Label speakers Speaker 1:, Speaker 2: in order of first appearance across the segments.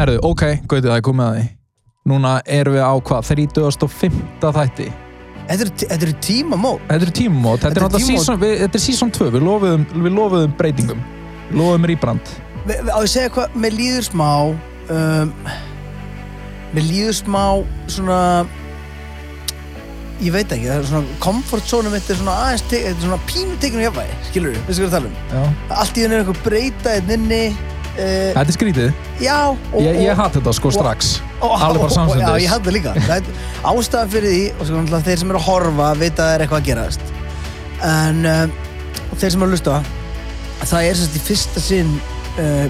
Speaker 1: Herðu, ok, gautið það er komið að því. Núna erum við á hvað? 35. þætti.
Speaker 2: Þetta eru- þetta eru tímamót.
Speaker 1: Þetta eru tímumót. Þetta er
Speaker 2: Þetta er
Speaker 1: náttúrulega
Speaker 2: tímamót.
Speaker 1: season, við, þetta er season 2. Við lofuðum, við lofuðum breytingum. Við lofuðum rýbrand.
Speaker 2: Ve- ve- Á ég að segja hvað, mér líður smá, um, mér líður smá svona, ég veit ekki, það er svona comfort zone mitt er svona aðeins, te- þetta er svona pínu tekinu jafnvægi, skilur við, veistu hvað ég er að tala um?
Speaker 1: Já.
Speaker 2: Allt í henni er eitthvað breyta einn inni, uh,
Speaker 1: Þetta er skrítið.
Speaker 2: já, og,
Speaker 1: Ég,
Speaker 2: og-
Speaker 1: ég hatt þetta sko
Speaker 2: og-
Speaker 1: strax.
Speaker 2: Ó,
Speaker 1: Alveg bara
Speaker 2: ó, ó, Já, ég
Speaker 1: samstundis.
Speaker 2: hafði það líka Það er- Ástæðan fyrir því og svo náttúrulega þeir sem eru að horfa vita að það er eitthvað að gerast en um, og þeir sem eru að lusta það er sérst í fyrsta sinn uh,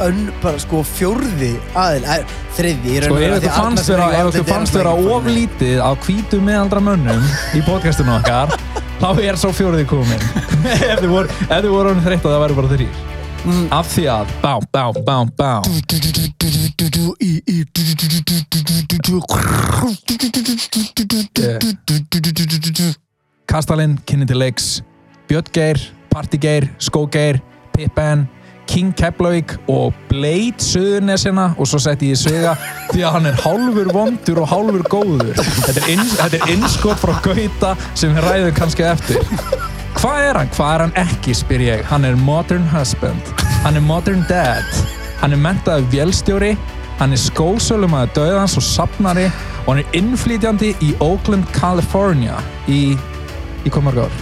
Speaker 2: önn bara sko fjórði aðil, eh, að, þriði
Speaker 1: Sko ef ykkur fannst vera, ef ykkur fannst
Speaker 2: hérna
Speaker 1: vera oflítið á hvítu meðaldra mönnum í podcastinu okkar, þá er svo fjóriði komin. ef þið voru, ef þið voru hann þreytt að það væri bara þrýr.
Speaker 2: Mm.
Speaker 1: Af því að, bám, bám, bám, bám. Kastalinn, kynni til leiks, Björn Geir, Parti Geir, Skó Geir, Pippen, King Keflavík og Blade Suðurnesina og svo setti ég Suða því að hann er hálfur vondur og hálfur góður. Þetta er, ins, þetta er innskot frá Gauta sem við ræðum kannski eftir. Hvað er hann? Hvað er hann ekki, spyr ég. Hann er modern husband, hann er modern dad, hann er mentaður vélstjóri, hann er skósölumæður döðans og sapnari og hann er innflytjandi í Oakland, California í, í hvað mörg ár?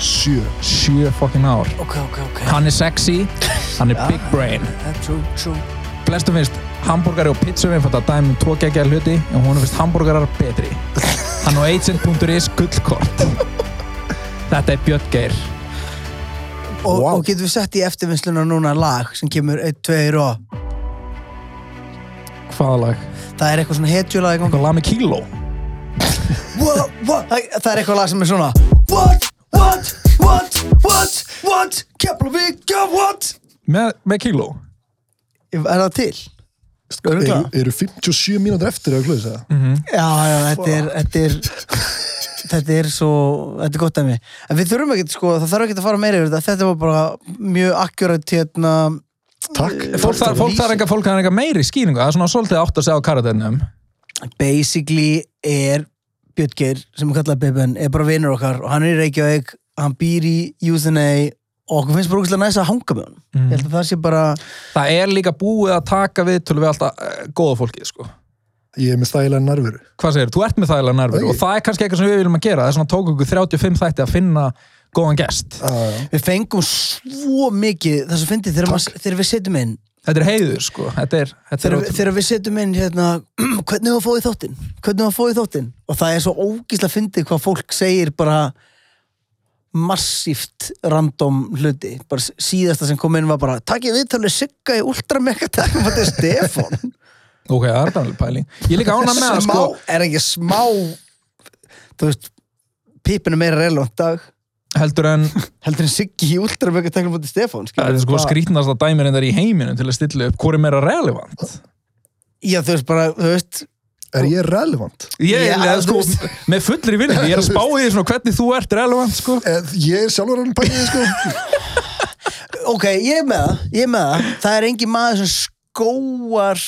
Speaker 2: Sjö
Speaker 1: sjö fokkin ár
Speaker 2: Ok, ok, ok
Speaker 1: hann er sexy, hann er big brain
Speaker 2: That's true, true
Speaker 1: flestum finnst hambúrgari og pizza við fætt að dæmi um tvo geggja hluti en hún finnst hambúrgarar betri hann á agent.is gullkort þetta er Björn Geir
Speaker 2: Og,
Speaker 1: Wow.
Speaker 2: og getum við sett í eftirvinnsluna núna lag sem kemur 1, 2 og
Speaker 1: hvaða lag?
Speaker 2: það er eitthvað svona hetjulag í gangi.
Speaker 1: eitthvað lag með kíló
Speaker 2: Wha- wha- Það það er eitthvað lag sem er svona What, what, what, what, what Keflavíka, what
Speaker 1: með, með kíló?
Speaker 2: Er það til?
Speaker 3: Eru, eru 57 mínútur eftir eða hlutið það?
Speaker 2: Já, já, þetta er Þetta er, þetta er svo Þetta er gott af mig En við þurfum ekki, sko, það þarf ekki að fara meira yfir þetta Þetta var bara mjög akkurat hérna
Speaker 3: Takk.
Speaker 1: fólk þarf fólk þarf enga, fólk þarf enga meiri skýringu það er svona svolítið átt að segja á karatennum
Speaker 2: Basically er Björn Geir, sem er kallað Bibben er bara vinur okkar og hann er í Reykjavík hann býr í USNA og okkur finnst bara úkislega næst að hanga með hann ég held að það sé bara
Speaker 1: það er líka búið að taka við til við alltaf uh, góða fólkið sko
Speaker 3: Ég er með stælega nærveru.
Speaker 1: hvað segir, þú ert með þægilega nervur
Speaker 3: Æi.
Speaker 1: og það er kannski eitthvað sem við viljum að gera það er svona tók okkur 35 þætti að finna góðan gest
Speaker 3: Ah,
Speaker 2: Við fengum svo mikið það sem fyndið þegar, maður- þegar við setjum inn
Speaker 1: þetta er heiður sko þetta er, þetta er
Speaker 2: þegar,
Speaker 1: ótrú-
Speaker 2: þegar við setjum inn hérna hvernig var fóðið þáttinn hvernig var fóðið þáttinn og það er svo ógísla fyndið hvað fólk segir bara massíft random hluti bara s- síðasta sem kom inn var bara takk ég viðtalið sigga í ultramekatak og þetta er Stefan
Speaker 1: ok, það er þannig pæling ég er líka ána með það
Speaker 2: smá,
Speaker 1: sko
Speaker 2: er ekki smá þú veist pípinu meira relevant dag
Speaker 1: heldur en
Speaker 2: heldur en siggi í ultramekatak og þetta er Stefan skilur
Speaker 1: þetta er
Speaker 2: við,
Speaker 1: sko
Speaker 2: bara-
Speaker 1: skrítnasta dæmirinn þar í heiminum til að stilla upp hvort er meira relevant
Speaker 2: já þú veist bara þú veist
Speaker 3: er ég relevant?
Speaker 1: ég
Speaker 2: Já,
Speaker 1: er ja, sko
Speaker 2: þú veist-
Speaker 1: með fullri vinni ég er að spá í því svona hvernig þú ert relevant sko
Speaker 3: Eh, Ég er sjálfur hann bæðið, sko.
Speaker 2: Ok, ég er með það, ég er með það. Það er engin maður sem skóar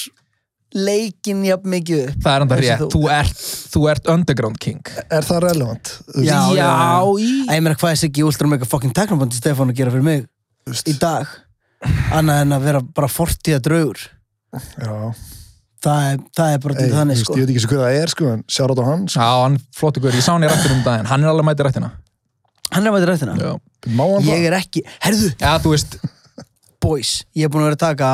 Speaker 2: leikin jafn mikið upp.
Speaker 1: það er enda
Speaker 2: Þessi
Speaker 1: rétt, þú ert, þú ert underground king
Speaker 3: Er það relevant? Þú
Speaker 2: Já,
Speaker 3: veist,
Speaker 2: já,
Speaker 1: í
Speaker 2: Æ, ég meina, hvað er Siggi Úlstram eitthvað fucking teknobandi Stefán að gera fyrir mig
Speaker 3: þú veist,
Speaker 2: í dag? Annað en að vera bara fortíða draugur.
Speaker 3: já.
Speaker 2: Það er, það er bara
Speaker 3: Ei,
Speaker 2: til
Speaker 3: þú
Speaker 2: þannig,
Speaker 3: veist,
Speaker 2: sko. Ah,
Speaker 3: Ég veit ekki svo hvað það er, sko, en sjárat á hann.
Speaker 1: já, hann flottu guður, ég sá hann í rættinum um daginn hann er alveg mætið rættina
Speaker 2: Hann er mættur rættina.
Speaker 1: já.
Speaker 3: Má hann
Speaker 2: Ég
Speaker 3: það?
Speaker 2: er ekki, herðu,
Speaker 1: já, þú veist,
Speaker 2: boys, ég er búin að vera að taka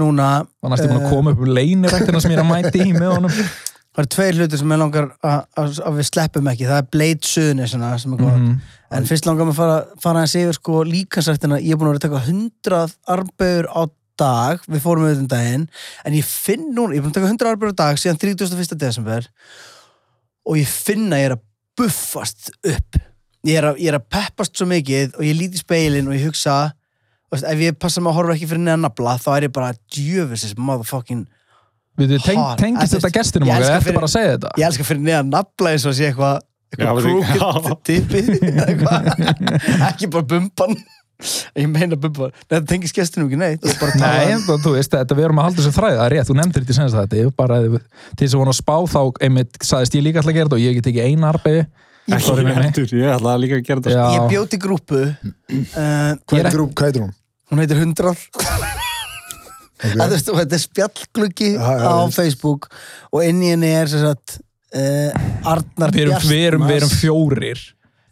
Speaker 2: núna,
Speaker 1: var næstu búin að koma upp um leinirættina sem ég er að mæti í með honum
Speaker 2: það eru tveir hlutir sem ég langar að- að að við sleppum ekki. Það er Blade Suðunisina sem er góð. En fyrst langar mig að fara, fara að segja sko líkansrættina, ég er búin að vera að taka 100 arbeigur á dag, við fórum auðvitað um daginn, en ég finn núna, ég er búin að taka 100 arbeigur á dag síðan 31. desember og ég finn að ég er að buffast upp. Ég er að, ég er að peppast svo mikið og ég líti í speilin og ég hugsa, þú veist, ef ég passa mig að horfa ekki fyrir neðan nafla, þá er ég bara djöfisins motherfucking,
Speaker 1: Við þau teng,
Speaker 2: Hard.
Speaker 1: tengist
Speaker 2: Æ,
Speaker 1: þetta
Speaker 2: þú veist,
Speaker 1: gestinum
Speaker 2: ég
Speaker 1: okkar,
Speaker 2: elska
Speaker 1: ertu
Speaker 2: fyrir-
Speaker 1: bara að segja þetta?
Speaker 2: ég elska fyrir neðan nafla eins og sé eitthvað,
Speaker 4: Já,
Speaker 2: eitthvað
Speaker 4: veitu,
Speaker 2: krúkilt
Speaker 4: já.
Speaker 2: tippi, eitthvað, ekki bara bumban. ég meina bubba, Nei, þetta tengis gestinum ekki neitt ég er bara um- að tala
Speaker 1: Nei, en þú- þú veist, þetta við erum að halda þessu þræði, það er rétt, þú nefndir þetta í senast þetta, ég var bara, ef- til þess að vona að spá þá, einmitt, sagðist ég líka alltaf að gera þetta og ég get ekki eina arbeiði, sorry með mig.
Speaker 4: heldur, ég ætlaði líka að gera þetta sko.
Speaker 1: Já,
Speaker 2: ég bjóti grúpu uh,
Speaker 1: Ég
Speaker 3: Hvað
Speaker 1: er
Speaker 3: heitir hún? Hvað heitir hún?
Speaker 2: hún heitir 100
Speaker 3: Okay.
Speaker 2: að, veist, þetta er spjallgluggi
Speaker 3: Já, já,
Speaker 2: á
Speaker 3: veist.
Speaker 2: Facebook og inn í henni er sem sagt uh, Arnar
Speaker 1: við erum, við erum, við erum fjórir,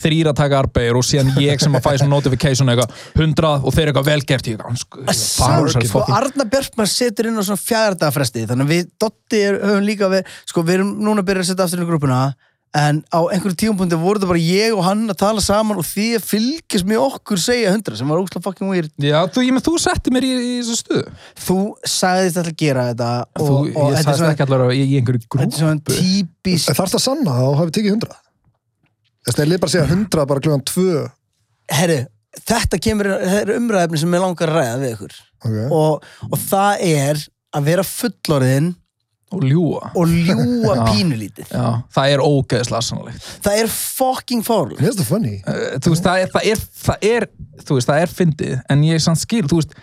Speaker 1: þrýr að taka arbeiðir og síðan ég sem að fæ svona notification eitthvað, hundrað og þeir eitthvað velgert, ég eitthvað,
Speaker 2: Sár, sko,
Speaker 1: fokkin.
Speaker 2: Arna Bjartmann setur inn á svona fjagardaga fresti þannig að við Dotti er, höfum líka við, sko, við erum núna að byrja að setja aftur inn í grúpuna en á einhverjum tíumpunkti voru það bara ég og hann að tala saman og því að fylgjast með okkur segja hundra sem var ógslag fucking weird
Speaker 1: Já, þú, ég með þú setti mér í, í þessu stuðu.
Speaker 2: þú sagðist alltaf að gera þetta
Speaker 1: Þú,
Speaker 2: og, og
Speaker 1: ég
Speaker 2: þetta er
Speaker 1: sagðist
Speaker 2: svona,
Speaker 1: ekki allar í, í einhverju
Speaker 2: þetta er
Speaker 1: grúpu.
Speaker 2: svona típisk
Speaker 3: Þarf það Eh, að sanna að þú hafi tekið 100? Þess að ég lið bara að segja 100 bara klukkan 2
Speaker 2: herru, þetta kemur þetta er umræðefni sem ég langar að ræða við ykkur
Speaker 3: okay.
Speaker 2: og, og það er að vera fullorðin
Speaker 1: Og ljúa.
Speaker 2: og ljúa
Speaker 1: Já.
Speaker 2: pínulítið
Speaker 1: Já, það er ógeðslega sannlegt.
Speaker 2: það er fucking fárlega
Speaker 3: Mér finnst það funny
Speaker 1: Uh, þú veist, það er, það er, það er þú veist, það er fyndið, en ég samt skil þú veist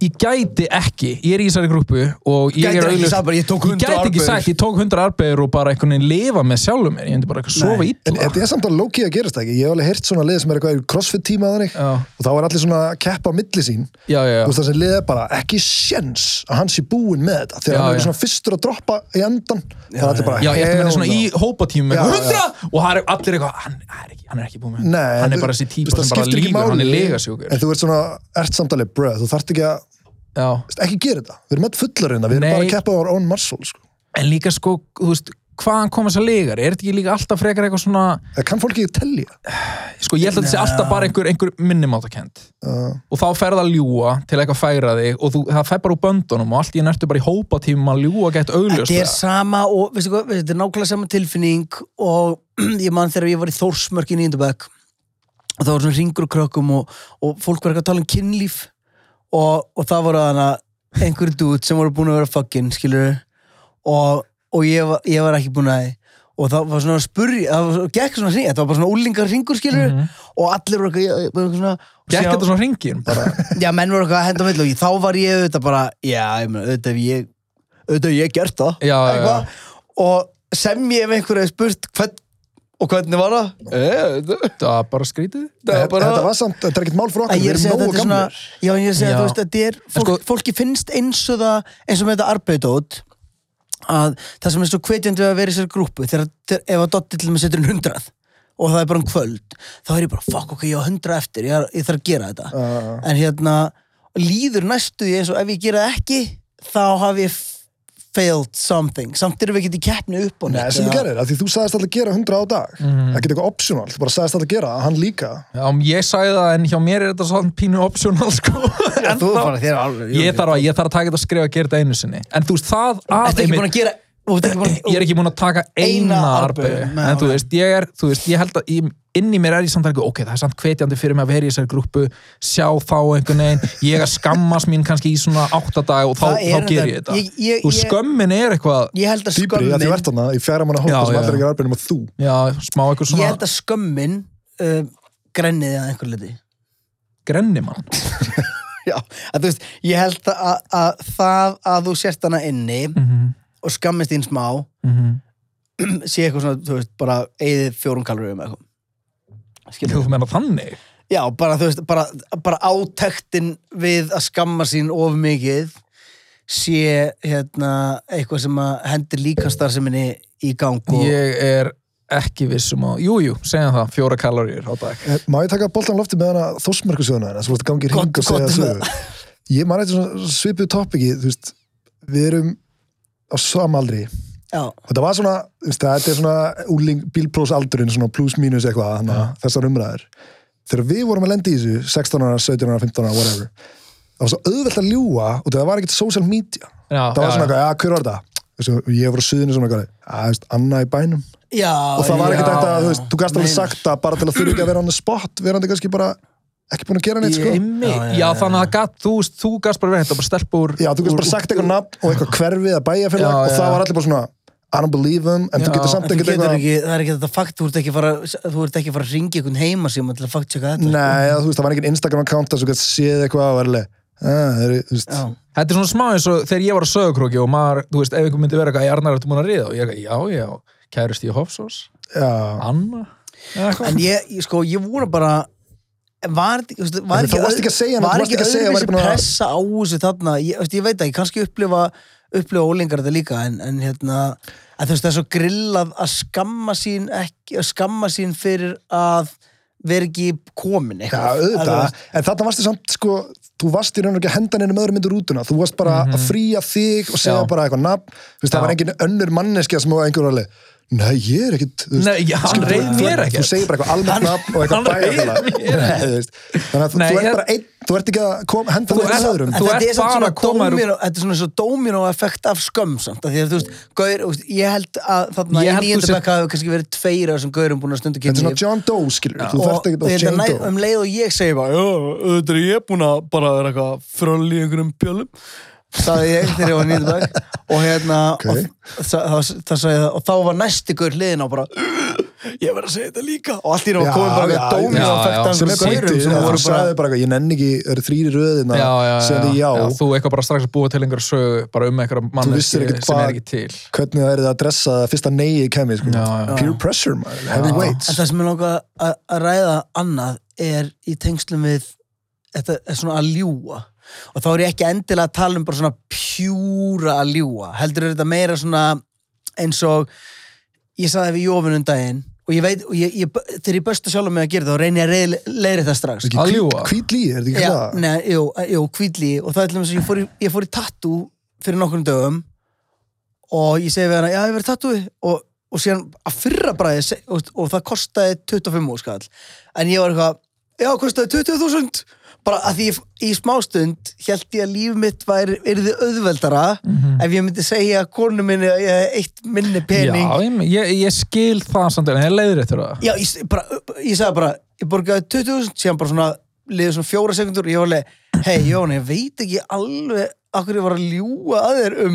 Speaker 1: ég gæti ekki, ég er í þessari grúpu og ég er
Speaker 2: Gætir ekki
Speaker 1: augljóst-
Speaker 2: sagt bara, ég tók 100
Speaker 1: gæti ekki
Speaker 2: arbeigur.
Speaker 1: sagt, ég tók 100 arbegur og bara einhvern veginn lifa með sjálfum mér, ég myndi bara eitthvað sofa
Speaker 2: Nei.
Speaker 3: En
Speaker 1: illa
Speaker 3: þetta er samt að low-key að gerast það ekki Ég hef alveg heyrt svona lið sem er eitthvað í crossfit tíma þannig
Speaker 1: Já.
Speaker 3: og þá er allir svona að keppa á milli sín
Speaker 1: já, já, já,
Speaker 3: Þú veist það sem liðið bara ekki sjens að hann sé búinn með þetta þegar
Speaker 1: Já,
Speaker 3: hann
Speaker 1: já.
Speaker 3: er svona fyrstur að droppa í endan það er allir bara
Speaker 1: já, ég eftir með
Speaker 3: hell
Speaker 1: það svona
Speaker 3: no.
Speaker 1: í hópatímum
Speaker 3: Já, já.
Speaker 1: 100 og það er allir eitthvað, hann hann er ekki, hann er ekki búið með
Speaker 3: Nei,
Speaker 1: hann er
Speaker 3: en þú-
Speaker 1: bara þessi
Speaker 3: þú veist,
Speaker 1: típa
Speaker 3: það
Speaker 1: sem bara
Speaker 3: skiptir ekki
Speaker 1: lífur, hann er
Speaker 3: máli.
Speaker 1: legasjúkur
Speaker 3: En þú ert svona, ert samtalið, bröð, þú þarft ekki að,
Speaker 1: já,
Speaker 3: þú veist, ekki gera þetta. Við erum öll fullar hérna, við erum
Speaker 1: Nei.
Speaker 3: bara að keppa á our own muscle, sko.
Speaker 1: en líka sko, þú veist hvaðan kom þessar legar, er þetta ekki líka alltaf frekar eitthvað svona,
Speaker 3: Það kann fólki ekki telja.
Speaker 1: sko ég held að þetta sé alltaf bara einhver, einhver minnumáttakend
Speaker 3: Uh,
Speaker 1: og þá ferð að ljúa til eitthvað að færa þig og þú, það fer bara úr böndunum og allt í nertu bara í hópa tíma að ljúa gett augljóst
Speaker 2: Þetta er sama og, veistu hvað, þetta er nákvæmlega sama tilfinning og ég man þegar ég var í Þórsmörk í Nýndabæk og það var svona ringur og krökkum og, og fólk var ekki að tala um kynlíf og, og það voru þannig að einhverju dút sem voru búin að vera fucking, skilur og, og ég, var, ég var ekki búin að því. og það var svona að spurja það var, svo- gekk svona hring, þetta var bara svona úlingar ringur skilur og allir voru eitthvað- ég- eitthvað svona
Speaker 1: Mhm. Gekk
Speaker 2: Síðan-
Speaker 1: þetta svona hringin bara
Speaker 2: Já, menn voru eitthvað að henda á milli og ég- þá var ég auðvitað bara, já, ég meina, auðvitað hef ég, auðvitað hef ég gert það.
Speaker 1: Já, já,
Speaker 2: Eitthvað. Og sem ég ef einhverju hef spurt, hvern, og hvernig var það?
Speaker 1: Það var bara skrítið
Speaker 2: Það Eh, var bara...
Speaker 3: þetta var samt, þetta er ekkert mál fyrir
Speaker 2: Að
Speaker 3: okkur,
Speaker 2: ég
Speaker 3: við
Speaker 2: er að
Speaker 3: erum
Speaker 2: segja að
Speaker 3: nógu
Speaker 2: þetta er svona,
Speaker 3: gamlir.
Speaker 2: já, ég er að segja
Speaker 1: Já.
Speaker 2: að þú veist, þetta er, fólk,
Speaker 1: sko-
Speaker 2: fólki finnst eins og það, eins og með þetta arbeiðdót, að það sem er svo hvetjandi við að vera í þessari grúpu, þegar, þegar ef að Dotti til mig setur en hundrað og það er bara um kvöld, þá er ég bara, fuck, ok, ég á hundrað eftir, ég, er, ég þarf að gera þetta.
Speaker 3: Uh,
Speaker 2: en hérna líður næstu því eins og ef ég gera það ekki þá haf ég f- failed something, samt erum við ekki Mhm. í keppni upp og
Speaker 3: Nei,
Speaker 2: neitt,
Speaker 3: sem þú
Speaker 2: eða-
Speaker 3: gerir, af því þú sagðist alltaf að gera 100 á dag. Ekkert eitthvað optional, þú bara sagðist alltaf að gera, hann líka.
Speaker 1: Já, um, ég sagði það en hjá mér er þetta svona pínu optional sko
Speaker 2: Já, þú er bara þér alveg
Speaker 1: ég, þarf að, ég þarf að taka þetta skrifa að gera þetta einu sinni En þú veist það að
Speaker 2: Þetta er ekki
Speaker 1: einmitt-
Speaker 2: búin að gera þú ert ekki búin að-
Speaker 1: ég er ekki búinn að taka eina,
Speaker 2: Eina
Speaker 1: eina
Speaker 2: arbeigu. Nei,
Speaker 1: en þú
Speaker 2: ok.
Speaker 1: veist, ég er, þú veist, ég held að ég, inn í mér er ég samt alveg, ok, það er samt hvetjandi fyrir mig að vera í þessari grúpu, sjá þá einhvern veginn, ég að skammast mín kannski í svona áttadag og þá,
Speaker 2: Það er
Speaker 1: þá ger ég
Speaker 2: þetta.
Speaker 1: þetta
Speaker 2: Ég- ég-
Speaker 1: þú
Speaker 2: ég-
Speaker 1: skömmin er eitthvað
Speaker 2: ég held að
Speaker 3: Dýbri, að því verðt
Speaker 2: skömmin
Speaker 3: hana í fjæra manna hópa
Speaker 1: Já,
Speaker 3: sem
Speaker 1: já.
Speaker 3: allir ekki er arbeidnum og þú.
Speaker 1: já, smá eitthvað
Speaker 2: ég
Speaker 1: svona
Speaker 2: held að skömmin uh, grenniði að einhver liti
Speaker 1: grennimann
Speaker 2: Já, að þú veist, ég held að, að, að það að þú sért hana inni
Speaker 1: Mhm,
Speaker 2: og skammist þín smá
Speaker 1: mhm.
Speaker 2: sé eitthvað svona, þú veist, bara eigið fjórum kaloríum eða eitthvað Skilurðu?
Speaker 1: þú meina þannig
Speaker 2: Já, bara þú veist, bara, bara átektin við að skamma sín of mikið sé hérna eitthvað sem að hendir líkastarseminni í gang og
Speaker 1: ég er ekki vissum að, jújú, segja það fjóra kaloríur á dag
Speaker 3: Eh, Má ég taka boltan lofti með hana þósmerkusöðuna hérna, sem vorst að gangi í
Speaker 2: Gott-
Speaker 3: ring og segja
Speaker 2: gott með
Speaker 3: sögu? Ég man eitthvað svona svipuð topiki, þú veist, við erum á samaldri
Speaker 2: já,
Speaker 3: og það var svona, þú veist, þetta er svona úling, bílprósaldurinn, svona plus mínus eitthvað hana, þessar umræður þegar við vorum að lenda í þessu, 16 ára, 17 ára, 15 ára, whatever það var svo auðvelt að ljúa og það var ekkert social media
Speaker 1: Já,
Speaker 3: það
Speaker 1: já,
Speaker 3: var
Speaker 1: já.
Speaker 3: svona eitthvað, já, hver var þetta? Þessu, ég voru á suðinu svona eitthvað, að, veist, Anna í bænum
Speaker 2: já
Speaker 3: og það var ekkert
Speaker 2: já,
Speaker 3: eitthvað, þú veist, þú gæst alveg
Speaker 2: Meinar.
Speaker 3: sagt það bara til að þurfi ekki að vera hann spott, verandi kannski bara ekki búin að gera neitt, sko
Speaker 1: Einmitt.
Speaker 2: Já, já,
Speaker 1: já,
Speaker 2: já,
Speaker 1: þannig að gat, þú, veist, þú gast bara verið þetta bara stelpur
Speaker 3: Já, þú gæst bara sagt eitthvað nafn og eitthvað hverfið að bæja fyrir
Speaker 1: Já,
Speaker 3: og
Speaker 1: já.
Speaker 3: það var allir bara svona I don't believe them en
Speaker 1: Já.
Speaker 3: þú getur
Speaker 2: En
Speaker 3: samt
Speaker 2: Þú
Speaker 3: ekkert
Speaker 2: getur
Speaker 3: eitthvað
Speaker 2: ekki, það er ekki þetta fakt, þú ert ekki að fara, þú ert ekki að fara að ringa einhvern heima sem til að fakt tjekka þetta.
Speaker 3: Nei, eða, þú veist, það var engin Instagram account þar sem þú getur séð eitthvað og verðileg ah, þeir eru, þú veist,
Speaker 2: Já.
Speaker 1: Þetta er svona smá eins og þegar ég var á sögurkróki og maður, þú veist, ef ykkur myndi vera eitthvað í Arnar ertu múin að riða og ég eitthvað, já, já, kærust ég Hofsós,
Speaker 3: já
Speaker 1: Anna eða eitthvað.
Speaker 2: En ég, ég- sko, ég vona bara, var, þú veist, var
Speaker 3: En þú varst ekki að segja neitt,
Speaker 2: var
Speaker 3: þú varst
Speaker 2: ekki
Speaker 3: ekki að segja,
Speaker 2: öðruvísi
Speaker 3: væri búin að-
Speaker 2: pressa á þessu þarna, ég, þú veist, ég veit ekki, kannski upplifa, upplifa ólingar þetta líka, en, en hérna, að þú veist, það er svo grillað að skamma sín ekki, að skamma sín fyrir að vera ekki komin
Speaker 3: Já,
Speaker 2: eitthvað.
Speaker 3: auðvitað, en þarna varstu samt sko, þú varst í raun og ekki að henda henni með öðrum myndir útuna, þú varst bara að fríja þig og segja
Speaker 1: Mhm. Já.
Speaker 3: bara eitthvað nafn, þú veist, það
Speaker 1: Já.
Speaker 3: var engin önnur manneskja sem var einhver alveg, nei, ég er ekkit þú veist,
Speaker 1: Nei, já, hann
Speaker 3: skilur, þú-
Speaker 1: reið
Speaker 3: þú-
Speaker 1: mér ekkert.
Speaker 3: Þú segir bara eitthvað almennt nafn og
Speaker 1: hann
Speaker 3: eitthvað
Speaker 1: reið
Speaker 3: bæjarfélag
Speaker 1: mér.
Speaker 3: Nei, þú veist, Þannig að þú-
Speaker 1: Nei,
Speaker 3: þú ert
Speaker 1: ég-
Speaker 3: bara einn, þú ert ekki að kom, henda
Speaker 1: Þú
Speaker 3: henni
Speaker 1: ert-
Speaker 3: með öðrum
Speaker 1: þú
Speaker 2: En þetta
Speaker 1: ert
Speaker 2: er samt
Speaker 1: bara
Speaker 2: svona
Speaker 1: að koma þér-
Speaker 2: dómino, þetta er svona svo dómino effekt af skömm samt, af því að þú veist, gaur, þú veist, ég held að þarna
Speaker 1: Ég
Speaker 2: í
Speaker 1: held þú
Speaker 2: nýjönda
Speaker 1: sér-
Speaker 2: bekka hafi kannski verið tveira sem gaurum búin að stundu
Speaker 3: Þetta er
Speaker 2: kynlíf
Speaker 3: svona John Doe, skilur, þú
Speaker 2: og
Speaker 3: þarft ekki að
Speaker 2: þetta
Speaker 3: Jane
Speaker 2: næ-
Speaker 3: Doe
Speaker 2: um leið og ég segi bara, já, þetta er ég búin að bara vera eitthvað fröll í einhverjum bjölum sagði ég þegar ég var nýjönda bekk og hérna
Speaker 3: Ok.
Speaker 2: og, það, það, það sagði, það- og þá var næsti gaur hliðin á bara ég verð að segja þetta líka og allt í náttúrulega
Speaker 3: Já,
Speaker 2: komið bara
Speaker 3: já,
Speaker 2: eitthvað dómino
Speaker 1: já, já,
Speaker 2: effekt
Speaker 1: sem
Speaker 2: af
Speaker 3: sem
Speaker 1: er
Speaker 3: er
Speaker 2: einhverjum
Speaker 1: bara-
Speaker 2: gaurum
Speaker 3: kveitir,
Speaker 1: já,
Speaker 2: sem
Speaker 3: þú
Speaker 2: voru bara
Speaker 3: sagði bara eitthvað, ég nenni ekki, það eru þrýri röðina
Speaker 1: já, já, já,
Speaker 3: segði
Speaker 1: já.
Speaker 3: já,
Speaker 1: þú eitthvað bara strax að búa til einhverja sögu bara um einhverja
Speaker 3: vissir
Speaker 1: manneski
Speaker 3: ekkert
Speaker 1: sem
Speaker 3: hvað-
Speaker 1: er ekki til
Speaker 3: hvernig það er það að dressa það fyrsta neyji kemi, sko.
Speaker 1: Já, já.
Speaker 3: peer pressure, maður, heavy weights
Speaker 2: En það sem ég langa að að ræða annað er í tengslum við þetta er svona að ljúa og þá er ég ekki endilega að tala um bara svona pjúra að ljúa heldur er þetta meira svona eins og ég saði við Jófinn um daginn og ég veit, og ég, ég, þegar ég bösta sjálf með að gera það og reyni ég að leiðri það strax
Speaker 3: Ekki
Speaker 1: Að
Speaker 3: hvít-
Speaker 1: ljúga.
Speaker 3: hvít lí, er þetta ekki
Speaker 2: Já,
Speaker 3: það?
Speaker 2: nei, jú, eh, jú, kvíðli og það er til dæmis að ég fór í, ég fór í tattoo fyrir nokkrum dögum og ég segi við hana, já, ég verið tattooið og, og síðan að fyrra bræði se- og, og það kostaði 25 úrskall en ég var eitthvað, já, kostaði 20.000 bara að því ég, f- í smástund held ég að líf mitt væri yrði auðveldara
Speaker 3: Mhm.
Speaker 2: ef ég myndi segja konu minni að ég hef eitt minni pening
Speaker 1: já, ég, ég, ég skil það samt en ég leiðir eftir það
Speaker 2: Já, ég, bara, ég sagði bara, ég borgaði 20.000, síðan bara svona, liðið svona fjóra sekundur og ég var alveg, hei Jón, ég veit ekki alveg akkur ég var að ljúga að þér um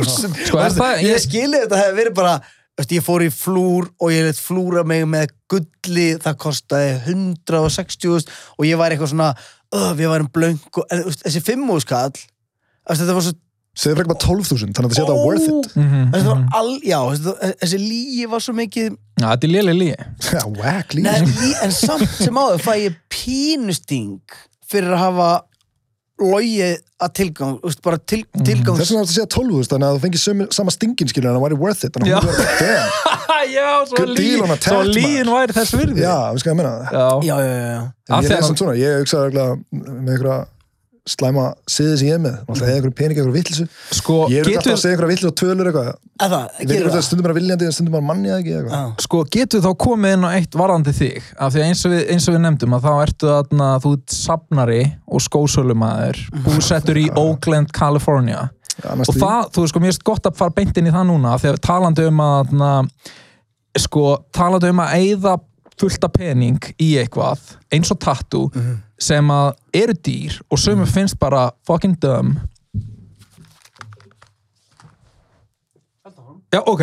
Speaker 2: 5.000
Speaker 1: Sko, er það-
Speaker 2: ég,
Speaker 1: ég-
Speaker 2: ég skilið þetta hefði verið bara Eftir, ég fór í flúr og ég leitt flúra mig með gulli, það kostaði 160.000 og ég var eitthvað svona, öf, ég var um blönk og, en, þú veist, þessi fimmúðskall þetta var svo
Speaker 3: segðu frekar bara 12.000, þannig að það sé þetta worth it
Speaker 1: Mhm,
Speaker 2: þetta var
Speaker 1: mhm.
Speaker 2: all, já, þessi, þessi lígi var svo mikið
Speaker 1: Já, þetta er léli lí
Speaker 3: Já, whack líka
Speaker 2: Nei, í- en samt sem áður fæ ég pínusting fyrir að hafa logið að tilgang úst, bara til,
Speaker 3: Mhm,
Speaker 2: tilgang
Speaker 3: Þess vegna er þetta að segja 12.000, þannig að þú fengir sömu, sama stingin skilur en það væri worth it, þannig
Speaker 1: Já.
Speaker 3: að hún verður damn
Speaker 1: já, svo,
Speaker 3: Good
Speaker 1: lí,
Speaker 3: deal on a
Speaker 1: svo
Speaker 3: tat,
Speaker 1: líin
Speaker 3: maður.
Speaker 1: væri þess virði
Speaker 3: Já, við skoðum að menna það
Speaker 1: já.
Speaker 2: já, já, já, já.
Speaker 1: Af því
Speaker 3: En Ég
Speaker 1: að-
Speaker 3: er samt svona, ég hugsaði reglega með einhverja slæma siði sem ég er með og það er einhverjum pening, einhverjum vitlisu
Speaker 1: sko,
Speaker 3: Ég er alltaf
Speaker 1: Mhm. getur,
Speaker 3: að segja einhverja vitlisu og tölur eitthvað Ég
Speaker 2: Eða,
Speaker 3: veit ekki
Speaker 2: gerir
Speaker 3: hvort það
Speaker 2: það
Speaker 3: stundum bara viljandi en stundum bara manni það ekki eitthvað
Speaker 2: Já.
Speaker 1: sko, getur þá komið inn á eitt varðandi þig af því að eins og við, eins og við nefndum að þá ertu þarna þú ert safnari og skósölumæður búsettur í Oakland, California og
Speaker 3: Annars því-
Speaker 1: það, þú veist, sko, mér erst gott að fara beint inn í það núna af því að talandi um að na, sko, talandi um að eyða fullta pening í eitthvað eins og tattoo
Speaker 3: Mhm.
Speaker 1: sem að eru dýr og sömu finnst bara fucking dumb Já, ok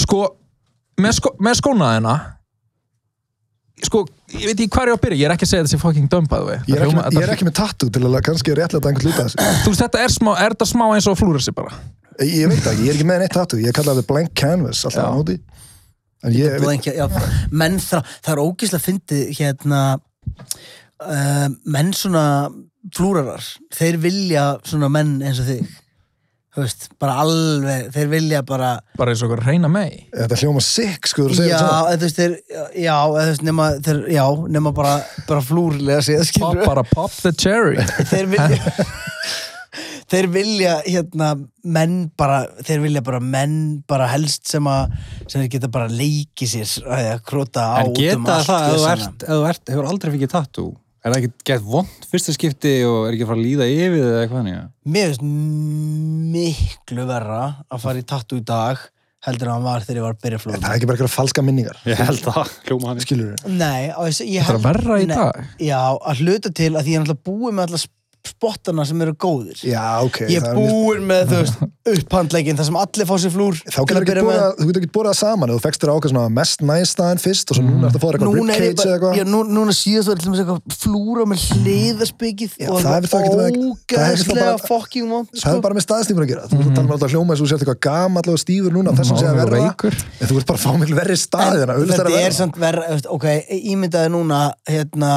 Speaker 1: Sko, með, sko, með skónaðina sko, ég veit ekki hvað er ég á að byrja ég er ekki að segja þetta sé fucking dumb að við
Speaker 3: Ég er ekki- Ég er ekki með tattoo til að kannski réttlega einhvern hluta af þessu.
Speaker 1: Þú veist, þetta er, smá, er þetta smá eins og flúrisi bara
Speaker 3: Ég veit það ekki, ég er ekki með neitt tattoo, ég kalla það blank canvas alltaf
Speaker 1: Já.
Speaker 3: á móti En ég,
Speaker 2: Blengja, já, menn þrá, það er ógislega fyndið hérna uh, menn svona flúrarar þeir vilja svona menn eins og þig þú veist, bara alveg þeir vilja bara
Speaker 1: bara eins og okkur reyna mei
Speaker 3: þetta hljóma sick sko þú segir
Speaker 2: já,
Speaker 3: það
Speaker 2: eða þú veist, þeir, já, eða þú veist, nema, þeir, já, nema bara, bara flúrlega séð,
Speaker 1: pop,
Speaker 2: skilur
Speaker 1: bara pop the cherry
Speaker 2: þeir vilja þeir vilja hérna menn bara, þeir vilja bara menn bara helst sem að sem þeir geta bara leiki sér að að króta á
Speaker 4: En
Speaker 2: út um
Speaker 4: geta
Speaker 2: allt
Speaker 4: það, ef þú
Speaker 2: vesana.
Speaker 4: ert, ef þú ert, hefur aldrei fengið tattoo Er það ekki gett vond fyrsta skipti og er ekki að fara að líða yfir þig eða eitthvað nýja?
Speaker 2: mér finnst miklu verra að fara í tattu í dag heldur en hann var þegar ég var að byrja
Speaker 3: Það
Speaker 2: flóðum
Speaker 3: er ekki bara eitthvað falska minningar
Speaker 4: Ég held það, hljóma hann
Speaker 3: Skilur við
Speaker 2: Nei, á þessu- ég
Speaker 1: Þetta er
Speaker 2: held-
Speaker 1: verra í
Speaker 2: Nei,
Speaker 1: dag.
Speaker 2: Já, að hluta til að því ég er náttúrulega búið með alltaf spottana sem eru góðir
Speaker 3: já, ok
Speaker 2: ég er
Speaker 3: það er mjög-
Speaker 2: búinn með, þú veist, upphandleikin þar sem allir fá sér flúr
Speaker 3: Þá getur ekki borða, þú getur ekki borða það saman, þú fekst þér ákveð svona mest næst staðan fyrst og svo núna ertu að fóra eitthvað
Speaker 2: Mm. Núna er ég
Speaker 3: ribcage eða
Speaker 2: bara, já,
Speaker 3: eitthvað.
Speaker 2: nú, núna síðast var ég til dæmis eitthvað flúra með hliðarsbyggið
Speaker 3: Já,
Speaker 2: og
Speaker 3: það hefur þá
Speaker 2: var
Speaker 3: ekki verið- það hefur þá
Speaker 2: ógæðslega
Speaker 3: bara-
Speaker 2: fucking vond sko.
Speaker 3: Það er bara með staðstífur að gera. Þú mm. talar um alltaf hljóma eins og þú sért eitthvað gamall og stífur núna, þessum sé að
Speaker 1: Mánuður
Speaker 3: verða.
Speaker 1: veikur.
Speaker 3: En þú ert bara að fá miklu verri staði þannig að auðvitað er
Speaker 2: þetta
Speaker 3: að
Speaker 2: er
Speaker 3: verða.
Speaker 2: samt verra þú veist, ok, ímyndaði núna hérna,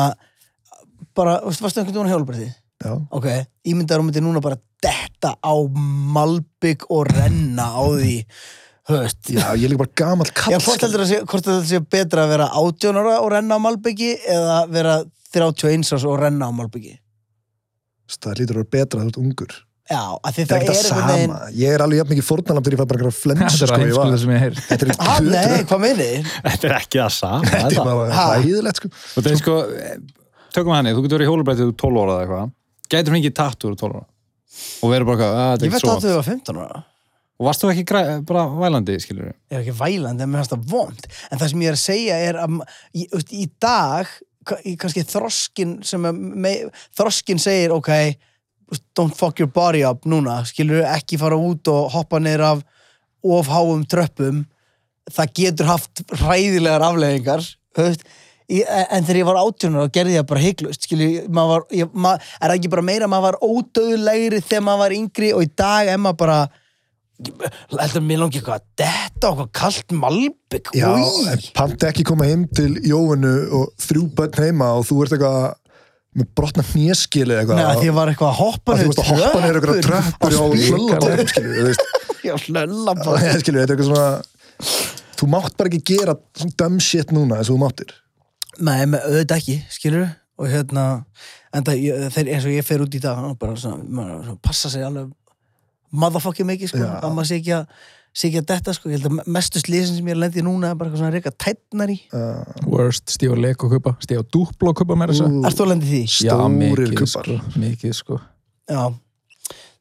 Speaker 2: bara, þú veist, varstu einhvern veginn hjálparði
Speaker 3: Já.
Speaker 2: ok, ímyndaði hún myndi núna bara detta á malbygg og renna á því höst,
Speaker 3: Já, ég er líka bara gamall kall.
Speaker 2: Já, hvort heldur það sé, hvort heldur það sé betra að vera 18 ára og renna á Malbyggi eða vera 31 ára og renna á Malbyggi?
Speaker 3: Það lítur að vera betra að þú ert ungur.
Speaker 2: Já, af því
Speaker 3: Það er
Speaker 2: það,
Speaker 3: ekki
Speaker 2: er
Speaker 3: það
Speaker 2: einhvern veginn...
Speaker 3: sama. Ég er alveg jafn mikið fórnalamb þegar ég fæ bara eitthvað flensu
Speaker 1: Þetta er
Speaker 3: sko
Speaker 1: að
Speaker 3: ég var.
Speaker 1: heimskulega sem ég heyr.
Speaker 3: Þetta er
Speaker 2: Ha, nei,
Speaker 3: ekki
Speaker 2: hvað meinið þið?
Speaker 4: Þetta er ekki það sama.
Speaker 3: Þetta er
Speaker 4: þetta.
Speaker 3: bara
Speaker 2: Ha?
Speaker 3: hæðilegt sko.
Speaker 4: Og þetta er sko, eh, tökum hann, þú getur verið hjólubrættið úr 12 óra eða eitthvað. Gætur fengið tattu úr 12 óra. Og verður bara eitthvað, að þetta
Speaker 2: Ég
Speaker 4: er
Speaker 2: veit
Speaker 4: ekki svo.
Speaker 2: að þau var 15 ára.
Speaker 4: Og varst þú ekki græ, bara vælandi, skilur við?
Speaker 2: Ég er ekki vælandi, en mér finnst það vond. En það sem ég er að segja er að ég, þú veist, í dag, ka- í kannski þroskin sem er, me, þroskin segir, ok, þú veist, don't fuck your body up núna, skilur ekki fara út og hoppa neyra af ofháum tröppum. Það getur haft ræðilegar afleðingar, höfst, e- en þegar ég var átjónur þá gerði ég það bara hygglust skilju, maður var, ég, maður, er það ekki bara meira að maður var ódöðlegri þegar maður var yngri og í dag er maður bara heldur að mér langi eitthvað að detta og eitthvað kalt malbygg
Speaker 3: Já,
Speaker 2: Új.
Speaker 3: en panta ekki koma heim til Jóvinu og þrjú börn heima og þú ert eitthvað með brotna hnéskili eitthvað.
Speaker 2: Nei, að því ég var eitthvað að hoppa
Speaker 3: að þú veist að hoppa niður ykkur að tröppur á hlöllatónum skilju, þú veist
Speaker 2: Já, hlölla bara
Speaker 3: Nei, skilju, þetta er eitthvað svona þú mátt bara ekki gera svona dumb shit núna eins og þú máttir
Speaker 2: Nei, með auðvitað ekki, skilur og hérna, en það, ég, þeir, eins og ég fer út í dag, hann bara svona, maður, svona passa sig alveg motherfucking mikið, sko,
Speaker 3: Já.
Speaker 2: að maður sé ekki að sé ekki að detta, sko, ég held að mestu slýsin sem ég lendi núna er bara eitthvað svona reyka tætnar í
Speaker 3: uh,
Speaker 1: Worst, stíð á Lego kupa, stíð á Duplo kupa meira þess að.
Speaker 2: Ert þú að lendi því?
Speaker 1: Já,
Speaker 3: stórir
Speaker 1: mikið,
Speaker 3: kubbar
Speaker 1: sko, mikið sko
Speaker 2: Já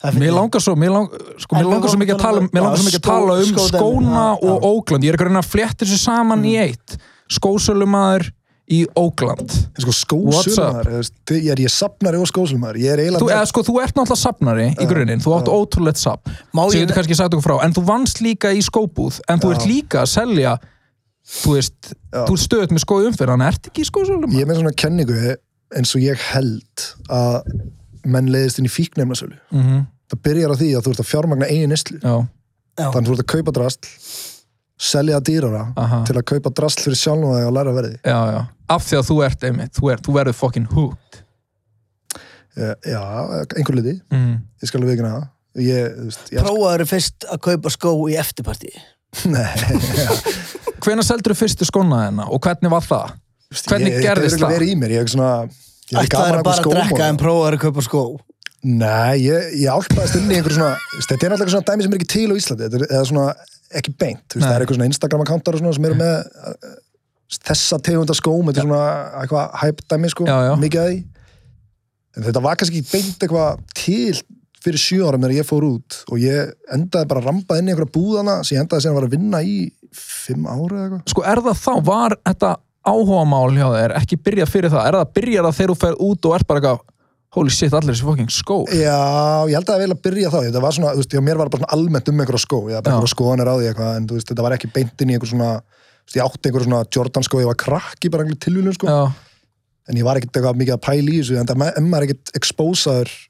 Speaker 2: Það er
Speaker 1: Mér
Speaker 2: fyndið.
Speaker 1: langar svo, mér langar, sko,
Speaker 2: En
Speaker 1: mér
Speaker 2: við
Speaker 1: langar svo
Speaker 2: vorum
Speaker 1: mikið að
Speaker 2: að
Speaker 1: tala
Speaker 2: tala
Speaker 1: um,
Speaker 2: um-
Speaker 1: mér langar
Speaker 2: já,
Speaker 1: svo mikið að
Speaker 2: skó-
Speaker 1: tala um
Speaker 2: skódæmi,
Speaker 1: skóna
Speaker 2: já,
Speaker 1: og Ógland, ég er ekki að reyna að flétta þessu saman í eitt skósölumæður í Ógland
Speaker 3: En sko
Speaker 1: What's up?
Speaker 3: skósulmaður, þú veist, þið- ég er ég sapnari og skósulmaður, ég er
Speaker 1: Þú,
Speaker 3: eiginlega
Speaker 1: eða, sko, þú ert náttúrulega sapnari í grunninn, þú átt ótrúlegt sap sem
Speaker 2: Má ég-
Speaker 1: ég getur kannski sagt okkur frá, en þú vannst líka í skóbúð, en þú ert líka að selja þú veist, þú ert stöðt með skói umfyrir, hann ert ekki í skósölumæður
Speaker 3: ég er með svona kenningu eins og ég held að menn leiðist inn í fíknefnasölu
Speaker 1: Mhm.
Speaker 3: það byrjar á því að þú ert að fjármagna eigin neyslu
Speaker 1: Já,
Speaker 3: þannig þú ert að kaupa drasl selja það dýrara
Speaker 1: Aha.
Speaker 3: til að kaupa drasl fyrir sjálfum þig og læra verði
Speaker 1: já, já, af því að þú ert einmitt, þú, ert, þú verður fucking hooked
Speaker 3: Eh, já, einhver liti
Speaker 1: mm.
Speaker 3: ég skal alveg ekki naða ég, þú veist, ég
Speaker 2: Prófaður fyrst að kaupa skó í eftirparti
Speaker 1: Hvenær seldur þú fyrstu skóna þennan og hvernig var það?
Speaker 3: veist,
Speaker 1: Hvernig
Speaker 3: ég,
Speaker 1: gerðist
Speaker 3: það?
Speaker 1: það?
Speaker 3: verið í mér, ég er svona ég er
Speaker 2: Ætlaður
Speaker 3: gaman að
Speaker 2: bara að drekka en
Speaker 3: skóma
Speaker 2: prófaður að kaupa skó
Speaker 3: nei, ég, ég álpaðist inn í einhver svona þú veist, þetta er náttúrulega svona dæmi sem er ekki til á Íslandi þetta er, eða svona ekki beint þú veist,
Speaker 1: Nei.
Speaker 3: það er eitthvað svona Instagram akkántar og svona sem eru með eh, þessa tegunda skóm þetta er svona eitthvað hæp dæmi sko
Speaker 1: Já, já.
Speaker 3: mikið að því en þetta var kannski ekki beint eitthvað til fyrir sjö ára meðan ég fór út og ég endaði bara að ramba inn í einhverja búðana sem ég endaði síðan að vera að vinna í fimm ára eða eitthvað
Speaker 1: sko er það þá, var þetta áhugamál hjá þér, ekki byrjað fyrir það er það byrjað að þegar þú fer út og ert bara eitthvað holy shit, allir þessi fucking skó
Speaker 3: Já, ég held að það vel að byrja þá þetta var svona, þú veist, já, mér var bara svona almennt um einhverja skó ég var bara
Speaker 1: Já.
Speaker 3: einhverja skoðanir á því eitthvað en þú veist, þetta var ekki beint inn í einhver svona þú veist, ég átti einhver svona Jordan skó, ég var krakki bara einhverjum tilvílum sko,
Speaker 1: já,
Speaker 3: en ég var ekkit eitthvað mikið að pæla í þessu, en það er maður ekkit expósaður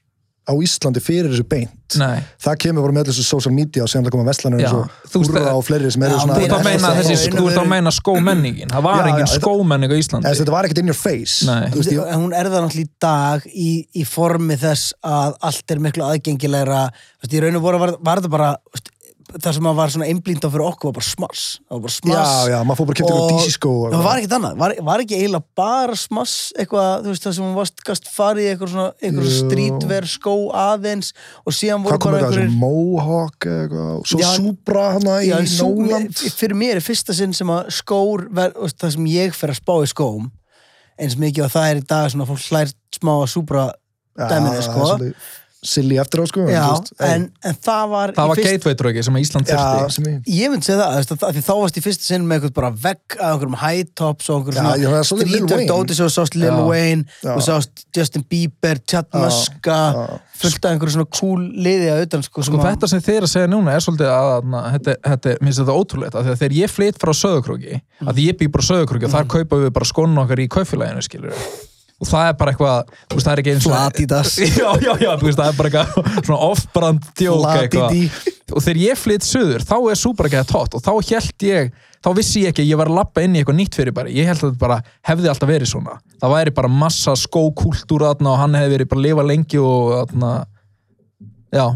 Speaker 3: á Íslandi fyrir þessu beint
Speaker 1: nei
Speaker 3: það kemur bara með öllu þessu social media og sem það koma vestlanir
Speaker 1: Já,
Speaker 3: eins og
Speaker 1: þú veist,
Speaker 3: hurra og fleiri sem
Speaker 2: Já,
Speaker 3: eru
Speaker 1: þú
Speaker 3: svona
Speaker 1: ert að meina þessi, þú ert að meina skómenningin það
Speaker 3: Já,
Speaker 1: var engin
Speaker 3: já, þetta-
Speaker 1: skómenning á
Speaker 3: Eða,
Speaker 1: Íslandi
Speaker 3: þetta var ekkit in your face
Speaker 1: Nei.
Speaker 3: Þú veist, ég,
Speaker 2: en hún er það náttúrulega í dag í, í formi þess að allt er miklu aðgengilegra þú veist, í raun og voru var, var það bara þú veist, það sem að var svona einblínd á fyrir okkur var bara smass það var bara smass
Speaker 3: Já, já, maður fór bara að keypti eitthvað DC skó og-
Speaker 2: og það var ekkert annað, var, var ekki eiginlega bara smass eitthvað, þú veist, það sem hún varst gast farið í eitthvað svona, eitthvað
Speaker 3: Jú.
Speaker 2: streetwear skó aðeins og síðan
Speaker 3: hvað
Speaker 2: voru
Speaker 3: kom
Speaker 2: bara
Speaker 3: þetta,
Speaker 2: einhverjir
Speaker 3: þessi Mohawk eða eitthvað, og svo
Speaker 2: Já, en-
Speaker 3: Supra hana í
Speaker 2: Já, en sú-
Speaker 3: Nóland
Speaker 2: fyrir mér er fyrsta sinn sem að skór ver, þú veist, það sem ég fer að spá í skóm eins mikið og það er í dag svona fólk hlær smá að súbra
Speaker 3: Já,
Speaker 2: dæminu
Speaker 3: það
Speaker 2: sko
Speaker 3: er svolítið- silly eftir á sko
Speaker 2: já,
Speaker 3: þú veist, hey,
Speaker 2: en, en það var
Speaker 1: Það
Speaker 2: í
Speaker 1: var fyrst... gateway-draugi sem að Ísland
Speaker 3: já,
Speaker 1: þurfti.
Speaker 3: sem ég
Speaker 2: Ég myndi segja það, veist, að, að þá varst í fyrsta sinn með einhvern bara vegg að einhverjum high tops og
Speaker 3: Já, ég var
Speaker 2: einhverjum
Speaker 3: svolítið Lil Wayne.
Speaker 2: dóti svo sást Lil
Speaker 1: Já.
Speaker 2: Wayne
Speaker 3: Já.
Speaker 2: og sást Justin Bieber, Chad Muska
Speaker 3: já.
Speaker 2: fullt af einhverjum svona cool liði að utan sko,
Speaker 1: Sko þetta sem þið er að segja núna er svolítið að, að, að þetta, þetta, minnst þetta ótrúlegt að þegar ég flytt frá Söðukróki að því ég býr bara á Söðukróki og þar kaupa við bara skónun okkar í kaufélaginu skilur og það er bara eitthvað, þú veist það er ekki eins og
Speaker 2: Adidas
Speaker 1: já, já, já, þú veist, það er bara eitthvað svona off-brand djók eitthvað
Speaker 2: Flatidí.
Speaker 1: og þegar ég flytt suður, þá er súbrakæða tótt og þá held ég, þá vissi ég ekki að ég var að lappa inn í eitthvað nýtt fyrir bara ég held að þetta bara hefði alltaf verið svona það væri bara massa skókultúr þarna og hann hefði verið bara að lifa lengi og þarna já,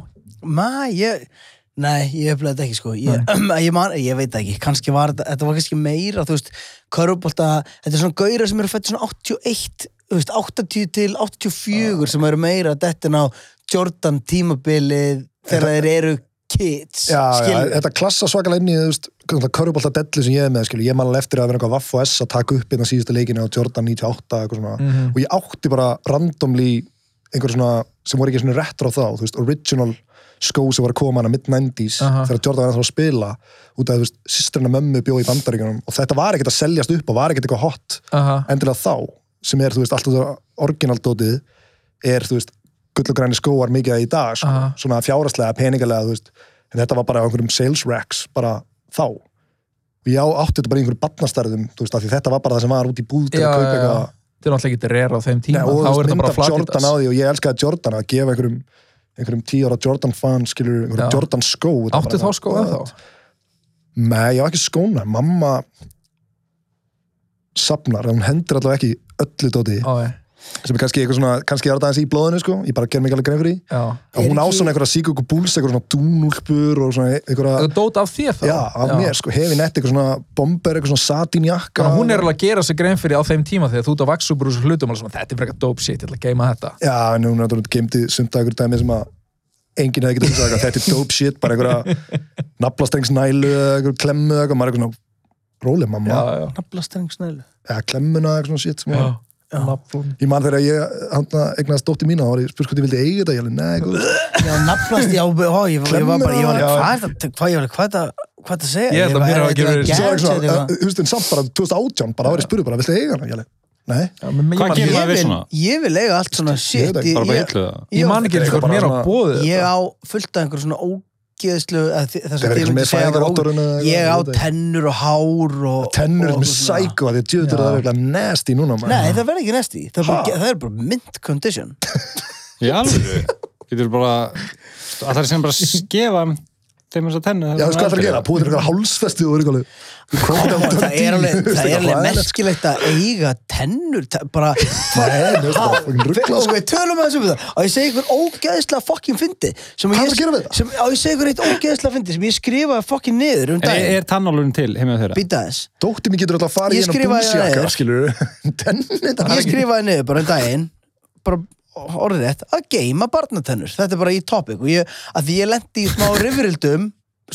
Speaker 2: Ma, ég Nei, ég upplega þetta ekki sko ég, ég, man, ég veit það ekki, kannski var þetta þetta var kannski meira, þú veist, körfbólta þetta er svona gaurar sem eru fætt svona 81 þú veist, 80 til 84 sem eru meira dettin á Jordan tímabilið þegar þeir eru kids
Speaker 3: já, já,
Speaker 2: skilurðu?
Speaker 3: þetta klassa svakalega inn í þú veist, körubólta dellu sem ég er með, skilju, ég man alveg eftir að vera eitthvað Vaff og S að taka upp innan síðustu leikinu á Jordan 98 eitthvað svona,
Speaker 2: Mhm.
Speaker 3: og ég átti bara randomly einhver svona, sem voru ekki svona retro þá, þú veist, original skó sem var að koma hana mid-90s
Speaker 1: Aha.
Speaker 3: þegar Jordan var ennþá að spila út af, þú veist, sýstrina mömmu bjóð í bandaríkjunum og þetta var ekkert að seljast upp og var ekkert eitthvað hot
Speaker 1: aha,
Speaker 3: endilega þá, sem er, þú veist, alltaf það orginaldótið er, þú veist, gull og græni skóar mikið í dag, sko,
Speaker 1: Aha.
Speaker 3: svona fjáraslega, peningalega, þú veist, en þetta var bara á einhverjum sales racks, bara þá. Og ég á- átti þetta bara í einhverjum barnastarðum, þú veist, af því þetta var bara það sem var út í búð til
Speaker 1: já,
Speaker 3: að
Speaker 1: já,
Speaker 3: kaupa
Speaker 1: já.
Speaker 3: eitthvað.
Speaker 1: þetta er náttúrulega ekki rera á þeim
Speaker 3: Nei,
Speaker 1: tíma þá
Speaker 3: og þú
Speaker 1: er
Speaker 3: veist,
Speaker 1: þetta
Speaker 3: mynd
Speaker 1: bara
Speaker 3: af Jordan á
Speaker 1: flatidas
Speaker 3: því og ég elskaði Jordan að gefa einhverjum einhverjum tíu ára Jordan fan, skilur einhverjum
Speaker 1: Já.
Speaker 3: Jordan skó. þetta var
Speaker 1: áttu
Speaker 3: bara
Speaker 1: þá sko
Speaker 3: eitthvað,
Speaker 1: skóða
Speaker 3: "What?"
Speaker 1: þá?
Speaker 3: Nei, ég var ekki skóna, mamma safnar, hún hendur allavega ekki öllu dóti
Speaker 1: Ó, já,
Speaker 3: sem er kannski eitthvað svona, kannski er þetta aðeins í blóðinu sko, ég bara ger mig ekki alveg grein fyrir því
Speaker 1: já.
Speaker 3: og hún
Speaker 2: Er
Speaker 3: á
Speaker 2: ekki-
Speaker 3: svona einhverja síkuku búls, einhverja svona dúnúlpur og svona einhverja,
Speaker 1: það dót af þér þá?
Speaker 3: já, af mér sko, hefi nett einhver svona bomber, einhver svona satinjakka
Speaker 1: Þannig að hún er alveg að gera sig grein fyrir á þeim tíma þegar þú ert að vaksa upp úr þessu hlutum og alveg svona, þetta er frekar dope shit, ég ætla að geima þetta.
Speaker 3: já, en hún er náttúrulega gemdi sumt að einhverju dæmi sem að enginn hefði getið hugsað eitthvað, þetta er dope shit, bara einhverja naflastrengsnælu, eða einhverju klemmu eða eitthvað, maður er eitthvað svona róleg mamma,
Speaker 1: Já,
Speaker 3: já,
Speaker 1: já.
Speaker 2: Naflasterringsnælu.
Speaker 3: klemmuna eitthvað svona shit sem
Speaker 1: já.
Speaker 3: hún Ég man þegar ég hana, eignast dótti mína, þá var ég spurt hvort ég vildi eiga þetta, ég alveg, nei, góð,
Speaker 2: Já, naflast, já, ó, ég, ég var bara, ég var
Speaker 3: Klemmur á-
Speaker 2: hvað er þetta, hvað, ég var, hvað er þetta, hvað er þetta að segja?
Speaker 1: Ég held að
Speaker 2: bara,
Speaker 1: mér
Speaker 2: er
Speaker 1: hafi ekki
Speaker 2: þetta
Speaker 1: verið-
Speaker 3: svo var ég
Speaker 2: gadget
Speaker 3: svona,
Speaker 2: eitthvað?
Speaker 3: eh, þú veist, en samt bara 2018, bara árið spurði bara, viltu eiga hana? Ég alveg, nei.
Speaker 4: Hvað
Speaker 1: Hvað
Speaker 4: gerir
Speaker 1: gerir það?
Speaker 2: Ég
Speaker 4: maður? við
Speaker 2: vil,
Speaker 4: svona?
Speaker 2: ég vil eiga allt svona shit
Speaker 3: veit ekki,
Speaker 2: í-
Speaker 4: bara bara
Speaker 2: ég-
Speaker 4: hillu það
Speaker 1: Ég man
Speaker 2: Jú,
Speaker 1: ekki
Speaker 3: þetta er
Speaker 1: eitthvað
Speaker 3: bara
Speaker 1: mér á
Speaker 3: svona-
Speaker 1: bóðið.
Speaker 2: ég á fullt af einhverjum svona ógeðslu að þi- það
Speaker 3: Það
Speaker 2: sem þið
Speaker 3: er eitthvað
Speaker 2: myndi
Speaker 3: með
Speaker 2: segja var ógeð-
Speaker 3: fæðingarvottorðinu um
Speaker 2: ég á
Speaker 3: eða eitthvað, ég veit ekki.
Speaker 2: tennur og hár og,
Speaker 3: Tennur
Speaker 2: og
Speaker 3: með
Speaker 2: svona.
Speaker 3: sæko, því að djöður það er eitthvað nasty núna, maður.
Speaker 2: nei það verður ekki næst í það er,
Speaker 3: Ha?
Speaker 2: bara, það er bara mint condition
Speaker 4: Í alvöru Getur bara að það er sem bara að skefa þeim þess að tennu
Speaker 3: Já, þú veist hvað það er að gera, búið til eitthvað hálsfesti og eitthvað, hérna
Speaker 2: það er alveg, það er alveg merkilegt að eiga tennur te- bara
Speaker 3: nei, þú veist, bara fucking ruglað,
Speaker 2: og
Speaker 3: sko.
Speaker 2: við tölum aðeins um það og ég segi ykkur ógeðsla fokkin fyndi sem
Speaker 3: Hvað
Speaker 2: ég,
Speaker 3: er að gera við það?
Speaker 2: sem, og ég segi ykkur eitt ógeðsla fyndi sem ég skrifaði fokkin niður um
Speaker 4: En er,
Speaker 2: daginn
Speaker 4: er tannálurinn til heima hjá þeirra?
Speaker 2: býta þess
Speaker 3: Dótti mín getur alltaf að fara í
Speaker 2: Ég
Speaker 3: hennar
Speaker 2: skrifaði það
Speaker 3: búsjaka,
Speaker 2: niður.
Speaker 3: skilur, tennir,
Speaker 2: ég skrifaði niður bara um daginn bara orðið rétt, að geima barnatennur þetta er bara í topic og ég, að því ég lendi í smá rifrildum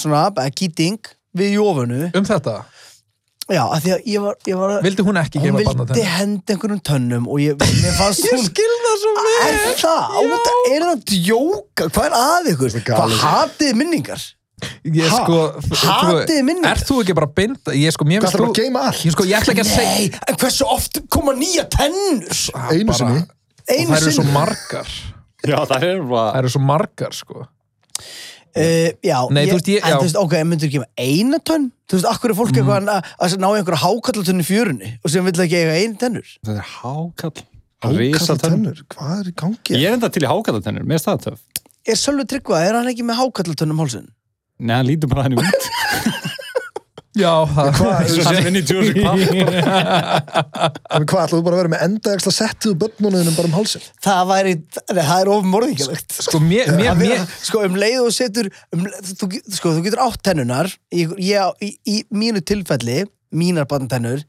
Speaker 2: svona, bara kýting við jófunu
Speaker 1: Um þetta,
Speaker 2: já, að því að ég var, ég var að-
Speaker 1: vildi hún ekki
Speaker 2: hún
Speaker 1: geima
Speaker 2: vildi
Speaker 1: barnatenn?
Speaker 2: henda einhverjum tönnum og ég, mér fannst hún
Speaker 1: skilða svo
Speaker 2: er það, á, það er það að djóka hvað er að ykkur,
Speaker 3: er
Speaker 2: hvað
Speaker 3: galið.
Speaker 2: hatið minningar
Speaker 1: Ég
Speaker 2: Ha?
Speaker 1: sko... þú-
Speaker 2: Hatið minni.
Speaker 1: Ert þú ekki bara að binda? Ég sko, mér
Speaker 3: Hvað
Speaker 1: finnst
Speaker 3: þarf að
Speaker 1: þú-
Speaker 3: geima allt?
Speaker 1: Ég sko, ég ætla ekki að segja...
Speaker 2: nei, en hversu oft koma nýja tennur
Speaker 3: Einu
Speaker 1: Bara-
Speaker 3: sinni.
Speaker 1: Og
Speaker 2: einu
Speaker 1: Það eru svo
Speaker 2: sinni
Speaker 1: margar.
Speaker 4: Já, það er
Speaker 1: Það
Speaker 4: bara
Speaker 1: eru svo margar, sko.
Speaker 2: Uh, já,
Speaker 1: Nei, þú veist, ég-
Speaker 2: en
Speaker 1: já. Mm.
Speaker 2: þú veist, ok, en myndur ekki með eina tönn? Þú veist, akkur er fólk eitthvað að, að ná einhverja hákallatönn í fjörunni og sem vill ekki eiga einu tennur?
Speaker 4: Það er hákall
Speaker 3: Hákalla
Speaker 4: Rísa tennur
Speaker 3: tennur, hvað er í gangi?
Speaker 4: Ég er enda til í hákalla tennur, mér er það töf
Speaker 2: Er Sölvi Tryggva, er hann ekki með hákallatönn um hálsun?
Speaker 4: Nei, hann lítur bara hann út
Speaker 1: Já, það...
Speaker 4: Svo sem inn í Jurassic Park
Speaker 3: En Hvað, ætlaðu bara að vera með endaðagsla settið og börnunum bara um hálsin?
Speaker 2: Það væri, nei, það er of morðingalegt.
Speaker 1: Sko, mér, mér,
Speaker 2: Að vera-
Speaker 1: mér,
Speaker 2: Sko, um leið og setur, um, leið- þú, get- sko, þú getur átt tennunar, ég, ég, í, í mínu tilfelli, mínar barntennur,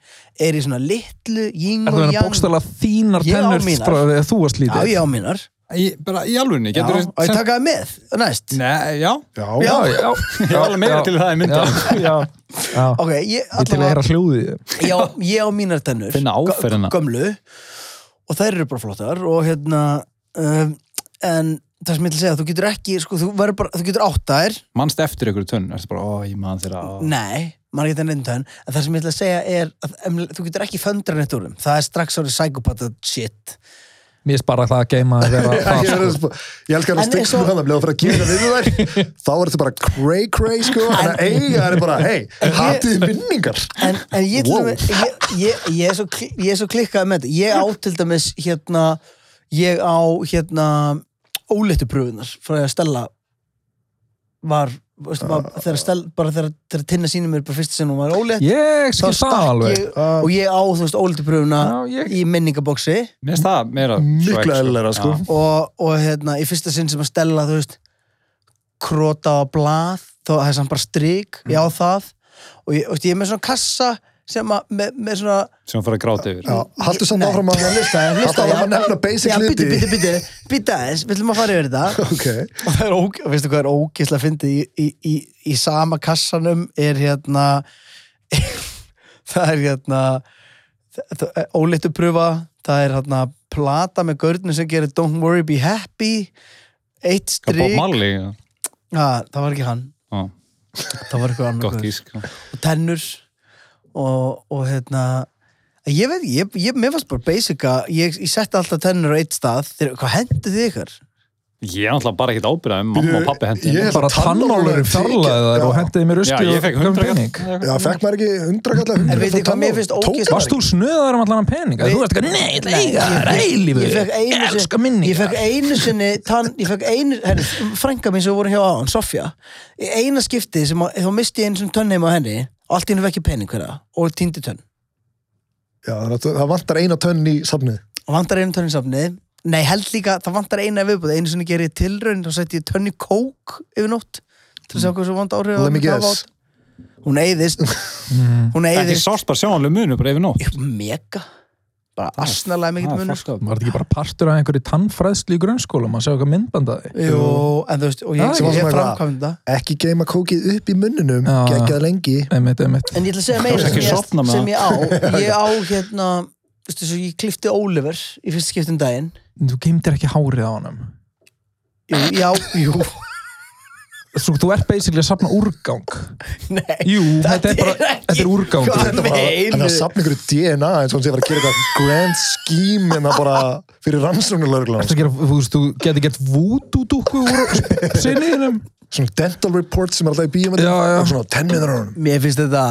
Speaker 2: er í svona litlu, ying
Speaker 1: er það
Speaker 2: og
Speaker 1: að
Speaker 2: yang.
Speaker 1: bókstala þínar
Speaker 2: Ég á
Speaker 1: tennur
Speaker 2: mínar.
Speaker 1: frá þegar þú varst
Speaker 2: Já,
Speaker 1: lítið?
Speaker 2: ég á mínar.
Speaker 4: Í- Bara í alvunni,
Speaker 2: Já,
Speaker 4: getur
Speaker 2: og ég taka það með, næst.
Speaker 4: Nei, já
Speaker 3: Já,
Speaker 1: já, já.
Speaker 4: Ég var alveg meira til það í mynda
Speaker 1: Já, já. já.
Speaker 2: Ok, ég,
Speaker 1: Ég til að heyra hljóðið.
Speaker 2: ég á, ég á mínar tennur
Speaker 4: Finna áferðina.
Speaker 2: gö- gömlu og þær eru bara flottar og hérna um, en það sem ég til að segja, þú getur ekki sko, þú, verður bara, þú getur áttaðir
Speaker 4: Manst eftir ykkur tönn, ertu bara, ó, ég man þeirra ó.
Speaker 2: nei, maður getur neitt tönn en það sem ég til að segja er að, em, þú getur ekki föndra neitt úr þeim, það er strax árið psychopath shit
Speaker 1: Mér er bara það að geima að vera það
Speaker 3: Ég, er að
Speaker 1: sko.
Speaker 3: spá- ég elskar hann
Speaker 2: En
Speaker 3: að
Speaker 2: eins og-
Speaker 3: stiksum hann að bleið að fara að gera við þær þá er þetta bara cray cray sko en að eiga það er bara, hei, hatið vinningar
Speaker 2: en, en ég, wow.
Speaker 3: Wow.
Speaker 2: með, ég, ég, ég, er svo, kli- ég er svo klikkað með þetta ég á til dæmis hérna ég á hérna óleittupröfunar frá því að Stella var veistu, bara, þegar Stella, bara þegar, þegar Tinna sínum mér bara fyrst sem hún var
Speaker 1: Ah.
Speaker 2: óleitt
Speaker 1: Ég
Speaker 2: þá
Speaker 1: skil það
Speaker 2: stakk
Speaker 1: alveg Ah.
Speaker 2: ég og ég á þú veist óleittupröfuna
Speaker 1: Já, ég-
Speaker 2: í minningaboksi
Speaker 4: Mér finnst það meira swag,
Speaker 3: mikla eðlera sko
Speaker 4: Já.
Speaker 2: og, og hérna í fyrsta sinn sem að Stella þú veist krota á blað þá það er samt bara strik,
Speaker 1: Mm.
Speaker 2: ég á það og ég, veist, ég er með svona kassa sem að með, með svona
Speaker 4: sem að fara að gráta yfir.
Speaker 3: Já, haltu samt áfram að
Speaker 2: lista,
Speaker 3: haltu áfram að nefna basic
Speaker 2: já, bíti,
Speaker 3: hluti
Speaker 2: bíti, bíti, bíti aðeins, við ætlum að fara yfir þetta
Speaker 3: ok,
Speaker 2: og það er óg, veistu hvað er ógislega fyndið í, í, í, í sama kassanum er hérna það er hérna óleittu pröfa það er hérna plata með görnum sem gerir Don't Worry Be Happy eitt
Speaker 4: Hvað Bob
Speaker 2: strik
Speaker 4: Marley, já.
Speaker 2: Ha, það var ekki hann,
Speaker 4: Já,
Speaker 2: það var eitthvað annað
Speaker 4: gott
Speaker 2: gaur.
Speaker 4: gísk. já.
Speaker 2: og tennur og, og hérna ég veit, ég, ég, mér fannst bara basic að ég, ég setti alltaf tennur á eitt stað þegar, hvað hendur þið ykkur?
Speaker 4: Ég er náttúrulega bara ekkert ábyrðað um mamma og pappi hendi.
Speaker 3: Ég-
Speaker 1: Bara tannmálurum fjarlæði þær og hendiði mér
Speaker 4: Já,
Speaker 1: usti
Speaker 4: ég fekk 100
Speaker 1: pening
Speaker 4: kall.
Speaker 3: já, fekk maður ekki undrakalla
Speaker 2: En veitir hvað mér finnst ógeðslega-
Speaker 1: Varst þú snöðar um allan pening? Þú varst ekki, nei, ég ætla að eiga
Speaker 2: Nei,
Speaker 1: það, reilífið
Speaker 2: ég fekk
Speaker 1: Ég
Speaker 2: einu
Speaker 1: elska
Speaker 2: sinni ég fekk
Speaker 1: minningar
Speaker 2: einu sinni tann, ég fekk einu, herri, frænka mín sem við vorum hjá áðan, Sofja í eina skipti sem að- þá misti ég einu sinni tönn heima á henni og allt í henni vekki pening hverja og týndi tönn
Speaker 3: Já, það- það vantar eina tönn í safnið
Speaker 2: og vantar einu tönn í safnið nei held líka, það vantar eina viðbúð einu sinni gerir ég tilraun, þá setti ég tönn í kók yfir nótt
Speaker 1: Mm.
Speaker 2: til að sjá hvað svo vant áhrif
Speaker 3: Let me
Speaker 2: það hafa
Speaker 3: guess.
Speaker 2: á- hún eyðist
Speaker 1: Mhm.
Speaker 2: hún
Speaker 4: Þetta er
Speaker 2: eyðist
Speaker 4: sást bara sjónanlega munu bara yfir nótt. Ah,
Speaker 2: mega bara asnalega mikill
Speaker 4: Það er
Speaker 2: munur
Speaker 4: fucked up.
Speaker 1: Var þetta ekki bara partur af einhverju tannfræðslu í grunnskólum að sjá eitthvað myndbandaði?
Speaker 2: Jú, en þú veist, og ég,
Speaker 1: Já,
Speaker 2: ég,
Speaker 3: sem var
Speaker 2: ég
Speaker 3: svona eitthvað-
Speaker 2: framkvæmda
Speaker 3: ekki geima kókið upp í munnunum
Speaker 1: Já.
Speaker 3: geggjað lengi
Speaker 1: Einmitt, einmitt.
Speaker 2: En ég ætla að segja meira sem
Speaker 4: Kannski
Speaker 2: ég,
Speaker 4: sofna með
Speaker 2: sem ég á Ég á hérna veistu, svo Ég klifti Oliver í fyrst skiptum daginn
Speaker 1: Þú geymdir ekki hárið á honum.
Speaker 2: Jú, já, jú
Speaker 1: Svo þú ert basically að safna úrgang.
Speaker 2: Nei,
Speaker 1: Jú, þetta er bara,
Speaker 2: ekki-
Speaker 1: þetta er úrgangur.
Speaker 2: Hvað
Speaker 3: Þetta var-
Speaker 2: meinarðu?
Speaker 3: hann er að safna ykkur DNA eins og hann sé að fara að gera eitthvað grand scheme en það bara fyrir rannsóknarlörglan
Speaker 1: Ertu að gera, þú veist, þú getur gett vúdúdúkku úr sinniðinum.
Speaker 3: svona dental report sem er alltaf í bíum
Speaker 1: Já, já.
Speaker 3: og svona tenninar á hann
Speaker 2: Mér finnst þetta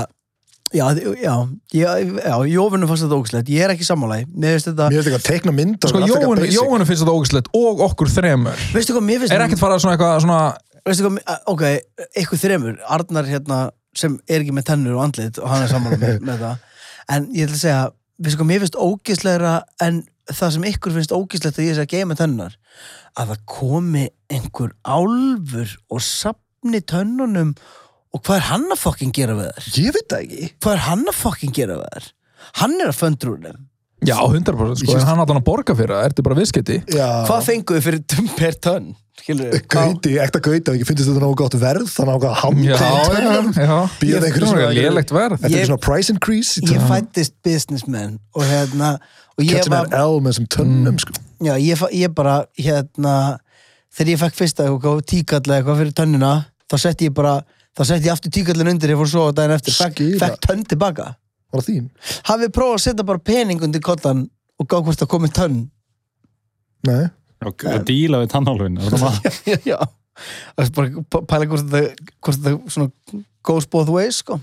Speaker 2: Já, þi- já, já, já Jófunum fannst þetta ógæslegt Ég er ekki sammálaði Mér finnst þetta
Speaker 3: mér finnst eitthvað að teikna mynd
Speaker 1: Sko, Jóhannu Jóhann finnst þetta ógæslegt og okkur þremur.
Speaker 2: Veistu hvað, mér finnst
Speaker 1: Er ekkert farað svona eitthvað svona,
Speaker 2: Veistu hvað, mér- ok, eitthvað þremur Arnar hérna sem er ekki með tennur og andlit og hann er sammála með, með það En ég ætla að segja, veistu hvað, mér finnst ógislegra en það sem ykkur finnst ógislegt að ég sé að geima tönnar að það komi einhver álfur og sapni tönnunum og hvað er hann að fokkin gera við þær?
Speaker 3: ég veit það ekki
Speaker 2: Hvað er hann að fokkin gera við þær? Hann er að föndra úr þeim.
Speaker 1: já, 100% sko,
Speaker 3: Ég
Speaker 1: en
Speaker 3: finnst-
Speaker 1: hann allan að borga fyrir það, ertu bara viðskipti.
Speaker 2: Hvað
Speaker 3: já,
Speaker 2: fenguðu fyrir tönn per tönn? Skilur við?
Speaker 3: gauti, ekta gauti ef ekki finnst þetta náðu gott verð þannig ákvað
Speaker 1: Já,
Speaker 3: að hamka á
Speaker 1: já,
Speaker 3: tönnunum
Speaker 1: já.
Speaker 3: býða einhverju
Speaker 1: Svona
Speaker 3: svona
Speaker 1: lélegt verð.
Speaker 3: þetta er
Speaker 2: Ég-
Speaker 3: ekki svona price increase í
Speaker 2: Ég
Speaker 3: tönn-
Speaker 2: fættist businessman og hérna og ég
Speaker 3: catching
Speaker 2: var
Speaker 3: an L með þessum
Speaker 1: Mm.
Speaker 3: tönnum sko.
Speaker 2: Já, ég, fa- ég bara, hérna, þegar ég fekk fyrsta eitthvað tíkallega eitthvað fyrir tönnina, þá setti ég bara, þá setti ég aftur tíkallin undir, ég fór svo á daginn eftir, fekk,
Speaker 3: Skýra.
Speaker 2: fekk tönn tilbaka.
Speaker 3: var það þín?
Speaker 2: Hafið prófað að setja bara pening undir kottan og gá hvort það komið tönn.
Speaker 3: nei
Speaker 4: Og og díla við tannálfinu. Það er það.
Speaker 2: já, já. Það er bara p- pæla hvort þetta, hvort þetta svona goes both ways, sko.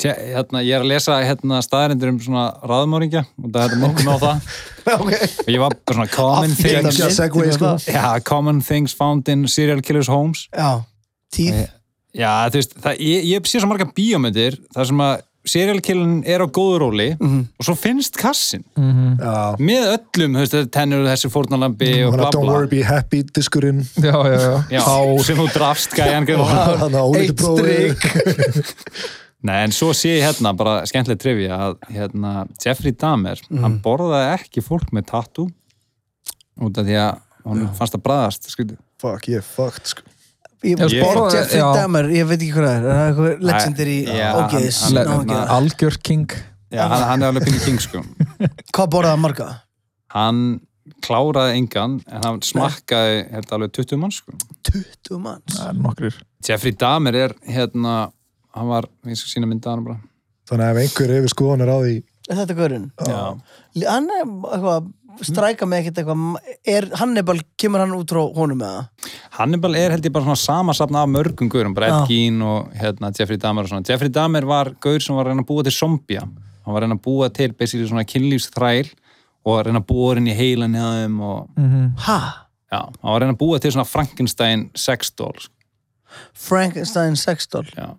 Speaker 4: Tjá, hérna, ég er að lesa hérna, staðarindur um svona raðmóringja og það er þetta mokkum á það
Speaker 2: ok.
Speaker 4: og ég var bara svona common
Speaker 2: Aftur
Speaker 4: things
Speaker 3: Geggjað
Speaker 2: Ég-
Speaker 3: segway sko
Speaker 2: það-
Speaker 4: já, common things found in serial killers homes
Speaker 2: Já, tíð.
Speaker 4: já, þú veist, það, ég, ég sé svo marga bíómyndir þar sem að serial killerinn er á góðu róli
Speaker 3: Mhm.
Speaker 4: og svo finnst kassin
Speaker 1: Mm.
Speaker 3: já
Speaker 4: með öllum, þú veist, þetta tennur og þessi fórnalambi og
Speaker 3: Þannig
Speaker 4: bla
Speaker 3: að Mm, Don't
Speaker 4: bla
Speaker 3: worry, be happy, diskurinn
Speaker 1: Já, já, já.
Speaker 4: Já, sem þú drafst gæjan greinilega.
Speaker 3: Þannig að ólítið
Speaker 2: Eitt
Speaker 3: prófið
Speaker 4: Nei, en svo sé ég hérna, bara skemmtileg trivja að hérna, Jeffrey Dahmer hann borðaði ekki fólk með tattoo út af því að hún fannst að bræðast, skriðu
Speaker 3: Fuck, ég er fucked sko
Speaker 2: Ég,
Speaker 1: Ég
Speaker 2: ég,
Speaker 1: borðaði-
Speaker 2: Jeffrey
Speaker 1: já.
Speaker 2: Dahmer, ég veit ekki hvað það er, er það eitthvað legendir í
Speaker 4: já,
Speaker 2: ógeðis,
Speaker 4: hann-
Speaker 1: Le-
Speaker 4: ná, hann-
Speaker 2: náðan geða.
Speaker 1: Algjör king.
Speaker 4: Já, hann, hann er alveg pinni king sko
Speaker 2: Hvað borðaði marga?
Speaker 4: hann kláraði engan en hann smakkaði hérna, alveg 20 mann sko.
Speaker 2: 20 manns
Speaker 1: það er nokkrir
Speaker 4: Jeffrey Dahmer er hérna hann var, ég skal sína mynda hann bara
Speaker 3: Þannig að ef einhver hefur skoðanir á því
Speaker 2: Er þetta gaurinn?
Speaker 4: Já.
Speaker 2: L- Hann er eitthvað, stræka mig ekkert eitthvað er, Hannibal, kemur hann út frá honum með það?
Speaker 4: Hannibal er held ég bara svona samansapna af mörgum gaurum, bara
Speaker 2: Já.
Speaker 4: Ed Gein og hérna, Jeffrey Dahmer og svona. Jeffrey Dahmer var gaur sem var að reyna að búa til zombja hann var að reyna að búa til basically svona kynlífsþræl og að reyna að búa hann í heilan hjá þeim og
Speaker 2: Mm. Ha?
Speaker 4: já, hann var að reyna að búa til svona Frankenstein sexdól sko,
Speaker 2: Frankenstein sextol
Speaker 4: já.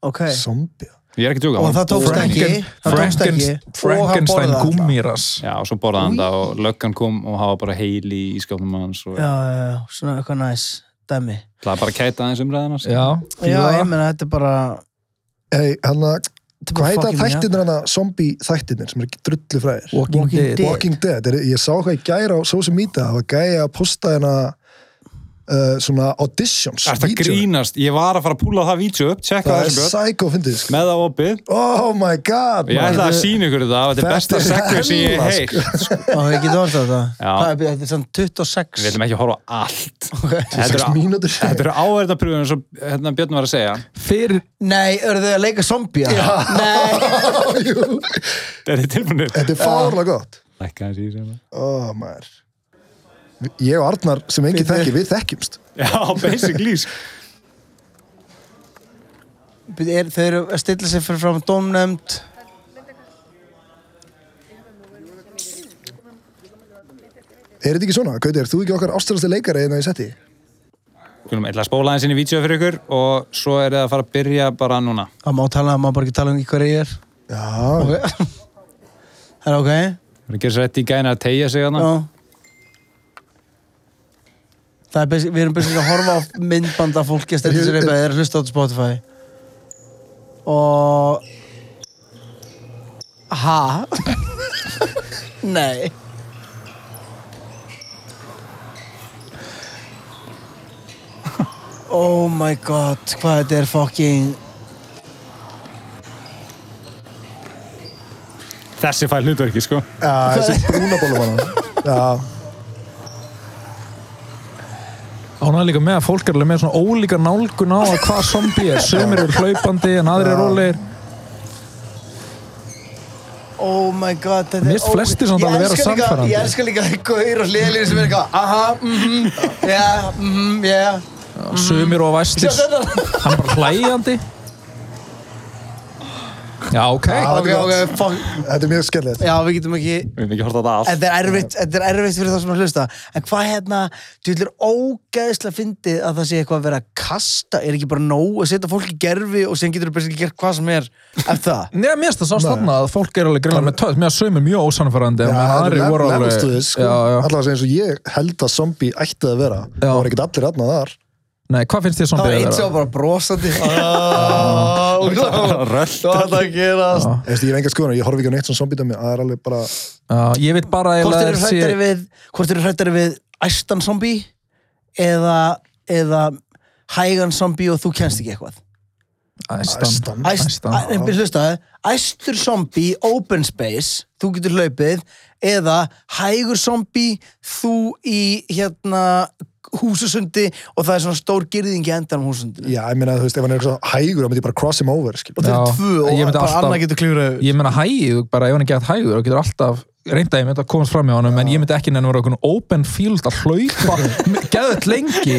Speaker 2: Ok
Speaker 3: zombja
Speaker 4: ég er ekki að tjóka
Speaker 2: Og
Speaker 4: hann
Speaker 2: það tókst
Speaker 4: búa-
Speaker 2: ekki Það tókst
Speaker 1: Franken,
Speaker 2: ekki Og hann
Speaker 1: Frankenstein
Speaker 2: borðaði þetta.
Speaker 1: gúmíras
Speaker 4: já, og svo borðaði hann það og löggan kom og hafa bara heili í ískapnum hans og
Speaker 2: Já, já, já, svona eitthvað næs Dæmi
Speaker 4: það er bara að kæta aðeins umræðina sko.
Speaker 1: já,
Speaker 2: Já,
Speaker 1: fíla
Speaker 2: ég
Speaker 1: það.
Speaker 2: meina, þetta er bara
Speaker 3: Hei, hann að,
Speaker 2: þetta er
Speaker 3: hvað
Speaker 2: bara
Speaker 3: heita
Speaker 2: fucking-
Speaker 3: þættirnir hann að zombie þættirnir sem er ekki drullu fræðir?
Speaker 1: Walking,
Speaker 2: Walking
Speaker 1: Dead,
Speaker 2: Dead.
Speaker 3: Walking Dead, er, ég sá hvað ég gæra á social media, það var gæja að posta hérna uh, svona auditions
Speaker 4: Er það
Speaker 3: vídeó.
Speaker 4: grínast? Ég var að fara að púla það vítsu upp, tjekka
Speaker 3: Það
Speaker 4: það
Speaker 3: er
Speaker 4: þessu björn,
Speaker 3: psycho fyndið sko.
Speaker 4: með það opið.
Speaker 3: Oh my god
Speaker 4: Ég
Speaker 3: maður.
Speaker 4: ætla að sína ykkur þetta, þetta er besta
Speaker 3: Þetta er
Speaker 4: sekkur sem ég
Speaker 3: hella,
Speaker 4: heilt.
Speaker 2: Já, ég get orðið þetta
Speaker 4: Já.
Speaker 2: Það er- Þetta er samt 26
Speaker 4: Við viljum ekki horfa á allt. Þetta
Speaker 3: 26
Speaker 4: eru-
Speaker 3: mínútur
Speaker 4: þetta eru áverðapröfunum sem hérna, Björn var að segja.
Speaker 1: fyrir
Speaker 2: Nei, eru þau að leika zombja? Nei
Speaker 3: Ah, Jú.
Speaker 4: Þetta er tilbúinir.
Speaker 3: Þetta er fárlega gott
Speaker 4: Lækka þessi í hérna. sem það.
Speaker 3: oh, maður. Ég og Arnar sem enginn þekki, við þekkjumst
Speaker 4: Já, basically. sko.
Speaker 2: Bíddu, er- Þau eru að stilla sig fyrir fram dómnefnd
Speaker 3: Er þetta ekki svona? Kauti, er þú ekki okkar ástæðasti leikari en það ég setti?
Speaker 4: Skulum, ég ætla að spóla aðeins inn í vítsu fyrir ykkur og svo er það að fara að byrja bara núna.
Speaker 2: Það má tala, það má bara ekki tala um í hverju ég er
Speaker 3: Já,
Speaker 2: Ok Það er ok
Speaker 4: Það er að gera sér rétt í gæna að tegja sig hérna.
Speaker 2: Já
Speaker 4: þarna.
Speaker 2: Það er basic, við erum basic að horfa á myndband af fólki að stilla sér upp eða er að hlusta á þetta Spotify Og Ha? Nei Oh my god, hvað þetta er fucking
Speaker 4: Þessi fær hlutverki, sko.
Speaker 3: já þessi brúnabólum hana Já,
Speaker 1: Hún er líka með að fólk er alveg með svona ólíka nálgun á að hvað zombie er. Sumir eru hlaupandi en aðrir eru ólegir.
Speaker 2: Oh my god, þetta
Speaker 1: Mér finnst
Speaker 2: ógeð-
Speaker 1: flestir samt
Speaker 2: Ég
Speaker 1: alveg vera
Speaker 2: elska líka-
Speaker 1: sannfærandi.
Speaker 2: Ég elskar líka gaur og liðlíður sem er eitthvað Aha, mhm, já, mhm, já
Speaker 1: Sumir og væstir.
Speaker 2: Sjá þetta.
Speaker 1: Hann er bara hlægjandi. Já, ok.
Speaker 2: Ok, ok, fuck
Speaker 3: þetta er mjög skellilegt
Speaker 2: Já, við getum ekki
Speaker 4: Við hefum ekki horta á þetta allt.
Speaker 2: Þetta er erfitt, þetta er erfitt fyrir það sem að hlusta En hvað hérna, þú ætlir ógeðslega fyndið að það sé eitthvað að vera að kasta Er ekki bara nóg að setja fólk í gerfi og síðan getur þú bara gert hvað sem er eftir það
Speaker 1: Nei, mér finnst það sást þarna að fólk er alveg greinlega með töð, mér að sumir mjög ósannfærandi
Speaker 3: Já,
Speaker 1: og meðan
Speaker 3: þetta er
Speaker 1: aðrir
Speaker 3: level-
Speaker 1: voru alveg...
Speaker 3: levelstuðið, sko.
Speaker 1: já, já.
Speaker 3: Allavega sem eins og ég held að zombie ætti að vera Það var ekkert allir aðnað þar
Speaker 1: Nei, hvað finnst þér
Speaker 2: Það var
Speaker 1: zombie
Speaker 2: eins og
Speaker 1: vera?
Speaker 2: bara brosandi Ah, og hvað-
Speaker 4: Rölt.
Speaker 2: Hvað er það að gerast?
Speaker 3: Ég veist, ég er enga skoðan, ég horf ekki á neitt sem zombie dæmi Það er alveg bara
Speaker 1: Já, ég veit bara
Speaker 2: hvort
Speaker 1: eiginlega
Speaker 2: eru
Speaker 1: þessi-
Speaker 2: hrættari við hvort eru hrættari við æstan zombi eða, eða hægan zombi og þú kennst ekki eitthvað
Speaker 1: Æstan.
Speaker 2: Æst,
Speaker 1: Æstan.
Speaker 2: Æ- en byrju, hlustaðu, æstur zombi open space, þú getur hlaupið eða hægur zombi þú í hérna húsasundi og það er svona stór girðingi endan á húsasundinu
Speaker 3: Já, ég meina, þú veist, ef hann er eitthvað hægur, þá myndi ég bara cross him over, skil
Speaker 2: og þeir eru
Speaker 1: Já,
Speaker 2: tvö
Speaker 1: ég
Speaker 2: og
Speaker 1: myndi
Speaker 2: bara
Speaker 1: alltaf-
Speaker 2: annað getur klifrað yfir.
Speaker 1: Ég meina hægið, bara ef hann er gett hægur og getur alltaf reyndaði, ég myndi að komast fram hjá hann en ég myndi ekki nefnum að vera okkur open field að hlaupa geðut lengi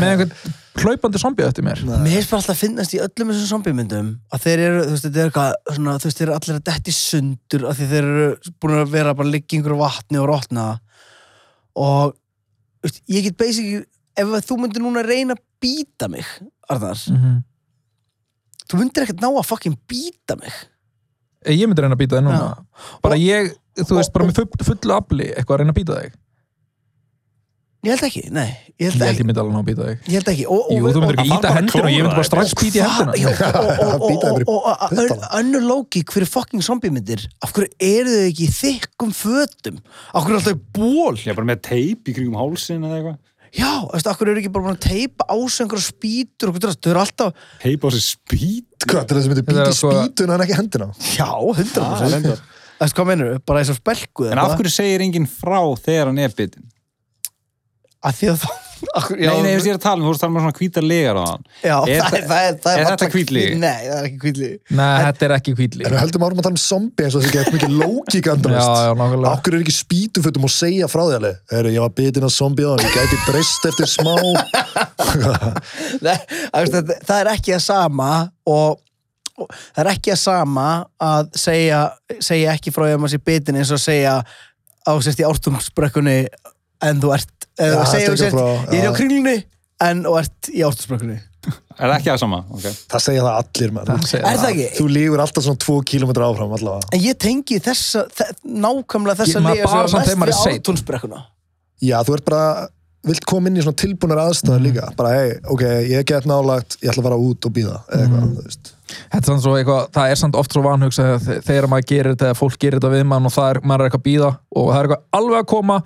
Speaker 1: með einhvern hlaupandi zombie eftir mér
Speaker 2: Mér finnst bara alltaf að finnast í öllum þessum zombiemyndum að þeir eru, þú veist, þetta er eitthvað svona, þú veist, þeir eru allir að detti sundur af því þeir eru búin að vera bara liggingur vatni og rótna og, þú veist, ég get basic ef að þú myndir núna reyna að býta mig Arnar,
Speaker 1: Mhm.
Speaker 2: þú myndir ekkert ná að fucking býta mig
Speaker 1: Ég myndi reyna að býta þig núna bara
Speaker 2: Og-
Speaker 1: ég, þú veist,
Speaker 2: og-
Speaker 1: bara með full, fullu afli eitthvað að reyna að býta þig
Speaker 2: Ég held ekki, nei, ég
Speaker 1: Ég
Speaker 2: held
Speaker 1: held
Speaker 2: ekki
Speaker 1: ég myndi alveg ná að býta þig
Speaker 2: Ég held ekki og, og,
Speaker 1: Jú, þú myndir
Speaker 4: og-
Speaker 1: ekki
Speaker 4: hann
Speaker 1: íta
Speaker 4: bara
Speaker 1: hendina og ég myndi
Speaker 4: klórar
Speaker 1: bara strax
Speaker 2: Hva-
Speaker 1: býta í
Speaker 2: Já,
Speaker 1: hendina
Speaker 2: og- og-
Speaker 3: Býta yfir í
Speaker 2: og- og- og-
Speaker 3: puttana.
Speaker 2: og- önnur lógík fyrir fucking zombiemyndir af hverju eru þau ekki í þykkum fötum af hverju er alltaf í ból
Speaker 4: Ég er bara með teip í kringum hálsin eða eitthvað.
Speaker 2: já, þú veist, af hverju eru ekki bara búin að teipa ásöngur og spýtur og hvernig þau eru alltaf
Speaker 4: Teip á sér spýt.
Speaker 3: Hvað, þetta er það sem myndi
Speaker 1: Þetta er
Speaker 3: býti
Speaker 1: sko-
Speaker 3: spýtun en ekki hendina
Speaker 2: já, hundra
Speaker 4: Það er enda.
Speaker 2: Þessi, hvað mennur þau? Bara eins og spelku
Speaker 4: En af hverju segir enginn frá þegar hann er bitin?
Speaker 2: Að því að þá af hverju-
Speaker 4: Nei, nei, ég er að tala um, þú veist, það er maður svona hvítar legar á hann.
Speaker 2: Já,
Speaker 4: Er
Speaker 2: það,
Speaker 4: það-
Speaker 2: er, það er, það
Speaker 4: er
Speaker 2: er
Speaker 4: þetta
Speaker 2: varla-
Speaker 4: hvítlygi?
Speaker 2: Nei, það er ekki kvítli
Speaker 1: Nei, þetta er ekki hvítli
Speaker 3: En við heldum árum að tala um zombie eins og þessi gett mikið
Speaker 1: Já,
Speaker 3: lókík
Speaker 1: já,
Speaker 3: andamist.
Speaker 1: nákvæmlega
Speaker 3: Akkur er ekki spýtufötum og segja frá því alveg. Herru, ég var bitin af zombie á hann, ég gæti breyst eftir smá.
Speaker 2: það, það er ekki að sama og, og það er ekki að sama að segja, segja ekki frá því að maður sé bitin eins og segja á sérst í ártumsbrekkunni en þú ert
Speaker 3: Já,
Speaker 2: eða
Speaker 3: það
Speaker 2: segja
Speaker 3: er
Speaker 2: þú
Speaker 3: ekki
Speaker 2: sérst,
Speaker 3: frá,
Speaker 2: ég er
Speaker 3: já.
Speaker 2: á kringlunni en og ert í ártumsbrekkunni
Speaker 4: Er það ekki það sama? Ok.
Speaker 3: Það segja það allir, mann.
Speaker 1: Það segja
Speaker 2: Er það ekki?
Speaker 3: Þú lífur alltaf svona 2 km áfram allavega.
Speaker 2: En ég tengi þessa, þe- nákvæmlega
Speaker 1: Ég-
Speaker 2: þessa
Speaker 1: maður bara samt þegar maður
Speaker 2: sem var
Speaker 1: er
Speaker 2: mest við
Speaker 1: seinn.
Speaker 2: ártumsbrekkuna
Speaker 3: Já, þú ert bara, vilt koma inn í svona tilbúnar aðstæður líka.
Speaker 1: Mm.
Speaker 3: Bara, hei, ok, ég get nálagt, ég ætla að fara út og býða. Eða eitthvað,
Speaker 1: Mm.
Speaker 3: þú veist.
Speaker 1: Þetta er samt svo eitthvað, það er samt oft svo vanhugsað að þe- þegar maður gerir þetta, eða fólk gerir þetta við mann og það er, maður er eitthvað að býða og það er eitthvað alveg að koma